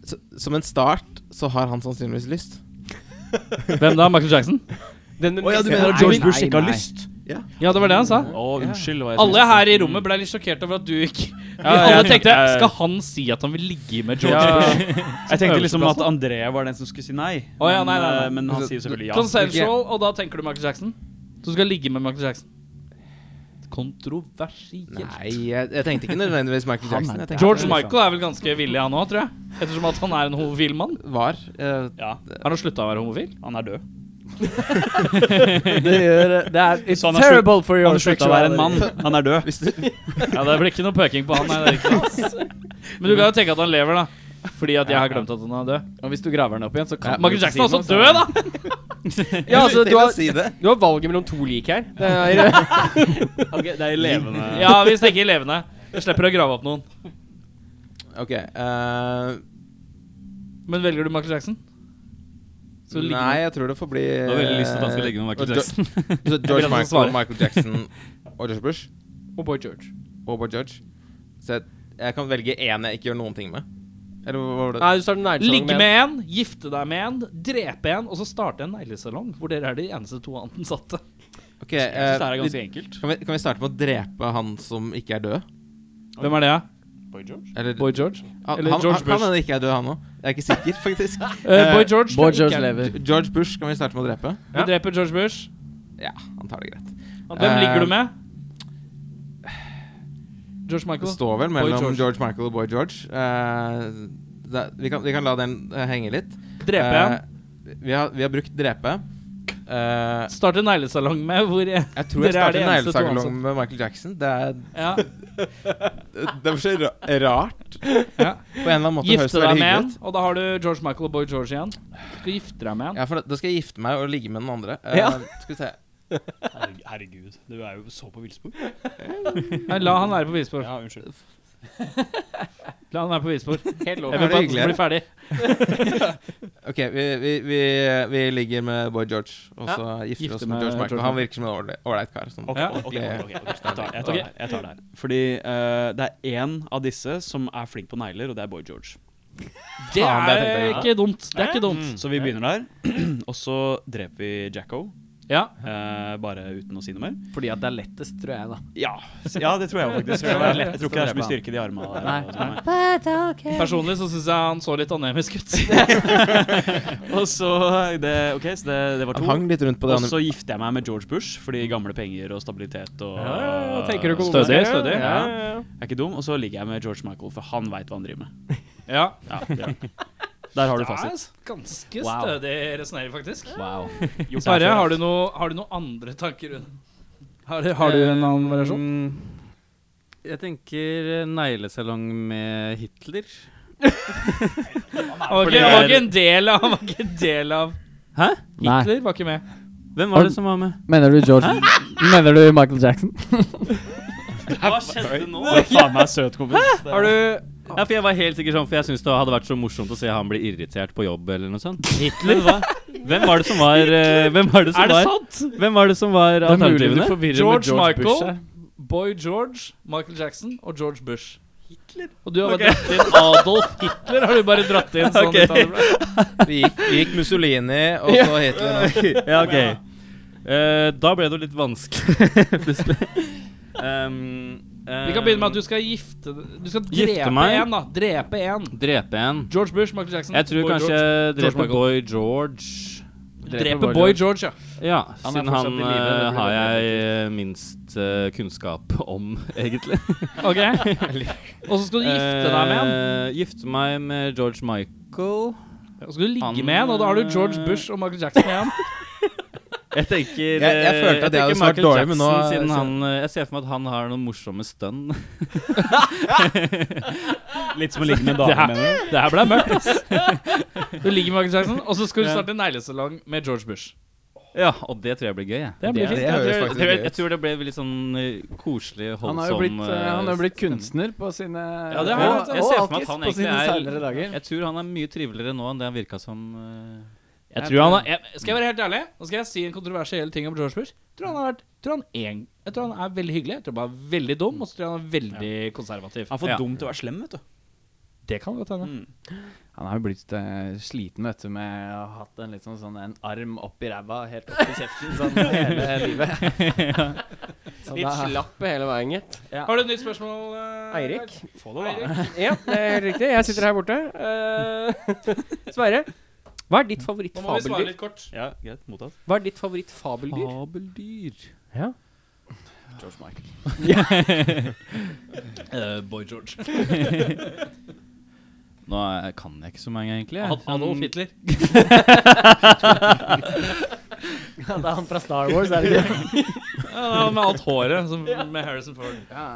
så, Som en start så har han sannsynligvis lyst.
Hvem da? Michael Jackson?
Den,
Å ja, du mener
at George Bush ikke har
lyst?
Ja, det var det han sa.
Å, unnskyld. hva jeg
Alle
synes.
her i rommet ble litt sjokkert over at du ikke
Ja,
Alle
jeg
tenkte
tenkte-
Skal han si at han vil ligge med George
Ja.
Bush?
*laughs* Jeg tenkte liksom at André var den som skulle si nei.
Å, ja, nei,
men,
nei, nei.
eh, men han sier selvfølgelig ja.
Consensual, og da tenker du Michael Jackson? Du skal ligge med Michael Jackson? Kontroversielt.
Nei, jeg, jeg tenkte ikke nødvendigvis Michael Jackson. Jeg tenkte
George Michael er vel ganske villig, han òg, tror jeg. Ettersom at han er en homofil mann.
var eh,
Ja,
Har han slutta å være homofil?
han er død.
Det gjør eh,
*laughs*
Det er It's
Så han har
terrible for your
Han slutta å være en mann.
sexuality.
Han er død.
Ja, Det blir ikke noe pøking på han. Nei, det er ikke sant. *laughs* Men du kan jo tenke at han lever, da. Fordi at jeg har glemt at han er død.
Og hvis du graver den opp igjen, så kan
Michael Jackson er også død, da!
Ja, altså,
til
du,
å
har,
si det.
du har valget mellom to lik her. Det
*laughs*
er,
det er levende
Ja, vi tenker levende. Jeg slipper å grave opp noen.
Ok. eh,
Men velger du Michael Jackson? Så ligger-
nei, jeg tror det får bli
Du har veldig lyst til at han skal ligge med
eh,
Michael
Jo-
Jackson.
Så
vil
George
at han
Michael,
skal svare.
Michael Jackson og George Bush
Oh,
og Boy George.
og Boy George. Så jeg, jeg kan velge én jeg ikke gjør noen ting med. Eller hva var
Ah,
*laughs*
det?
Nei, du starter nærsalong
Ligge
med
med en, gifte deg med en, drepe en, og så starte en neglesalong. Hvor dere er de eneste to ansatte.
Ok,
Jeg synes det her
eh,
er
vi-
ganske enkelt.
kan, vi, kan vi starte med å drepe han som ikke er død?
Hvem er det?
Boy George?
Eller,
Boy George?
han,
eller
han,
George
han,
Bush.
han er ikke er død, han òg. Jeg er ikke sikker, *laughs* faktisk.
Eh, Boy George.
Boy
tror jeg
George
ikke er-
lever.
George Bush kan vi starte med å drepe.
Du dreper George Bush.
Ja, han tar det greit.
Hvem
Eh,
ligger du med? George Michael.
Det står vel
Boy
mellom
George.
George. Michael og Boy George. Eh, da, vi, kan, vi kan la den eh, henge litt.
Drepe en.
Eh, vi, har, vi har brukt drepe. Eh,
Starte en neglesalong med hvor jeg
jeg tror jeg
Dere er de
starter
eneste to
neglesalong med Michael Jackson. Det er
*laughs* ja.
Det er for så ra- rart.
Ja.
På en eller annen måte høres
Gifte
det
deg
veldig
med en,
hyggelig ut.
og da har du George Michael og Boy George igjen. Du skal gifte deg med en.
Ja, for da- da skal jeg gifte meg og ligge med den andre. Eh, skal vi se
Herregud, herregud, du er jo så på villspor.
Nei, la han være på villspor.
Ja, unnskyld.
La han være på villspor. Jeg vil
Er
bare
det
at han
hyggeligere?
blir ferdig.
Ok, vi, vi, vi, vi ligger med Boy George, og så gifter vi
Gifte
oss med
med
George Michael.
George
Han virker som en ålreit- ålreit kar. Sånn.
Ok,
Ja.
ok, ok, ok, ok, Jeg tar det, jeg tar
Ok.
det, jeg tar det her. Fordi eh, det er én av disse som er flink på negler, og det er Boy George.
Det
Faen, det
er
tenkte jeg
ikke dumt. Det er ikke
Mm.
dumt.
Så vi begynner der, *clears throat* og så dreper vi Jacko.
Ja,
eh, bare uten å si noe mer.
Fordi at det er lettest, tror jeg, da.
Ja, s- ja det tror jeg faktisk. Jeg tror, jeg tror ikke det er så mye styrke i de armene. der,
Nei,
og sånn.
Personlig så syns jeg han så litt anemisk
*laughs*
ut.
Og så det, Ok, så det, det var
Han
to.
hang litt rundt på det.
Og
andre-
så gifter jeg meg med George Bush fordi gamle penger og stabilitet og
tenker du ikke
Stødig,
over det?
stødig.
Ja. Jeg er ikke dum. Og så ligger jeg med George Michael, for han veit hva han driver med.
Ja.
*laughs* Ja, ja. Der har du fasit.
Ganske
Wow.
stødig resonnering, faktisk.
Wow.
Sverre, har du noe- har du noen andre tanker rundt har, du- har du en annen variasjon?
Eh, Mm, Jeg tenker eh, neglesalong med Hitler.
Han var
fordi
ikke, han
det
var ikke en del av, han var ikke en del av
Hæ?
Nei.
Hitler var ikke med.
Hvem var det som var med?
Mener du George Mener du Michael Jackson?
Hva skjedde nå?
Det er faen meg søt kompis.
Har du
Ja, for Jeg var helt sikker sånn, for jeg syns det hadde vært så morsomt å se han bli irritert på jobb eller noe sånt. Hitler, hva? Hvem var det som var eh, Hvem var det som
Er det
var,
sant?
hvem var, det som var alternativene?
forvirrer
George, Michael, Boy George, Michael Jackson og George Bush. Hitler? Og du har bare dratt inn Adolf Hitler. Har du bare dratt inn *laughs* sånn
Ok.
ut av det blå.
*laughs* Vi gikk, vi gikk Mussolini, og så Hitler. og-
Ja, ok. Eh, da ble det jo litt vanskelig, *laughs* plutselig. Um,
Vi kan begynne med at du skal gifte Du skal
Gifte
drepe
meg?
en, da. Drepe en.
Drepe en.
George Bush, Michael Jackson.
Jeg tror
Mm. Boy
kanskje
George.
jeg
George
dreper
Michael.
Boy George.
Drepe Boy George, ja.
Ja,
Han er
siden
fortsatt
han
i live, det
eh,
blir
har
veldig
jeg eh, minst eh, kunnskap om, *laughs* egentlig. *laughs*
Ok Og så skal du gifte deg med en.
Eh, Gifte meg med George Michael.
Og så skal du ligge
Eh, Han,
med en, og da har du George
eh,
Bush og Michael Jackson igjen.
Jeg tenker
Jeg- jeg
eh,
følte at jeg
tenker
hadde svart
Michael
dårlig, men nå-
Jackson, siden han, eh, Jeg ser for meg at han har noen morsomme stønn.
*laughs* Litt som å ligge med damer, mener du?
Det her ble mørkt, ass. Du ligger med Michael Jackson, og så skal du starte en neglesalong med George Bush.
Ja, og det tror jeg blir gøy. Jeg.
Det blir
det
fint.
høres
jeg, tror,
faktisk
jeg,
gøy ut.
jeg tror det ble veldig sånn eh, koselig,
Han
holdsom
har jo blitt, eh,
eh,
han har jo blitt
stemning.
kunstner på sine
Ja, det har
og-
jeg. Jeg ser
og
for meg at han
artist på sine
egentlig
senere
er
dager.
Jeg tror han er mye triveligere nå enn det han virka som eh,
Jeg tror han har, jeg, skal jeg være helt ærlig, nå skal jeg si en kontroversiell ting om George Bush. Tror han har vært, tror han en, jeg tror han er veldig hyggelig, jeg tror han er veldig dum, og så tror jeg han er veldig konservativ.
Han er for
Ja.
dum til å være slem, vet du.
Det kan godt hende.
Han har jo blitt eh, sliten vet du, med å ha hatt en, litt sånn, sånn, en arm opp i ræva, helt opp i kjeften, sånn *laughs* hele livet. Så
Litt
da-
slapp hele veien, gitt.
Har du et nytt spørsmål? eh,
Eirik?
Få det, da.
*laughs*
Ja, det er helt riktig. Jeg sitter her borte. Eh, *laughs* Sverre, hva er ditt
Nå må vi svare
favorittfabeldyr?
litt kort.
Ja, greit, mottatt.
Hva er ditt favorittfabeldyr?
Fabeldyr.
Ja.
George
*laughs*
Michael.
Eh, Boy George. *laughs* Nå er, kan jeg ikke så mange, egentlig. jeg.
Ad- Adolf Hitler.
Ja, det er han fra Star Wars, er
*laughs*
det ikke?
Ja, med alt håret, som med Harrison Ford.
Ja.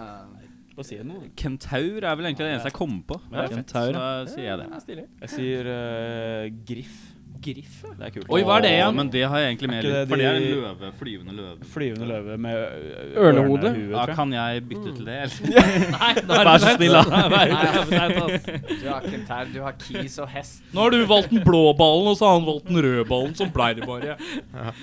Bare si noe.
Kentaur er vel egentlig det eneste jeg kom på.
Ja,
Kentaur, da sier jeg det.
Jeg sier eh, griff. Griff? Det er kult.
Oi, hva er det
Åh,
igjen?
Men det har jeg egentlig mer
ikke det
For det er en
de-
løve. Flyvende løve.
Flyvende løve med ø-
Ørnehode?
ørnehue,
Ja,
tror jeg.
kan jeg bytte til det, eller?
*laughs* Nei, vær så snill, da.
Du har kentær, du har kis og hest.
Nå har du valgt den blå ballen, og så har han valgt den røde ballen. Sånn blei det bare.
*laughs*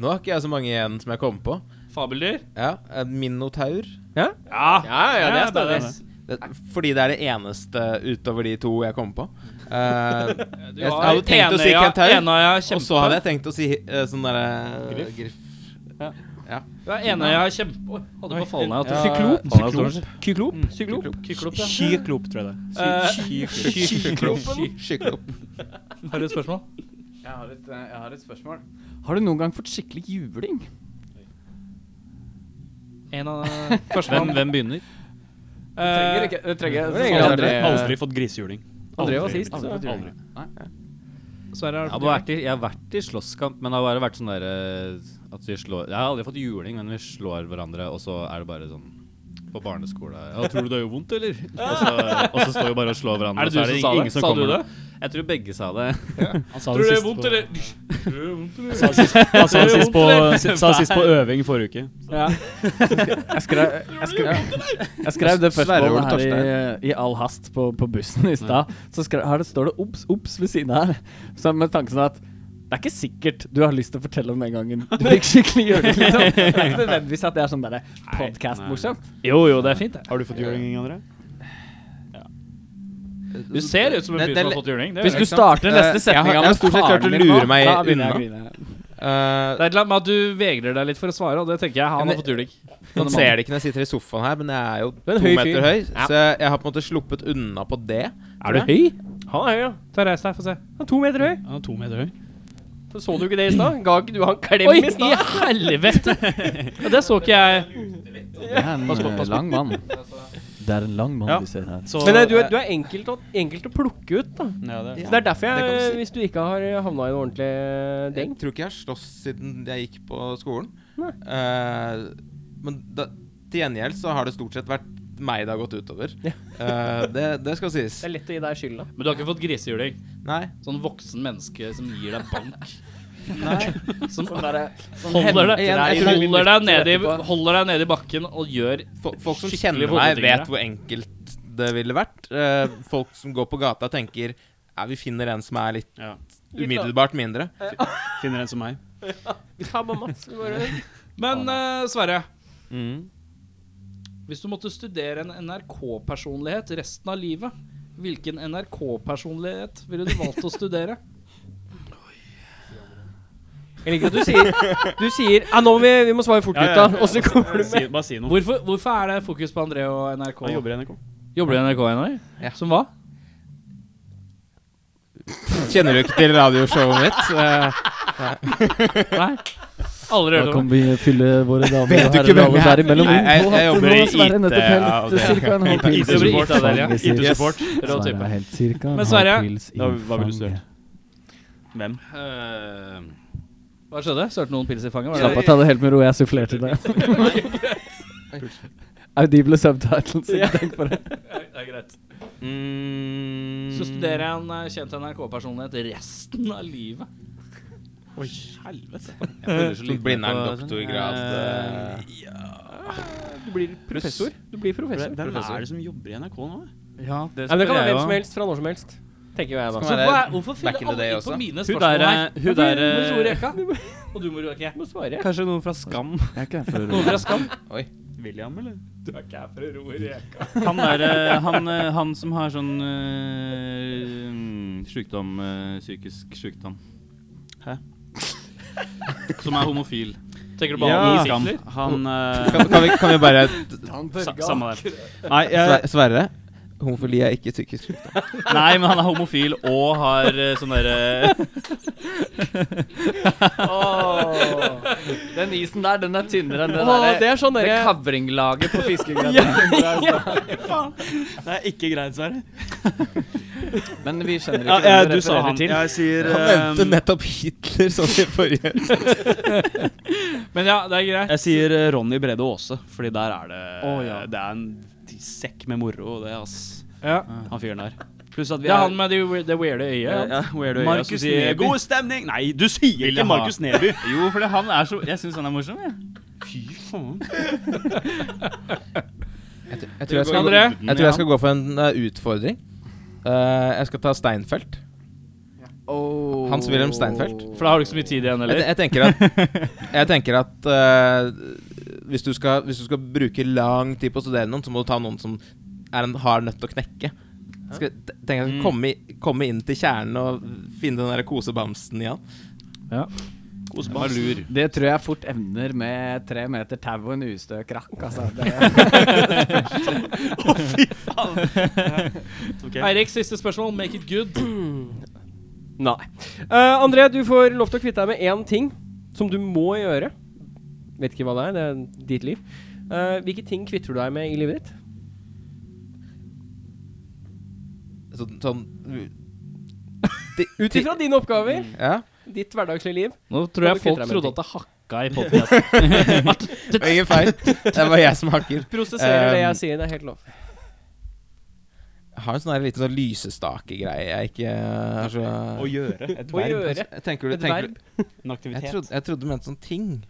Nå har ikke jeg så mange igjen som jeg kommer på.
Fabeldyr?
Ja, en Minotaur.
Ja.
Ja, ja, det er
det er
stadig.
Det, fordi det er det eneste utover de to jeg kommer på. Eh,
Du
jeg hadde tenkt å si
enøya-
kentaur,
Enøya
og
kjempe.
så hadde jeg tenkt å si eh, sånn derre griff.
Du er enøya kjempe... Oi, Holdt på å falle ned.
Ja,
Syklop?
Syklop.
Kyklop? Syklop?
Kyklop, ja.
Kyklop, tror jeg det.
Eh,
Skyklop.
Har du et spørsmål?
Jeg har, et, eh, jeg har et spørsmål. Har du noen gang fått skikkelig juling?
En av
Hvem,
Førstemann.
hvem begynner?
Trenger ikke, det trenger
Det var egentlig
Aldri,
Aldri-
Aldri-
aldri fått grisehjuling.
Aldri var sist.
Aldri.
så-
aldri.
Nei.
Jeg
Sverre, har
har,
du
vært i, jeg har vært i slåsskamp, men det har bare vært sånn derre At vi slår Jeg har aldri fått juling, men vi slår hverandre, og så er det bare sånn på barneskole ja, 'Tror du det gjør vondt,
*laughs*
eller?' Og så, og så står vi bare og slår hverandre.
Er det
og så
du som sa det?
ingen
Sa du
kommer.
det?
Jeg tror begge sa det.
Han sa
Tror du det er vondt, eller? Tror du det er vondt, eller?
Sa det sist, han sa det sist, på,
Tror du det er
sa det sist på øving forrige uke.
*laughs* Jeg skrev, jeg skrev, jeg skrev det
Sverre Ole
spørsmålet her i, i all hast på, på bussen i stad. Så skrev, her det står det 'obs, obs' ved siden av her. Så med tanken at det er ikke sikkert du har lyst til å fortelle om den gangen du fikk skikkelig juling. Liksom. Det er ikke nødvendigvis at det er sånn derre podcast-morsomt.
Jo, jo, det er fint, det.
Har du fått juling, André?
Du ser ut som en
Det-
fyr
det-
som har fått juling. Det
Hvis
gjør
du
jeg.
starter neste
Eh, jeg har-
setning
jeg har stort sett klart å lure meg unna.
Det er et eller annet med at du vegrer deg litt for å svare, og det tenker jeg han har fått juling.
*laughs* Man ser det ikke når jeg sitter i sofaen her, men jeg er jo
er en
to
høy fyr.
meter høy, så jeg har på en måte sluppet unna på det.
Er du høy? Han er høy, ja.
Ta Reis deg, få se.
Han er to meter høy.
Han er to meter høy.
Så, så du ikke det i stad? Ga ikke du han klem
Oi,
i
i
stad?
helvete! Ja, det så ikke jeg.
Det er en eh, lang mann. Det er en lang mann
Ja.
vi ser her.
Så
Men eh, du, er- du er enkelt å, enkelt å plukke ut, da.
ja, det.
Så det er derfor
det
jeg,
kan du si.
hvis du ikke har havna i en ordentlig eh,
Jeg
deng
tror ikke jeg har slåss siden jeg gikk på skolen.
Nei.
Eh, men da, til gjengjeld så har det stort sett vært meg det har gått utover. Eh, det, det skal sies.
Det er lett å gi deg skylda.
Men du har ikke fått grisejuling?
Nei.
Sånn voksen menneske som gir deg bank?
Nei.
Som
Sånn
holder deg,
Igjen, jeg tror-
holder, deg nede i, holder deg nede i bakken og gjør
Fo- Folk som
Skikkelig
kjenner meg,
hodetingere.
vet hvor enkelt det ville vært. Eh, folk som går på gata, tenker ja, vi finner en som er litt
Ja.
umiddelbart mindre.
Finner en som meg.
Vi tar bare Mats. vi Bare.
Men eh, Sverre,
Mm.
hvis du måtte studere en NRK-personlighet resten av livet, hvilken NRK-personlighet ville du valgt å studere?
Jeg liker at du sier Du sier Ja, nå må vi, vi må svare fort,
Ja, ja,
gutta.
ja.
Og så kommer du
Si,
med
bare si noe.
Hvorfor, hvorfor er det fokus på André og NRK?
Han jobber i NRK.
Jobber du i NRK, Einar?
Ja.
Som hva?
Kjenner du ikke til radioshowet mitt? Eh,
*laughs* Nei? Aldri
Da
hørt
kan
om
vi fylle våre damer
Vet
og
du ikke
herrer
hvem
damer
jeg
der
er?
imellom.
Nei, jeg- jeg
Nå har
jobber i
Sverre nettopp helt,
IT-avdelingen.
cirka en halv pils
IT jobber i
i
IT-avdelingen.
fanget sitt.
Yes.
IT-support.
Rå
Sverre er
type.
helt cirka en
Men
halv
Sverre,
pils i
Ja, hva ville du
fanget.
studert? Hvem?
Hva skjedde? Sørte noen pils i fanget? Var
Slapp
det?
av, ta det helt med ro. Jeg sufflerte det. Audible subtitles. ikke tenk på det.
det er greit.
Mm.
Så studere en eh, kjent NRK-personlighet resten av livet.
Oi, helvete.
Sånn Blindern
sånn,
doktorgrad. eh,
Du blir
Professor. Du blir professor.
Hvem er det som jobber i NRK nå?
Ja, det
Nei, men det kan
spør
være
jeg
hvem som
jo.
helst fra når som helst. Tenker jo jeg, da.
Skal være
Hva er- Hvorfor fyller
back in the
alle
day
inn på
også.
mine
Hun
spørsmål
der,
her?
eh, hun der
Du må
eh,
svare rekka. Og du må rekke.
Du må svare.
Kanskje noen fra Skam.
Jeg er ikke her for
Noen fra Skam?
William, eller?
Han, der, eh, han, eh, han som har sånn eh, mm, sjukdom eh, Psykisk sjukdom.
Hæ?
Som er homofil.
Tenker du på
Ja.
alle Hitler?
Han eh,
Kan, kan, vi, kan vi bare
*laughs*
sa, Samme der. Nei, jeg,
Sve- Sverre? Homofili er ikke psykisk sykdom.
Nei, men han er homofil og har eh, sånn derre
Den isen der, den er tynnere enn det
Åh,
der
det er sånn
Det
dere
kavringlaget på fiskegrøten.
det er ikke greit, Sverre.
Men vi skjønner
Ja,
ikke hvem
jeg- du sa
refererer
han.
til.
Jeg sier
Han nevnte
eh,
nettopp Hitler sånn i forrige
Men ja, det er greit.
Jeg sier eh, Ronny Brede Aase, fordi der er det
Å, ja.
Det er en t- sekk med moro, det, ass.
Ja.
Han fyren der. Pluss at vi
Det er han med det, we- det weirde øyet.
Ja,
Ja.
ja, weirdo øya
Markus
som sier,
Neby.
God stemning! Nei, du sier
Vil jeg
ikke
ha.
Markus *laughs* Neby!
Jo, for han er så Jeg syns han er morsom, jeg.
Jeg tror jeg skal,
André?
jeg tror jeg skal gå for en eh, utfordring. Eh, jeg skal ta Steinfeld.
Oh.
Åh.
Hans-Wilhelm Steinfeld.
For da har du ikke så mye tid igjen
Jeg,
heller.
jeg tenker at, jeg tenker at eh, hvis, du skal, hvis du skal bruke lang tid på å studere noen, så må du ta noen som er en hard nøtt å knekke. Jeg skal, t- tenker
Mm.
jeg skal komme, i- komme inn til kjernen og finne den der kosebamsen i han.
lur.
Det tror jeg fort evner med tre meter tau og en ustø krakk. Altså. Det,
Eirik, siste spørsmål. Make it good.
Nei. Eh, André, du får lov til å kvitte deg med én ting som du må gjøre. Vet ikke hva det er. Det er ditt liv. Eh, hvilke ting kvitter du deg med i livet ditt?
Så, sånn
Ut ifra dine oppgaver,
Mm,
Ja.
ditt hverdagslige liv.
Nå tror
Kan
jeg
du
folk
kvitte deg med
trodde
ting?
at det hakka i podkasten.
Det var ingen feil. Det var jeg som hakker.
Prosesserer det
Um,
Eh,
jeg sier. Det er helt lov.
Jeg har en sånn her liten sånn lysestakegreie jeg ikke eh, har så
Å gjøre. Et
Å
verb.
altså.
gjøre
Jeg tenker du,
et
tenker,
verb.
En
Jeg
aktivitet.
trodde, jeg trodde du mente sånn ting.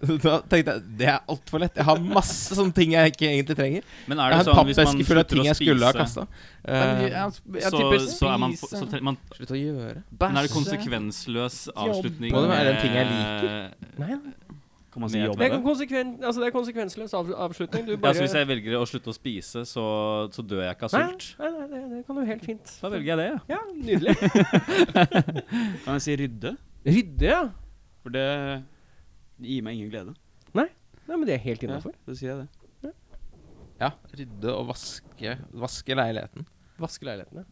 da tenkte jeg det er altfor lett. Jeg har masse sånne ting jeg ikke egentlig trenger.
Men er
Jeg
det
har en
sånn hvis man
pappeske full av
slutter
ting
å
jeg skulle ha Eh,
spise,
kasta.
jeg, jeg
så,
tipper
så er man, f- så
spise,
tre- man
Slutt å gjøre.
Men er det
bæsje.
konsekvensløs avslutning Eh,
Må det være en ting jeg
liker?
Nei,
Kan man si jobb?
det er, konsekven, altså det er konsekvensløs av, avslutning. Du
Ja,
bare
så Hvis jeg velger å slutte å spise, så, så dør jeg ikke av
Nei,
sult?
nei, nei det, det kan du helt fint.
Da velger jeg det. ja.
Ja, Nydelig.
Kan jeg si rydde?
Rydde, ja.
For det gir meg ingen glede.
Nei, men det er helt
Ja,
innafor.
så sier jeg det.
Ja, rydde og vaske. Vaske leiligheten.
Vaske leilighetene.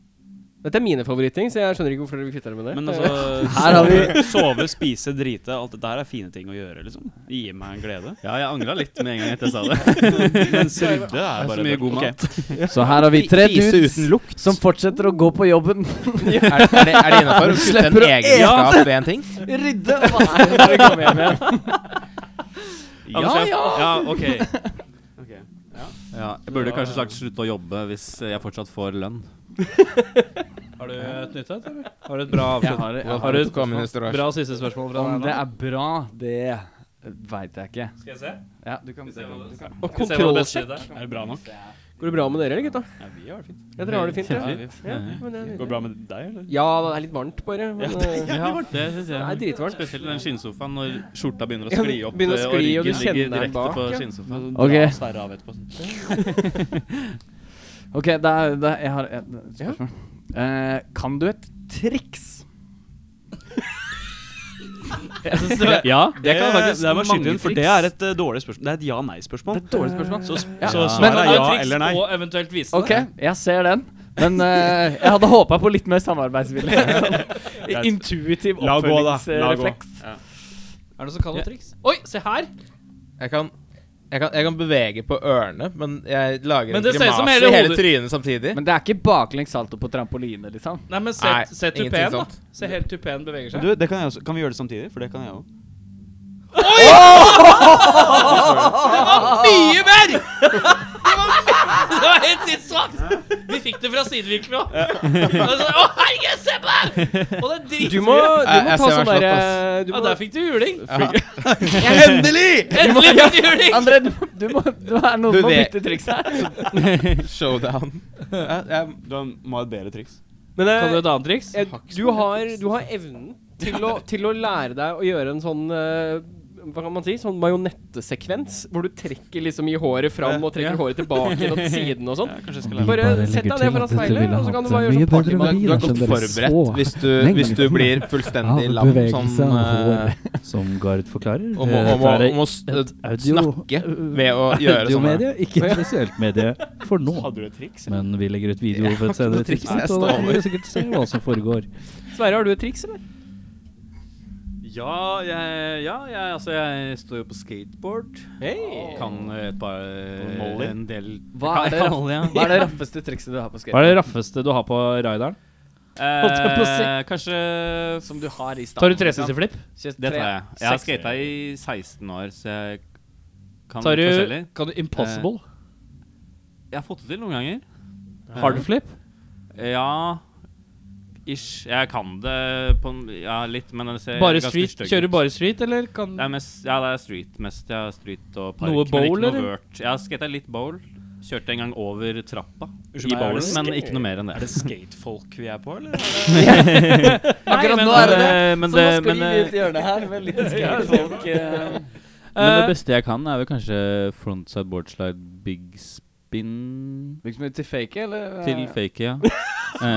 Dette er mine favorittting, så jeg skjønner ikke hvorfor dere vil kvitte dere med det.
Men *laughs* altså
Her har vi
sove- *laughs* Sove, spise, drite. Alt dette her er fine ting å gjøre, liksom. Det gir meg en glede.
Ja, jeg angra litt med en gang etter jeg sa det.
*laughs* Mens rydde
Det
er
er
bare
så mye god
Ok.
mat.
Så her har vi tre
Fise
dudes
uten lukt.
som fortsetter å gå på jobben.
Er, er det, er det innafor å putte en
Slipper å
egenskap ved en ting?
Rydde og vaske.
Ja, ja, ja. *laughs* ok. Ja, jeg burde kanskje sagt slutte å jobbe hvis jeg fortsatt får lønn.
Har du et nytt et, eller? Har du et bra
Jeg
avslutt?
har, jeg
Har du et
Kom inn i storasje.
bra siste spørsmål fra
Om
deg?
det
nå?
er bra, det veit jeg ikke.
Skal jeg se?
Ja, du kan,
se hva det-
du kan.
Og
Skal vi se hva det beste
kontrollsjekk.
i det er?
Er det bra nok?
Går det bra med dere, eller gutta?
Ja, vi har det fint.
Ja, dere har det fint? Ja, ja, men det er
Går det
nydelig.
bra med deg, *laughs* eller?
ja det er litt varmt, bare. Men, eh,
Ja, det syns
det er
jeg.
dritvarmt.
Spesielt i den skinnsofaen når skjorta begynner å
Ja,
skli opp,
begynner å
eh,
skli, og
og
du
ryggen
kjenner
ligger
den
direkte
bak,
på
ja.
skinnsofaen.
Dra
Ok.
Sverre av etterpå.
Ok, det er, det er, jeg har et spørsmål. Eh, kan du et triks?
*laughs* Ja, det kan faktisk
det er
mange
maskinrun,
For det er et eh, dårlig spørsmål. Det er et ja-nei-spørsmål.
Dårlig spørsmål.
Så,
Ja.
så
Men- eh,
svaret er ja eller nei.
Og eventuelt vise
Ok, jeg ser den. Men eh, jeg hadde håpa på litt mer samarbeidsvilje. Sånn Intuitiv
La gå, da. La gå.
oppfølgingsrefleks.
det. Er det noen som kan noe triks? Oi, se her!
Jeg kan, jeg, kan, jeg kan bevege på ørene, men jeg lager
Men
en
det ser ut som
grimase
hele
i hele
hodet-
trynet samtidig.
Men det er ikke baklengs salto på trampoline, liksom.
Nei, men se,
Nei,
se
ingenting
tupeen, da.
sånt.
Se helt tupeen beveger
Men
seg.
Du, det kan, jeg også. kan vi gjøre det samtidig? For det kan jeg òg.
Ah! Mye mer! Det var, det var helt sinnssvakt! Vi fikk det fra sidevinkelen òg. Å, herregud, se på det! Og det er dritgøy!
Du må, du må ta
Jeg- jeg ser
sånn
meg
derre
slått,
du,
Ja,
må-
der fikk du juling!
Endelig!
Endelig fikk du juling!
André, du, må- du må Du er noen
Du
må
vet-
bytte triks her.
Showdown.
Du må ha et bedre triks.
Men eh,
Kan du et annet triks?
eh, du, har, du har evnen til å, til å lære deg å gjøre en sånn eh, hva kan man si? Sånn marionettesekvens hvor du trekker liksom i håret fram og trekker håret tilbake igjen og til siden og sånn.
Kanskje jeg skal lære
Bare sett deg ned foran speilet, og så kan du bare gjøre sånn party
Du er, du er godt forberedt hvis du, hvis du blir fullstendig lam som eh,
Som Gard forklarer. eh,
om, å- om, å- om å s- snakke ved *laughs* å gjøre sånne
Audiomedie, ikke et spesielt medie for nå.
Hadde du et triks? eller?
Men vi legger ut video
Jeg
på
har
et
ikke noe
senere
triks,
tidspunkt,
jeg
og da kan
står
vi sikkert se hva som foregår.
Sverre, har du et triks, eller?
Ja, jeg, ja jeg, altså, jeg står jo på skateboard.
Hei!
Kan eh, et par
Molly?
En del
Hva er det,
Molly, ja.
hva er det raffeste trikset du har på
Hva
skate?
er det raffeste du har på rideren? Holdt jeg på å si.
Eh, kanskje
Som du har i staden?
Tar du 360-flipp?
Det tar jeg. Jeg har
Seks.
skata i 16 år, så jeg kan
Tar
litt
du
forskjellig.
Kan du impossible?
Jeg har fått det til noen ganger.
Hardflip?
Ja Ish. Jeg kan det på en- Ja, litt, men det ser
Bare
eh, ganske
street?
stygg
Kjører
ut.
du bare street, eller kan
Det er mest, ja, det er street mest. Ja, street og park.
Noe
men
bowl,
ikke
eller?
noe vert. Jeg har skata litt bowl. Kjørte en gang over trappa
Unnskyld meg, er
i
det
bowlen, men
skate-
ikke noe mer enn
Er
det.
det skatefolk vi er på, eller?
Akkurat
men-
nå er det det.
eh, Men
Så nå
det,
sklir
men,
vi ut i hjørnet her med en liten skatefolk. eh.
men det
Eh,
beste jeg kan, er vel kanskje frontside boardslide big spin
Bruker så mye til fake, eller?
til fake, ja.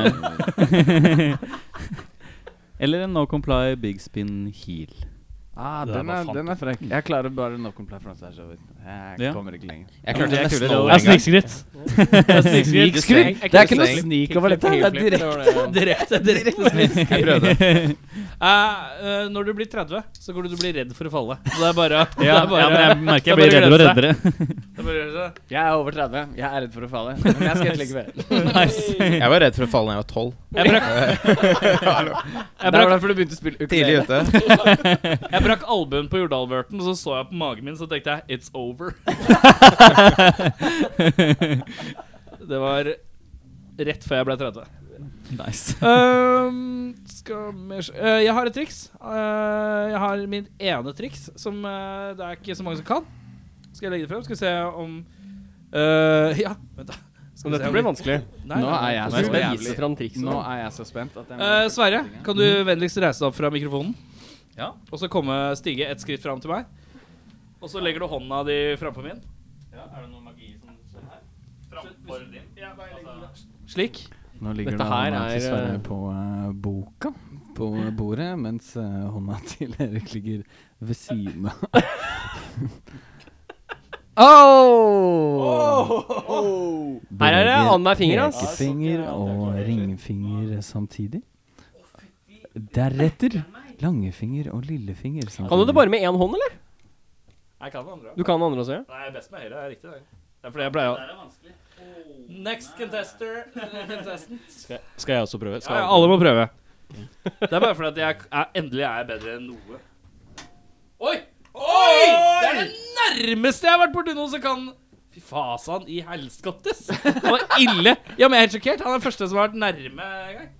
Eh, *laughs* Eller en no comply big spin heel.
Ah,
Det der
den
var
er,
fant
den er frekk. Jeg klarer bare no comply from stage. over.
Ja.
Jeg kommer ikke lenger.
Jeg
Ja, men
klarte
det er
nesten
kulere,
over
Det er
en gang.
*laughs*
snikskritt.
Sneak
Snikskritt?
sneak.
Det er ikke noe snik over dette. Det er direkte.
Direkte, direkte smisk.
Jeg prøvde.
Eh, eh, når du blir 30, så går du til å bli redd for å falle. Så det er *laughs* bare det er bare,
merker
jeg blir reddere og
reddere.
det er bare å gjøre det.
Jeg er over 30. Jeg er redd for å falle. Men jeg skal ikke mer.
Jeg var redd for å falle da jeg var tolv.
Jeg *laughs* brakk,
Det var derfor du begynte å spille
Tidlig
ukulele.
ute.
jeg brakk albuen på Jordalberten, og så så jeg på magen min, så tenkte jeg It's over. *laughs* det var rett før jeg ble 30.
*laughs* Nice.
Ehm, skal vi se Eh, Jeg har et triks. Eh, jeg har mitt ene triks, som eh, det er ikke så mange som kan. Skal jeg legge det frem? Skal vi se om eh, *laughs* Ja, vent, da. Skal vi se
Dette
om-
blir vanskelig.
Nei,
Nå
nei,
er
nei.
Du
jeg så
må vise
jævlig
fram trikset.
Nå er jeg så spent at jeg må
Eh, Sverre, kan du vennligst reise deg opp fra mikrofonen?
Ja.
Og så komme stige ett skritt fram til meg. Og så legger du hånda di framfor min.
Ja, er det noe magi som skjer her? Framfor din?
Slik.
Nå ligger
Dette
da
her
hånda til
er,
Sverre
eh,
på eh, boka på bordet, mens eh, hånda til Erik ligger ved siden av. oh!
eh,
Her er det annenhver finger hans.
Pekefinger og ringfinger samtidig. Deretter langefinger og lillefinger samtidig.
Kan du det bare med én hånd, eller?
Jeg kan den andre.
Du kan den andre også, ja?
Nei, best med høyre. Det er riktig, det. Det er fordi jeg pleier å Next contester.
*laughs*
Contestant.
Skal jeg også prøve? Skal
Ja,
jeg
ja, alle må prøve. Det er bare fordi at jeg er, endelig er jeg bedre enn noe. Oi! Oi! Det er det nærmeste jeg har vært borti noen som kan Fy fasan i helskottes! Det var ille. Ja, men jeg er helt sjokkert. Han er den første som har vært nærme en gang.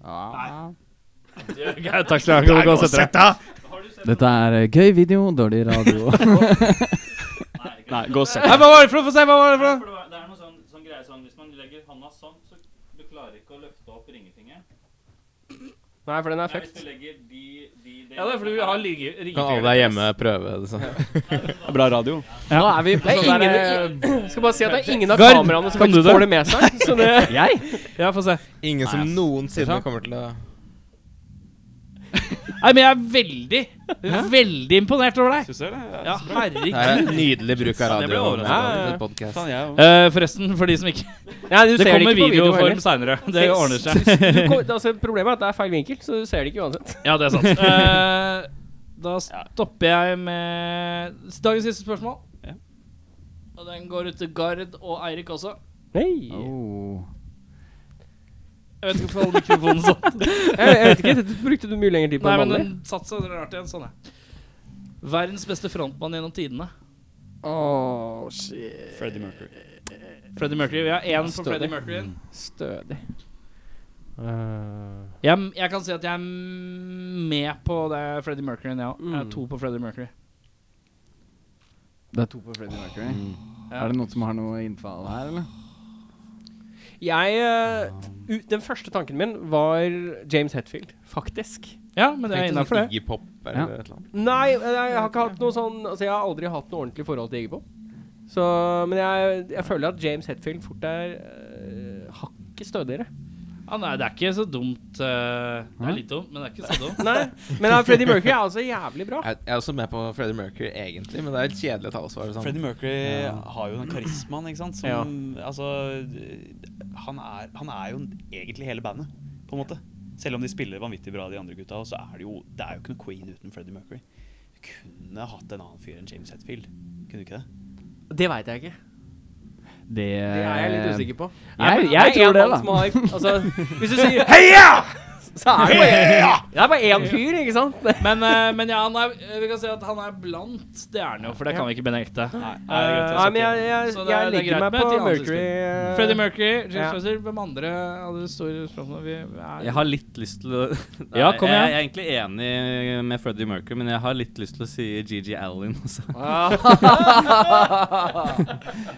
Ah.
Nei. Takk skal du ha. Gå og sett deg.
Dette er eh, gøy video, dårlig *laughs* radio.
Nei, gå og sett
Hva var det for noe? Få se, hva var det for noe?
For det var- det er noe sånn, sånn greie sånn Hvis man legger hånda sånn, så du klarer ikke å løfte opp ringefingeren.
Nei, for den er
Nei, hvis
fucked.
du legger de, de, de
Ja, det er fordi vi har lige-
Kan alle
ringfingre.
der hjemme prøve det sånn?
deg. Bra radio.
Nå er vi sånn
Det er
eh,
ingen, skal bare si at det er ingen av
Gard,
kameraene som
kan du
faktisk
det?
får det med seg. Så det
Ja, få se.
Ingen som noensinne kommer til å
Nei, men jeg er veldig, veldig imponert over deg.
Syns du det?
Ja, herregud.
Det her er en nydelig bruk
Jeg
av
ble
radio. og
overrasket.
en podcast.
Faen, jeg òg.
Eh, forresten, for de som ikke
Nei, du ser
Det kommer
ikke på video
videoform
heller.
seinere. Det ordner seg.
Du kom- altså, problemet er at det er feil vinkel, så du ser det ikke uansett.
Ja, det er sant. Eh, da stopper jeg med dagens siste spørsmål.
Ja.
Og den går ut til Gard og Eirik også.
Nei.
Oh.
Jeg vet ikke hvorfor jeg holder mikrofonen sånn.
Jeg, jeg vet ikke, dette brukte du mye lengre tid på
Nei,
enn
men
vanlig.
den satt seg rart igjen. Sånn, ja. Verdens beste frontmann gjennom tidene.
Oh, shit.
Freddie Mercury.
Freddie Mercury. Vi har én for
Stødig.
Freddie Mercury.
Stødig.
Eh,
Jeg, jeg kan si at jeg er med på det Freddie Mercury. Ja. Jeg
Mm.
er to på Freddie Mercury.
Det er to på Freddie Mercury.
Ja.
Er det noen som har noe innfall her, eller?
Jeg eh, u- Den første tanken min var James Hetfield, faktisk.
ja, men det er
Tenkte
innafor,
sånn
det.
Iggy Pop eller
Ja.
et eller annet.
Nei, eh, jeg har ikke hatt noe sånn Altså, jeg har aldri hatt noe ordentlig forhold til Iggy Pop. Så, men jeg, jeg føler at James Hetfield fort er eh, hakket stødigere.
Ja, nei, det er ikke så dumt. eh, det er litt dumt, men det er ikke så dumt.
Nei, men eh, Freddie Mercury er altså jævlig bra.
Jeg, jeg er også med på Freddie Mercury, egentlig, men det er et kjedelig talsvar. Sånn.
Freddie Mercury har jo den karismaen, ikke sant? Som,
Ja.
altså, han, er, han er jo egentlig hele bandet, på en måte. Selv om de spiller vanvittig bra, de andre gutta, så er det jo, det er jo ikke noe Queen uten Freddie Mercury. Du kunne hatt en annen fyr enn James Hetfield. Kunne du ikke det?
Det veit jeg ikke.
Det eh,
Det er jeg litt usikker på.
Jeg,
Det er
jeg
en
tror det,
mann
da.
som Har, altså,
*laughs*
hvis du sier heia, så er det bare, det er bare én fyr, ikke sant?
Men, eh, men ja, han er, vi kan si at han er blant. Det er han jo, for det kan vi ikke benekte.
Nei,
greit,
Nei, men jeg, jeg,
Så
jeg,
det er- det er
legger
greit
meg
med
på
et annet
Mercury. eh,
Freddie Mercury, James
Ja.
Fraser, hvem andre hadde store spørsmål? Vi er
Jeg har litt lyst til å *laughs* Nei,
Ja, kom igjen.
Jeg, jeg er egentlig enig med Freddie Mercury, men jeg har litt lyst til å si GG Allen også.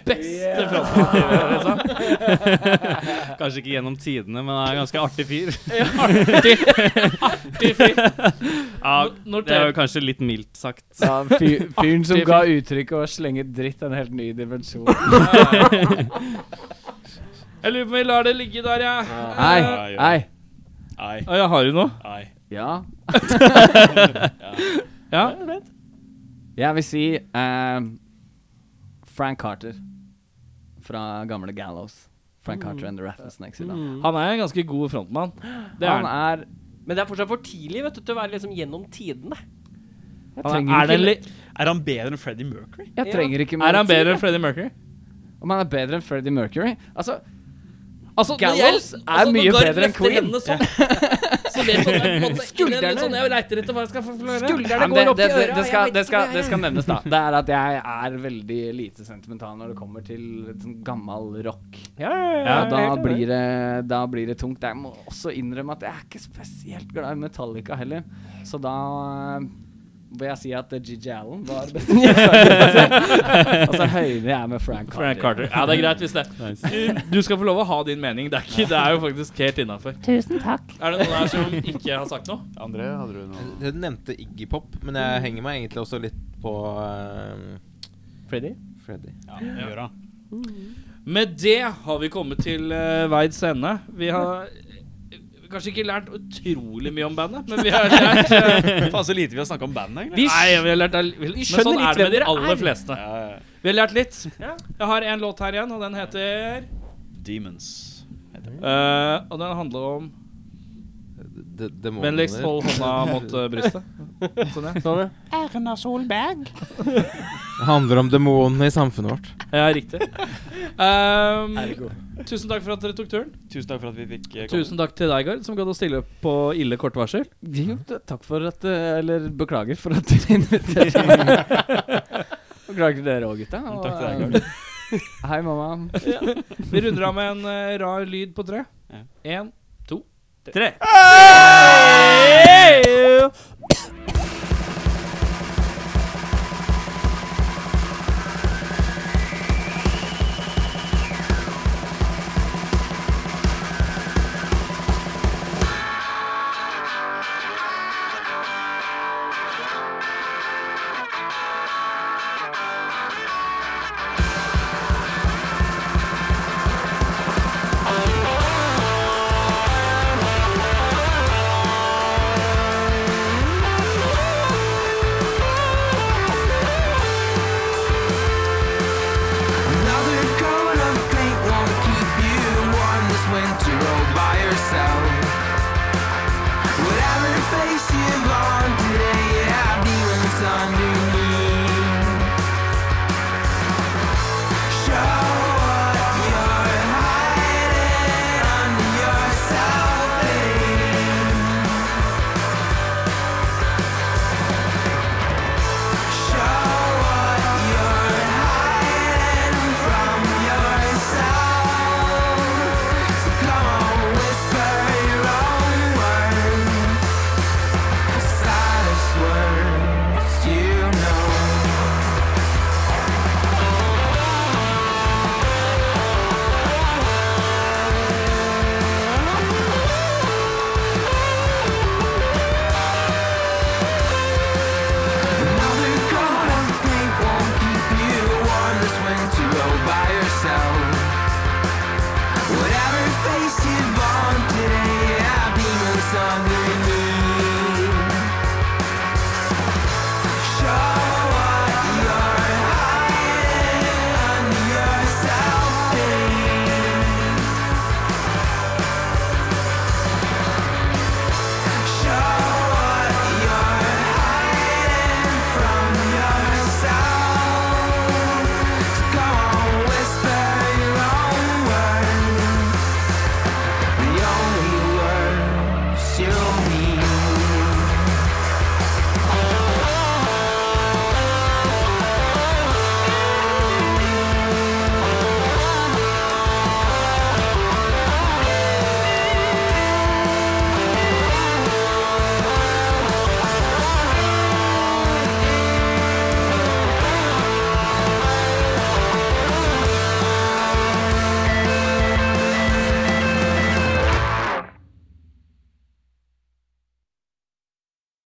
beste frontmotivet,
liksom.
liksom.
*laughs* Kanskje ikke gjennom tidene, men han er en ganske artig fyr.
Artig! Artig fyr.
Ja, det er
Noter.
jo kanskje litt mildt sagt.
Ja,
*laughs*
fyr, fyren som
Artig
ga uttrykk og slenge dritt en helt ny
*laughs*
dimensjon.
Jeg lurer på om vi lar det ligge der, jeg.
Hei,
ja, ja.
hei.
Nei,
Ja. jeg har jo noe.
nei.
Ja.
Ja.
Jeg vil si eh, Frank Carter fra gamle Gallows. Frank
Mm.
Carter and the Raffles Next.
Han er en ganske god frontmann. Det er
Han
han.
er
Men det er fortsatt for tidlig vet du, til å være liksom gjennom tidene.
Jeg
Han
trenger
er, er, det
ikke,
li-
Er han bedre enn Freddie Mercury?
jeg trenger ikke mer
er han
tid.
bedre enn Freddie Mercury?
Om han er bedre enn Freddie Mercury? Altså,
Altså, når
Gallows
jeg-
er mye
når Garth
bedre enn
løfter
Queen.
hendene Sånn, så vet man på en måte ikke det, men sånn, Jeg leiter etter hva jeg skal forklare.
ja,
Skuldrene
men
går
det,
opp
det,
i
det,
øra.
det,
jeg
skal,
vet
det, skal,
ikke hva jeg
det skal nevnes, da. Det er at jeg er veldig lite sentimental når det kommer til sånn gammel rock.
er. Ja, ja,
Ja,
ja,
da,
helt enig.
blir det, da blir det tungt. Jeg må også innrømme at jeg er ikke spesielt glad i Metallica heller. Så da eh, vil jeg si at eh, Gigi Allen var *laughs*
*laughs*
best. Og så høyner jeg med Frank Carter.
Frank Carter. Ja, det er greit hvis det. Du skal få lov å ha din mening. Det er, ikke, det er jo faktisk helt innafor.
Tusen takk.
Er det noen her som ikke har sagt noe?
André, hadde du noe?
Du nevnte Iggy Pop, men jeg henger meg egentlig også litt på eh,
Freddy?
Freddie.
Ja, gjør han.
Med det har vi kommet til uh, veis ende. Vi har eh, kanskje ikke lært utrolig mye om bandet, men vi har lært eh,
Faen, så lite vi har snakket om bandet, egentlig.
Nei, vi har lært all- Men
skjønner
sånn
litt
er det med
hvem
de
dere
aller
er.
fleste.
Ja, ja.
Vi har lært litt. Jeg har en låt her igjen, og den heter
Demons.
eh, Og den handler om
De, demoner.
Vennligst hold hånda mot eh, brystet. Sånn, ja.
Sånn, ja.
Erna Solberg.
Det handler om demonene i samfunnet vårt.
Ja, riktig. Ehm, tusen takk for at dere tok turen.
Tusen takk for at vi fikk eh, komme.
Tusen takk til deg, Gard, som gadd å stille opp på ille kort varsel.
Jo, d- takk for at eh, Eller beklager for at dere inviterte meg. Beklager til dere òg, gutta. og,
Takk til deg,
eh, Hei, mamma.
Vi runder av med en eh, rar lyd på tre. Én, to, tre.